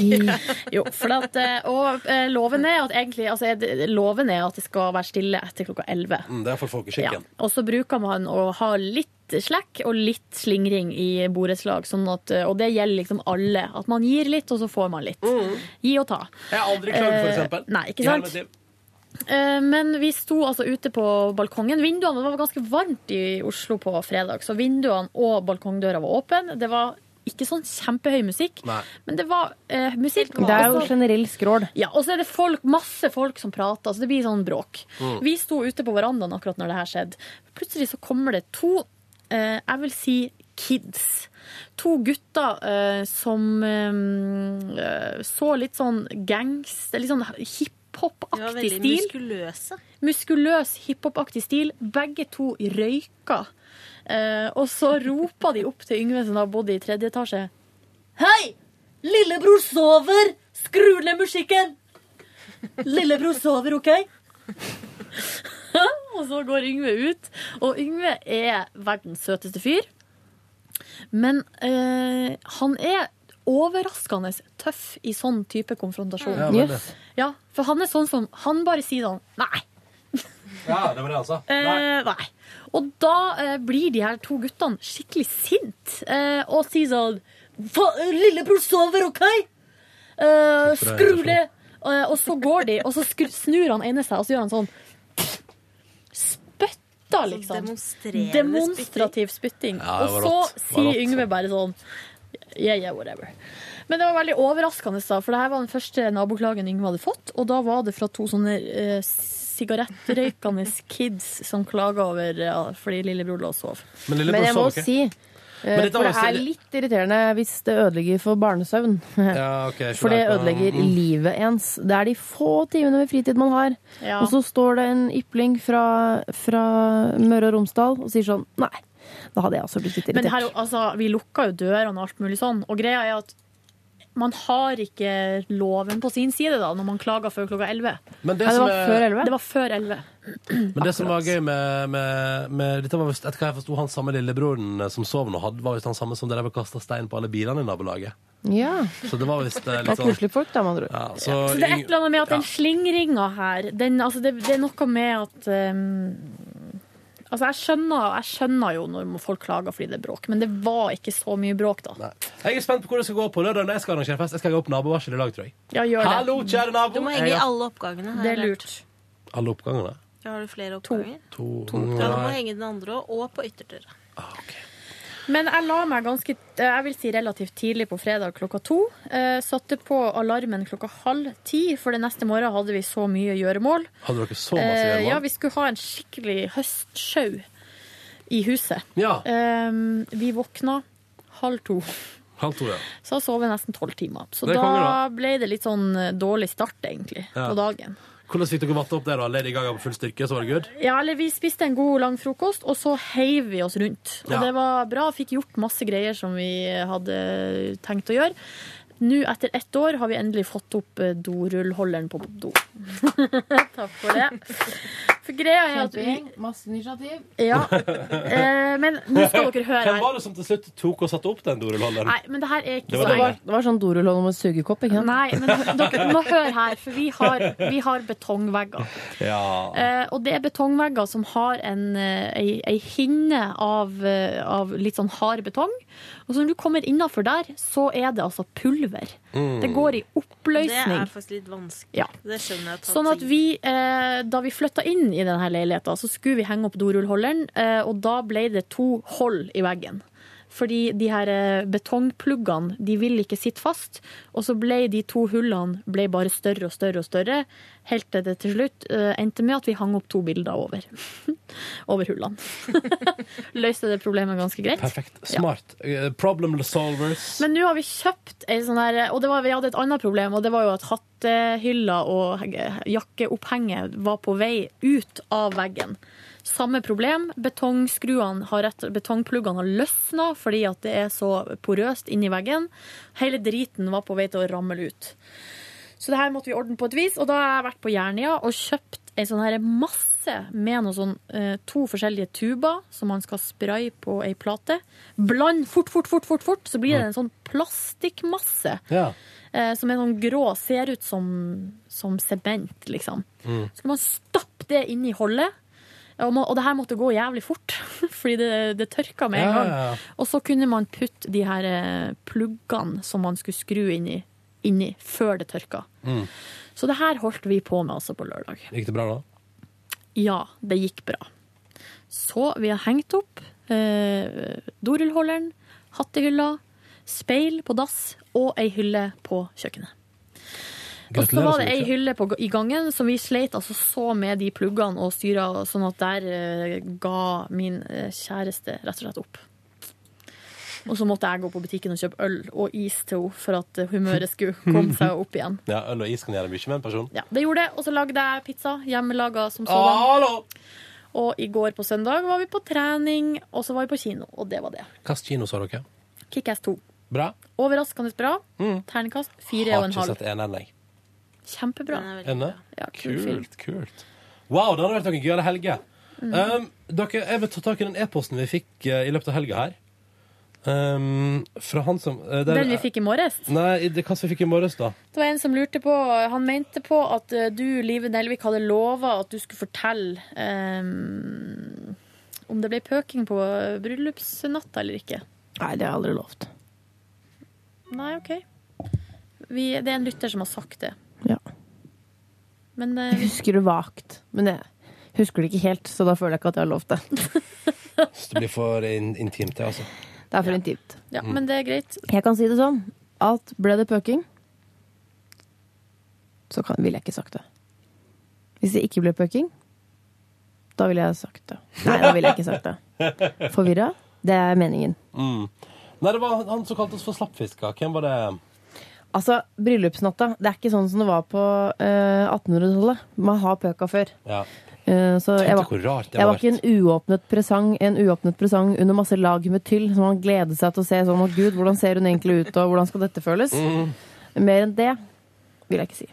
jo, for at, eh, og eh, loven er at egentlig altså, er det- Loven er at det skal være stille etter klokka 11.
Mm, det er for folkeskikken.
Og så bruker man å ha litt slekk og litt slingring i borettslag, sånn at, eh, og det gjelder liksom alle. At man gir litt, og så får man litt. Gi og ta.
Jeg har aldri klagd, for
Eh,
eksempel.
Nei, ikke
I hele
sant?
mitt liv.
Eh, Men vi sto altså ute på balkongen. Vinduene det var ganske varmt i Oslo på fredag, så vinduene og balkongdøra var åpen. Det var ikke sånn kjempehøy musikk,
Nei.
men det var eh, musikk.
Det er jo
Altså-
generell skrål.
ja, og så er det folk, masse folk som prater, så det blir sånn bråk.
Mm.
Vi sto ute på verandaen akkurat når det her skjedde. Plutselig så kommer det to, eh, jeg vil si kids. To gutter eh, som eh, så litt sånn gangs, litt sånn
De var
hiphop-aktig
veldig
stil.
muskuløse.
Muskuløs hiphop-aktig stil. Begge to røyka. Eh, og så roper de opp til Yngve, som da bodde i tredje etasje. Hei! Lillebror sover! Skru ned musikken! Lillebror sover, OK? og så går Yngve ut. Og Yngve er verdens søteste fyr. Men eh, han er overraskende tøff i sånn type konfrontasjon.
Ja, veldig. Yes.
Ja, for han er sånn som Han bare sier sånn Nei.
Ja, det var det, altså.
Eh, nei. Og da eh, blir de her to guttene skikkelig sint eh, og sier sånn "Fa- Lillebror sover, OK? Eh,
for det,
skru
for det.
det! Eh, og så går de, og så skru, snur han ene seg, og så gjør han sånn Spytter, liksom.
demonstrerende
Demonstrativ spytting.
Ja, det
og
var
så
rått. Det var
sier
rått.
Yngve bare sånn Yeah, yeah, whatever. Men det var veldig overraskende, da, for det her var den første naboklagen Yngve hadde fått. Og da var det fra to sånne eh, sigarettrøykende kids som klaga over eh, fordi lillebror lå og sov.
Men lillebror
Men jeg må
sov ikke.
si eh,
Men dette
For
var
det
også-
er litt irriterende hvis det ødelegger for barnesøvn.
Ja, ok, jeg skjønner
For det
på-
ødelegger
Mm.
livet ens. Det er de få timene med fritid man har.
Ja.
Og så står det en ypling fra, fra Møre og Romsdal og sier sånn Nei, da hadde jeg også blitt litt
Men her,
irritert.
altså, vi lukka jo dørene og alt mulig sånn, og greia er at man har ikke loven på sin side da, når man klager før klokka 11.
Men det Nei, det som var
altså,
er- før 11.
Det var før 11.
Men det som var gøy med, med, med Dette var visst, etter hva jeg forsto, han samme lillebroren eh, som sov nå, hadde, var visst han samme som drev og kasta stein på alle bilene i nabolaget.
Ja.
Så det var visst eh,
Det
litt
var
sånn
koselige folk, da, med andre ord.
ja, så,
Så det er et eller annet med at den
Ja.
slingringa her, den, altså det, det er noe med at um, Altså, jeg skjønner, jeg skjønner jo når folk klager fordi det er bråk, men det var ikke så mye bråk, da.
Jeg er spent på hvor det skal gå på lørdag når jeg skal arrangere fest. Jeg skal gå opp nabovarsel i dag, tror jeg.
Ja, gjør det.
Hallo, kjære nabo!
Du må henge i alle oppgangene. Her,
Det er lurt.
Alle oppgangene?
Har du flere oppganger?
To.
Ja, du må
Nei.
henge i den andre også, og på ytterdøra.
Men jeg la meg ganske, eh, jeg vil si relativt tidlig på fredag klokka to. Eh, satte på alarmen klokka halv ti, for den neste morgenen hadde vi så mye gjøremål.
Hadde dere så masse
Eh, ja,
gjøremål?
vi skulle ha en skikkelig høstsjau i huset.
Ja.
Eh, vi våkna halv to.
Halv to, ja.
Så da sov jeg nesten tolv timer. Så
Det er konge,
da
da.
ble det litt sånn eh, dårlig start, egentlig,
Ja.
på dagen.
Hvordan fikk dere vatta opp det? da? Lady Gaga på full styrke, så var det good?
Ja, eller vi spiste en god lang frokost, og så heiv vi oss rundt. Og
Ja.
det var bra, fikk gjort masse greier som vi hadde tenkt å gjøre. Nå, etter ett år, har vi endelig fått opp eh, dorullholderen på do. Takk for det. For greia er at altså, vi
Masse initiativ.
Ja. Eh, men nå skal dere høre
Hvem
her.
var det som til slutt tok og satte opp den dorullholderen?
Nei, men det her er ikke
Det
så
var
Det var,
enkelt.
det var sånn dorullhold med sugekopp, ikke sant?
Nei, men dere må høre her, for vi har, vi har betongvegger.
Ja.
Eh, og det er betongvegger som har en, eh, ei, ei hinne av, eh, av litt sånn hard betong. Og så når du kommer innafor der, så er det altså pulver.
Mm.
Det går i
Det
oppløsning.
er faktisk litt vanskelig.
Ja.
Det skjønner jeg.
Sånn at vi, eh, da vi flytta inn i denne leiligheta, så skulle vi henge opp dorullholderen, eh, og da ble det to hold i veggen. Fordi de her eh, betongpluggene de vil ikke sitte fast, og så ble de to hullene ble bare større og større og større, helt til det til slutt eh, endte med at vi hang opp to bilder over. over hullene. Løste det problemet ganske greit.
Perfekt. Smart. Eh, Problem solvers.
Men nå har vi kjøpt ei sånn her Og det var, vi hadde et annet problem, og det var jo at hattehylla og hegge- jakkeopphenget var på vei ut av veggen. Samme problem. Betongskruene har rett, betongpluggene har løsna fordi at det er så porøst inni veggen. Hele driten var på vei til å ramle ut. Så det her måtte vi ordne på et vis, og da har jeg vært på Jernia og kjøpt ei sånn her massiv pose med noe sånn, eh, to forskjellige tuber som han skal spraye på ei plate. Bland fort, fort, fort, fort, fort, så blir det en sånn plastikkmasse
Ja.
eh, som er sånn grå, ser ut som, som sement, liksom.
Mm.
Så skal man stappe det inn i hullet. Og, må- og det her måtte gå jævlig fort, fordi det, det tørka med en
Ja,
gang.
ja, ja.
Og så kunne man putte de her eh, pluggene som man skulle skru inn i, inn i før det tørka.
Mm.
Så det her holdt vi på med altså på lørdag.
Gikk det bra da?
Ja, det gikk bra. Så vi har hengt opp eh, dorullholderen, hattehylla, speil på dass og ei hylle på kjøkkenet. Og så
Gratulerer
var det
så
ei
mye.
hylle på, i gangen som vi sleit altså så med de pluggene og styra, sånn at der eh, ga min eh, kjæreste rett og slett opp. Og så måtte jeg gå på butikken og kjøpe øl og is til henne for at eh, humøret skulle komme seg opp igjen.
Ja, Øl og is kan gjøre mye med en person.
Ja, det gjorde det. Og så lagde jeg pizza. Hjemmelaga som
Hallo!
sådan. Og i går på søndag var vi på trening, og så var vi på kino. Og det var det.
Hvilken kino så dere?
Kickass 2.
Bra?
Overraskende bra. Ternekast fire
Mm. Har
og en
ikke
halv.
sett en ennå. jeg.
Kjempebra.
Enne?
kul film.
kult, kult. Wow, det hadde vært noen gøyere helger.
Mm.
Um, dere, jeg vil ta tak i den e-posten vi fikk eh, i løpet av helga her. Um, fra han som eh, der-
Den vi fikk i morges.
Nei, det, hva som vi fikk i morges, da?
Det var en som lurte på Han mente på at eh, du, Live Nelvik, hadde lova at du skulle fortelle eh, om det ble pøking på eh, bryllupsnatta eller ikke.
Nei, det har jeg aldri lovt.
Nei, OK. Vi, det er en lytter som har sagt det.
Ja.
Men eh,
Jeg husker det vagt, men jeg husker det ikke helt, så da føler jeg ikke at jeg har lovt det.
Så det blir for in intimt, det, altså.
Det er for intimt.
Ja, men det er greit.
Jeg kan si det sånn at ble det pøking, så kan, ville jeg ikke sagt det. Hvis det ikke ble pøking, da ville jeg sagt det. Nei, da ville jeg ikke sagt det. Forvirra? Det er meningen.
Mm. Nei, det var han- han som kalte oss for slappfisker. Hvem var det?
Altså, bryllupsnatta, det er ikke sånn som det var på eh, 1800-tallet. Man har pøka før.
Ja.
Eh, så
Tenk
jeg
deg hvor
var,
rart det
jeg
har
var ikke en uåpnet presang En uåpnet presang under masse lag med tyll som man gledet seg til å se sånn at gud, hvordan ser hun egentlig ut, og hvordan skal dette føles?
Mm.
Mer enn det vil jeg ikke si.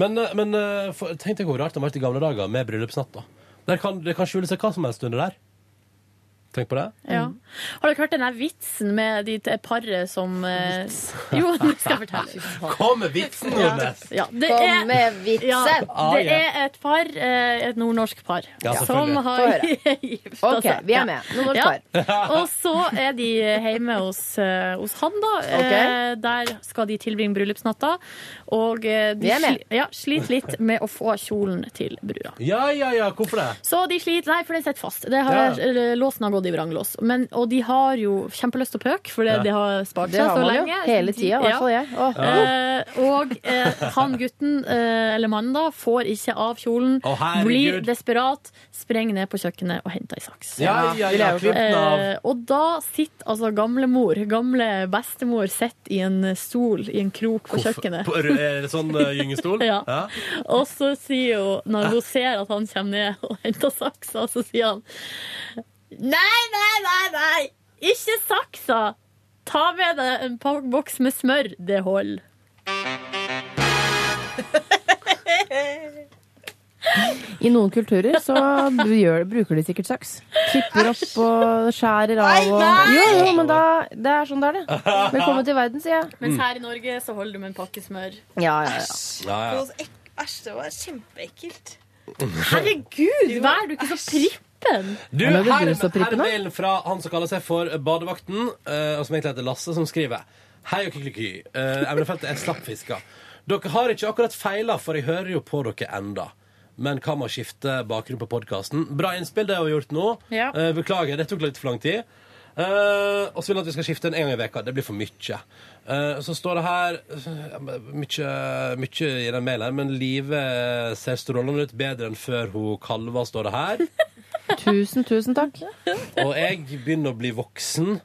Men, eh, men eh, for, tenk deg hvor rart det har vært i gamle dager med bryllupsnatt. da. Der kan, det kan skjule seg hva som helst under der. Tenk på det.
Ja. Har dere hørt den der vitsen med de t- paret som eh, Jo, nå skal jeg fortelle.
Kom med vitsen, Nordnes!
Ja, det
Kom
er,
med vitsen!
Ja,
Ah,
det
ja.
er et par, eh, et nordnorsk par,
Ja,
som
selvfølgelig.
har
Få
gifta
Ok, vi er
Ja.
med. Nordnorsk par.
Og så er de hjemme hos, eh, hos han, da.
Ok.
Eh, Der skal de tilbringe bryllupsnatta. Og eh, de
Vi er med.
sli- ja, sliter litt med å få kjolen til brura.
Ja, ja, ja, hvorfor det?
Så de sliter, nei, for det sitter fast. Det
Ja.
har, eller, Låsen har gått i vranglås. Men, og de har jo kjempelyst til å pøke, for det,
Ja.
det har spart
Det
seg
har
så
man jo.
lenge.
Hele tida, i hvert fall jeg. Åh.
Eh, og eh, han gutten, eh, eller mannen da, får ikke av kjolen.
Å, herregud.
blir desperat, sprenger ned på kjøkkenet og henter ei saks.
Ja, ja, ja, Ville jeg gjort det. klipp den av.
Eh, og da sitter altså gamlemor, gamle bestemor, sitter i en stol i en krok på kjøkkenet.
På, er det sånn eh, gyngestol?
Ja. Og så sier hun, når hun ser at han kommer ned og henter saksa, så sier han Nei, nei, nei, nei! Ikke saksa! Ta med deg en pa- boks med smør. Det holder.
I noen kulturer så gjør, bruker de sikkert saks. Klipper opp og skjærer av og
nei!
Jo, jo, men da Det er sånn det er, det. Velkommen til verden, sier jeg.
Mm.
Mens her i Norge så holder du med en pakke smør.
Ja, ja, ja.
Æsj, det var kjempeekkelt.
Herregud, vær du ikke så prippen!
Du, her, her er mailen fra han som kaller seg for Badevakten, eh, og som egentlig heter Lasse, som skriver Hei og kykeliky. Eh, Emnefeltet er slappfiska. Dere har ikke akkurat feila, for jeg hører jo på dere enda. Men hva med å skifte bakgrunn på podkasten? Bra innspill, det har vi gjort nå.
Ja.
Eh, beklager, det tok litt for lang tid. Eh, og så vil han at vi skal skifte en gang i veka. Det blir for mye. Eh, så står det her eh, mye, mye i den mailen, her, men livet ser strålende ut bedre enn før hun kalva, står det her.
Tusen, tusen takk.
Og jeg begynner å bli voksen.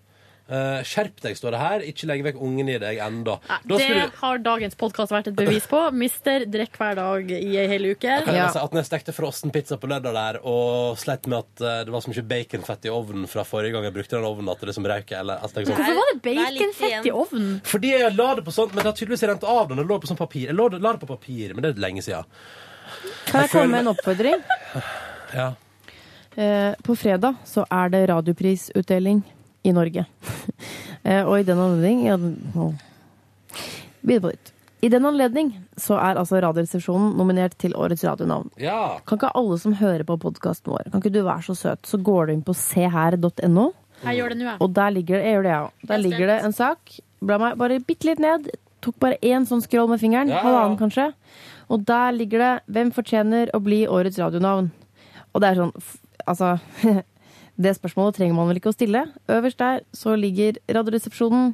Eh, skjerp deg, står det her. Ikke legg vekk ungen i deg ennå. Da
Det
skulle du
har dagens podkast vært et bevis på. Mister drikk hver dag i ei hel uke.
kan jeg bare si altså, at når jeg stekte frossenpizza på lørdag der og sleit med at eh, det var så mye baconfett i ovnen fra forrige gang jeg brukte den ovnen, at det liksom røyk eller altså, tenk
Hvorfor
sånn.
var det baconfett i ovnen?
Fordi jeg la det på sånt, men det har tydeligvis rent av da når det lå på sånn papir. Jeg lå det- la det på papir, men det er lenge siden.
Kan jeg komme med en oppfordring?
Ja.
Eh, på fredag så er det radioprisutdeling i Norge. eh, og i den anledning ja, den- å. Begynn på nytt. I den anledning så er altså Radioresepsjonen nominert til årets radionavn.
Ja.
Kan ikke alle som hører på podkasten vår, kan ikke du være så søt, så går du inn på seher.no.
Jeg gjør det nå, jeg.
Og der ligger det, jeg gjør det, jeg også. Der
Jeg
ligger det en sak. Bla meg bare bitte litt ned. Tok bare én sånn scroll med fingeren.
Ja.
Halvannen, kanskje. Og der ligger det 'Hvem fortjener å bli årets radionavn'? Og det er sånn f- Altså. Det spørsmålet trenger man vel ikke å stille. Øverst der så ligger Radioresepsjonen.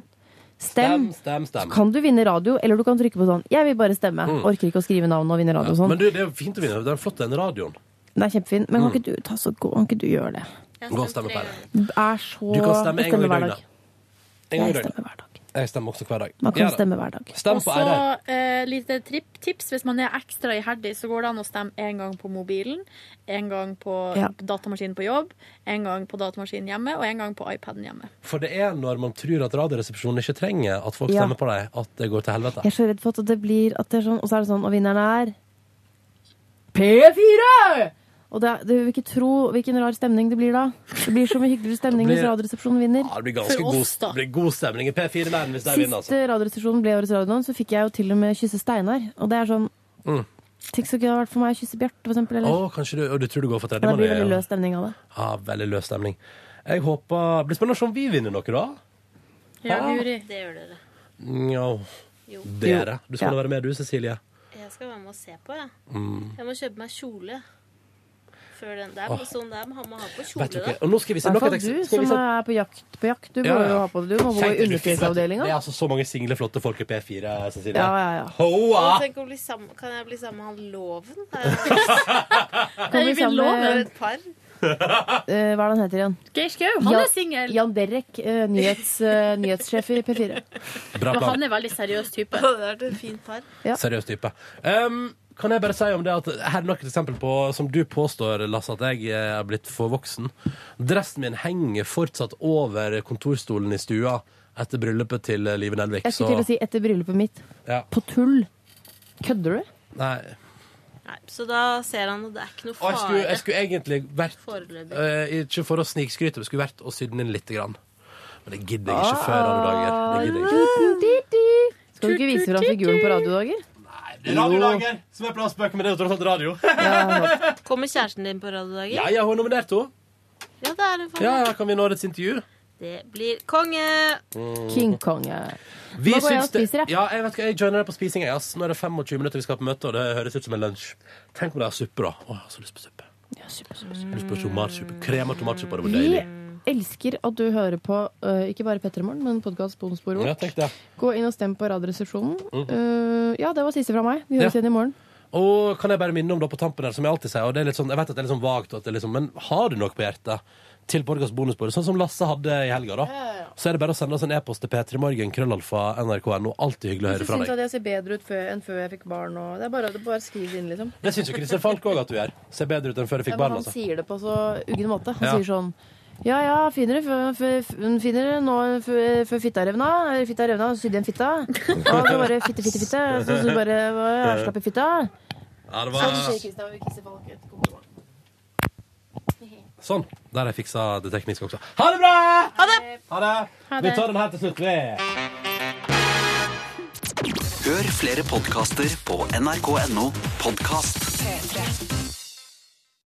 Stem,
Stem.
stem, stem.
Så kan du vinne radio, eller du kan trykke på sånn 'Jeg vil bare stemme'.
Mm.
Orker ikke å skrive navn og vinne radio og sånn.
Men du, det er jo fint å vinne. Den flotte den radioen.
Den er kjempefin. Men kan
Mm.
ikke du ta så gå, kan ikke du gjøre det?
Gå og stemme på henne.
Det er så
Du kan stemme
jeg
en gang i
stemmer hver
døgnet.
dag.
En gang i
Jeg
døgnet. Jeg stemmer også hver dag.
Man kan
Gjør det.
stemme hver dag.
Stem
Og
på
så
RR.
eh, lite tripp, tips. Hvis man er ekstra iherdig, så går det an å stemme én gang på mobilen, én gang på
Ja.
datamaskinen på jobb, én gang på datamaskinen hjemme og én gang på iPaden hjemme.
For det er når man tror at Radioresepsjonen ikke trenger at folk
Ja.
stemmer på deg, at det går til helvete.
Jeg er så redd for at det blir at det er sånn, Og så er det sånn, og vinneren er P4! Og det, er- du vil ikke tro hvilken rar stemning det blir da. Det blir så mye hyggeligere stemning
Det blir-
hvis Radioresepsjonen vinner.
Ja, det blir ganske god, det blir god stemning i P4-leiren hvis de
Siste
vinner, altså.
radioresepsjonen ble årets radionavn, så fikk jeg jo til og med kysse Steinar. Og det er sånn
Mm.
Tenk så gøy det hadde vært for meg å kysse Bjarte, for eksempel. Eller?
Å, kanskje du, å, du tror du går for
Og det
tredjemann?
blir veldig
ja.
løs stemning av det.
Ja, veldig løs stemning. Jeg håper Det blir spennende å se om vi vinner noe, da.
Ja,
Guri.
Det gjør dere.
Nja
Jo.
Dere. Du skal
Ja.
være med, du, Cecilie.
Jeg skal være med og se på, jeg.
Mm.
Jeg må kjøpe meg kjole. Før den. Det er
Åh.
sånn det er. Man må ha på kjole,
Vet du
da.
ikke. Og nå skal vi se nok
Hvertfall
et eksempel.
du
Skal vi
som
se-
er på jakt, på jakt. Du må
Ja, ja.
jo ha på det. Du må gå i
Tenkte du fint, vet du. Det
undertøysavdelinga.
er altså så mange single, flotte folk i P4, Cecilie.
Ja, ja, ja.
Hoa!
Og tenk å bli sammen, kan jeg bli sammen med han Loven? Kan
bli sammen med-
et par?
Eh, hva er det han heter igjen?
Geir Skau, han
Jan-
er singel!
Jan Derek, eh, nyhets, eh, nyhetssjef i P4.
Bra
Og
plan.
han er veldig seriøs type.
Det hadde vært en fin par.
Seriøs type. Um, kan jeg bare si om det at Her er nok et eksempel på, som du påstår, Lasse, at jeg eh, er blitt for voksen. Dressen min henger fortsatt over kontorstolen i stua etter bryllupet til eh, Live Nelvik.
Jeg skulle til å si etter bryllupet mitt.
Ja.
På tull. Kødder du?
Nei.
Nei, så da ser han at det er ikke noe
Og jeg skulle,
fare.
jeg skulle egentlig vært
Foreløpig.
eh, Ikke for å snikskryte, men skulle vært og sydd den inn lite grann. Men det gidder jeg ikke før
Ah.
alle dager. Det gidder jeg ikke.
Skal du ikke vise fram figuren på radiodager?
Det er Radiodager som er plassbøker med det og tross alt radio.
Kommer kjæresten din på radiodager?
ja, ja, hun er nominert, hun.
Ja, det er hun faktisk.
Ja, ja, kan vi nå et intervju?
Det blir konge!
King Kong. eh.
Vi
Nå går jeg og
syns det-
spiser, jeg.
Ja, jeg vet ikke, jeg joiner deg på spising. jeg, ass. Nå er det 25 minutter vi skal på møte, og det høres ut som en lunsj. Tenk om de har suppe, da. Å, jeg har så lyst på suppe. Lyst på tomatsuppe. Krem og tomatsuppe, det var
Mm. Vi
deilig.
elsker at du hører på eh, ikke bare Pettermorgen, men podkast Bonusbordet
Ja,
vårt.
tenk det.
Gå inn og stem på Radioresepsjonen.
Mhm.
Eh, ja, det var siste fra meg. Vi høres
Ja.
igjen i morgen.
Og kan jeg bare minne om det på tampen her, som jeg alltid sier, og det er litt sånn, jeg vet at det er litt sånn vagt, og at det er litt sånn, men har du noe på hjertet til podcast bonusbordet, sånn som Lasse hadde i helga, da, så er det bare å sende oss en e-post til p3morgen, krøllalfa, nrk.no. Alltid hyggelig å høre fra deg.
jeg ser bedre ut enn før jeg fikk barn. det er bare, å skrive det inn, liksom.
Det syns jo Kristin Falk òg at du gjør. Ser bedre ut enn før du
Ja,
fikk
men
barn.
han
Altså.
sier det på så uggen måte. Han
Ja.
sier sånn Ja ja, finner du f- f- finner du nå f- før fitta revna? Eller Fitta revna, sydd igjen fitta. Og det var bare fitte, fitte, fitte. Så så bare ja, slapp i fitta.
Ja, det
Så sier
var...
Kristian, vi kisser folk et kompliment.
Sånn. Der har jeg fiksa det tekniske også. Ha det bra! Ha det!
Ha
Vi
det.
tar den her til slutt, vi.
Hør flere podkaster på nrk.no podkast.
P3.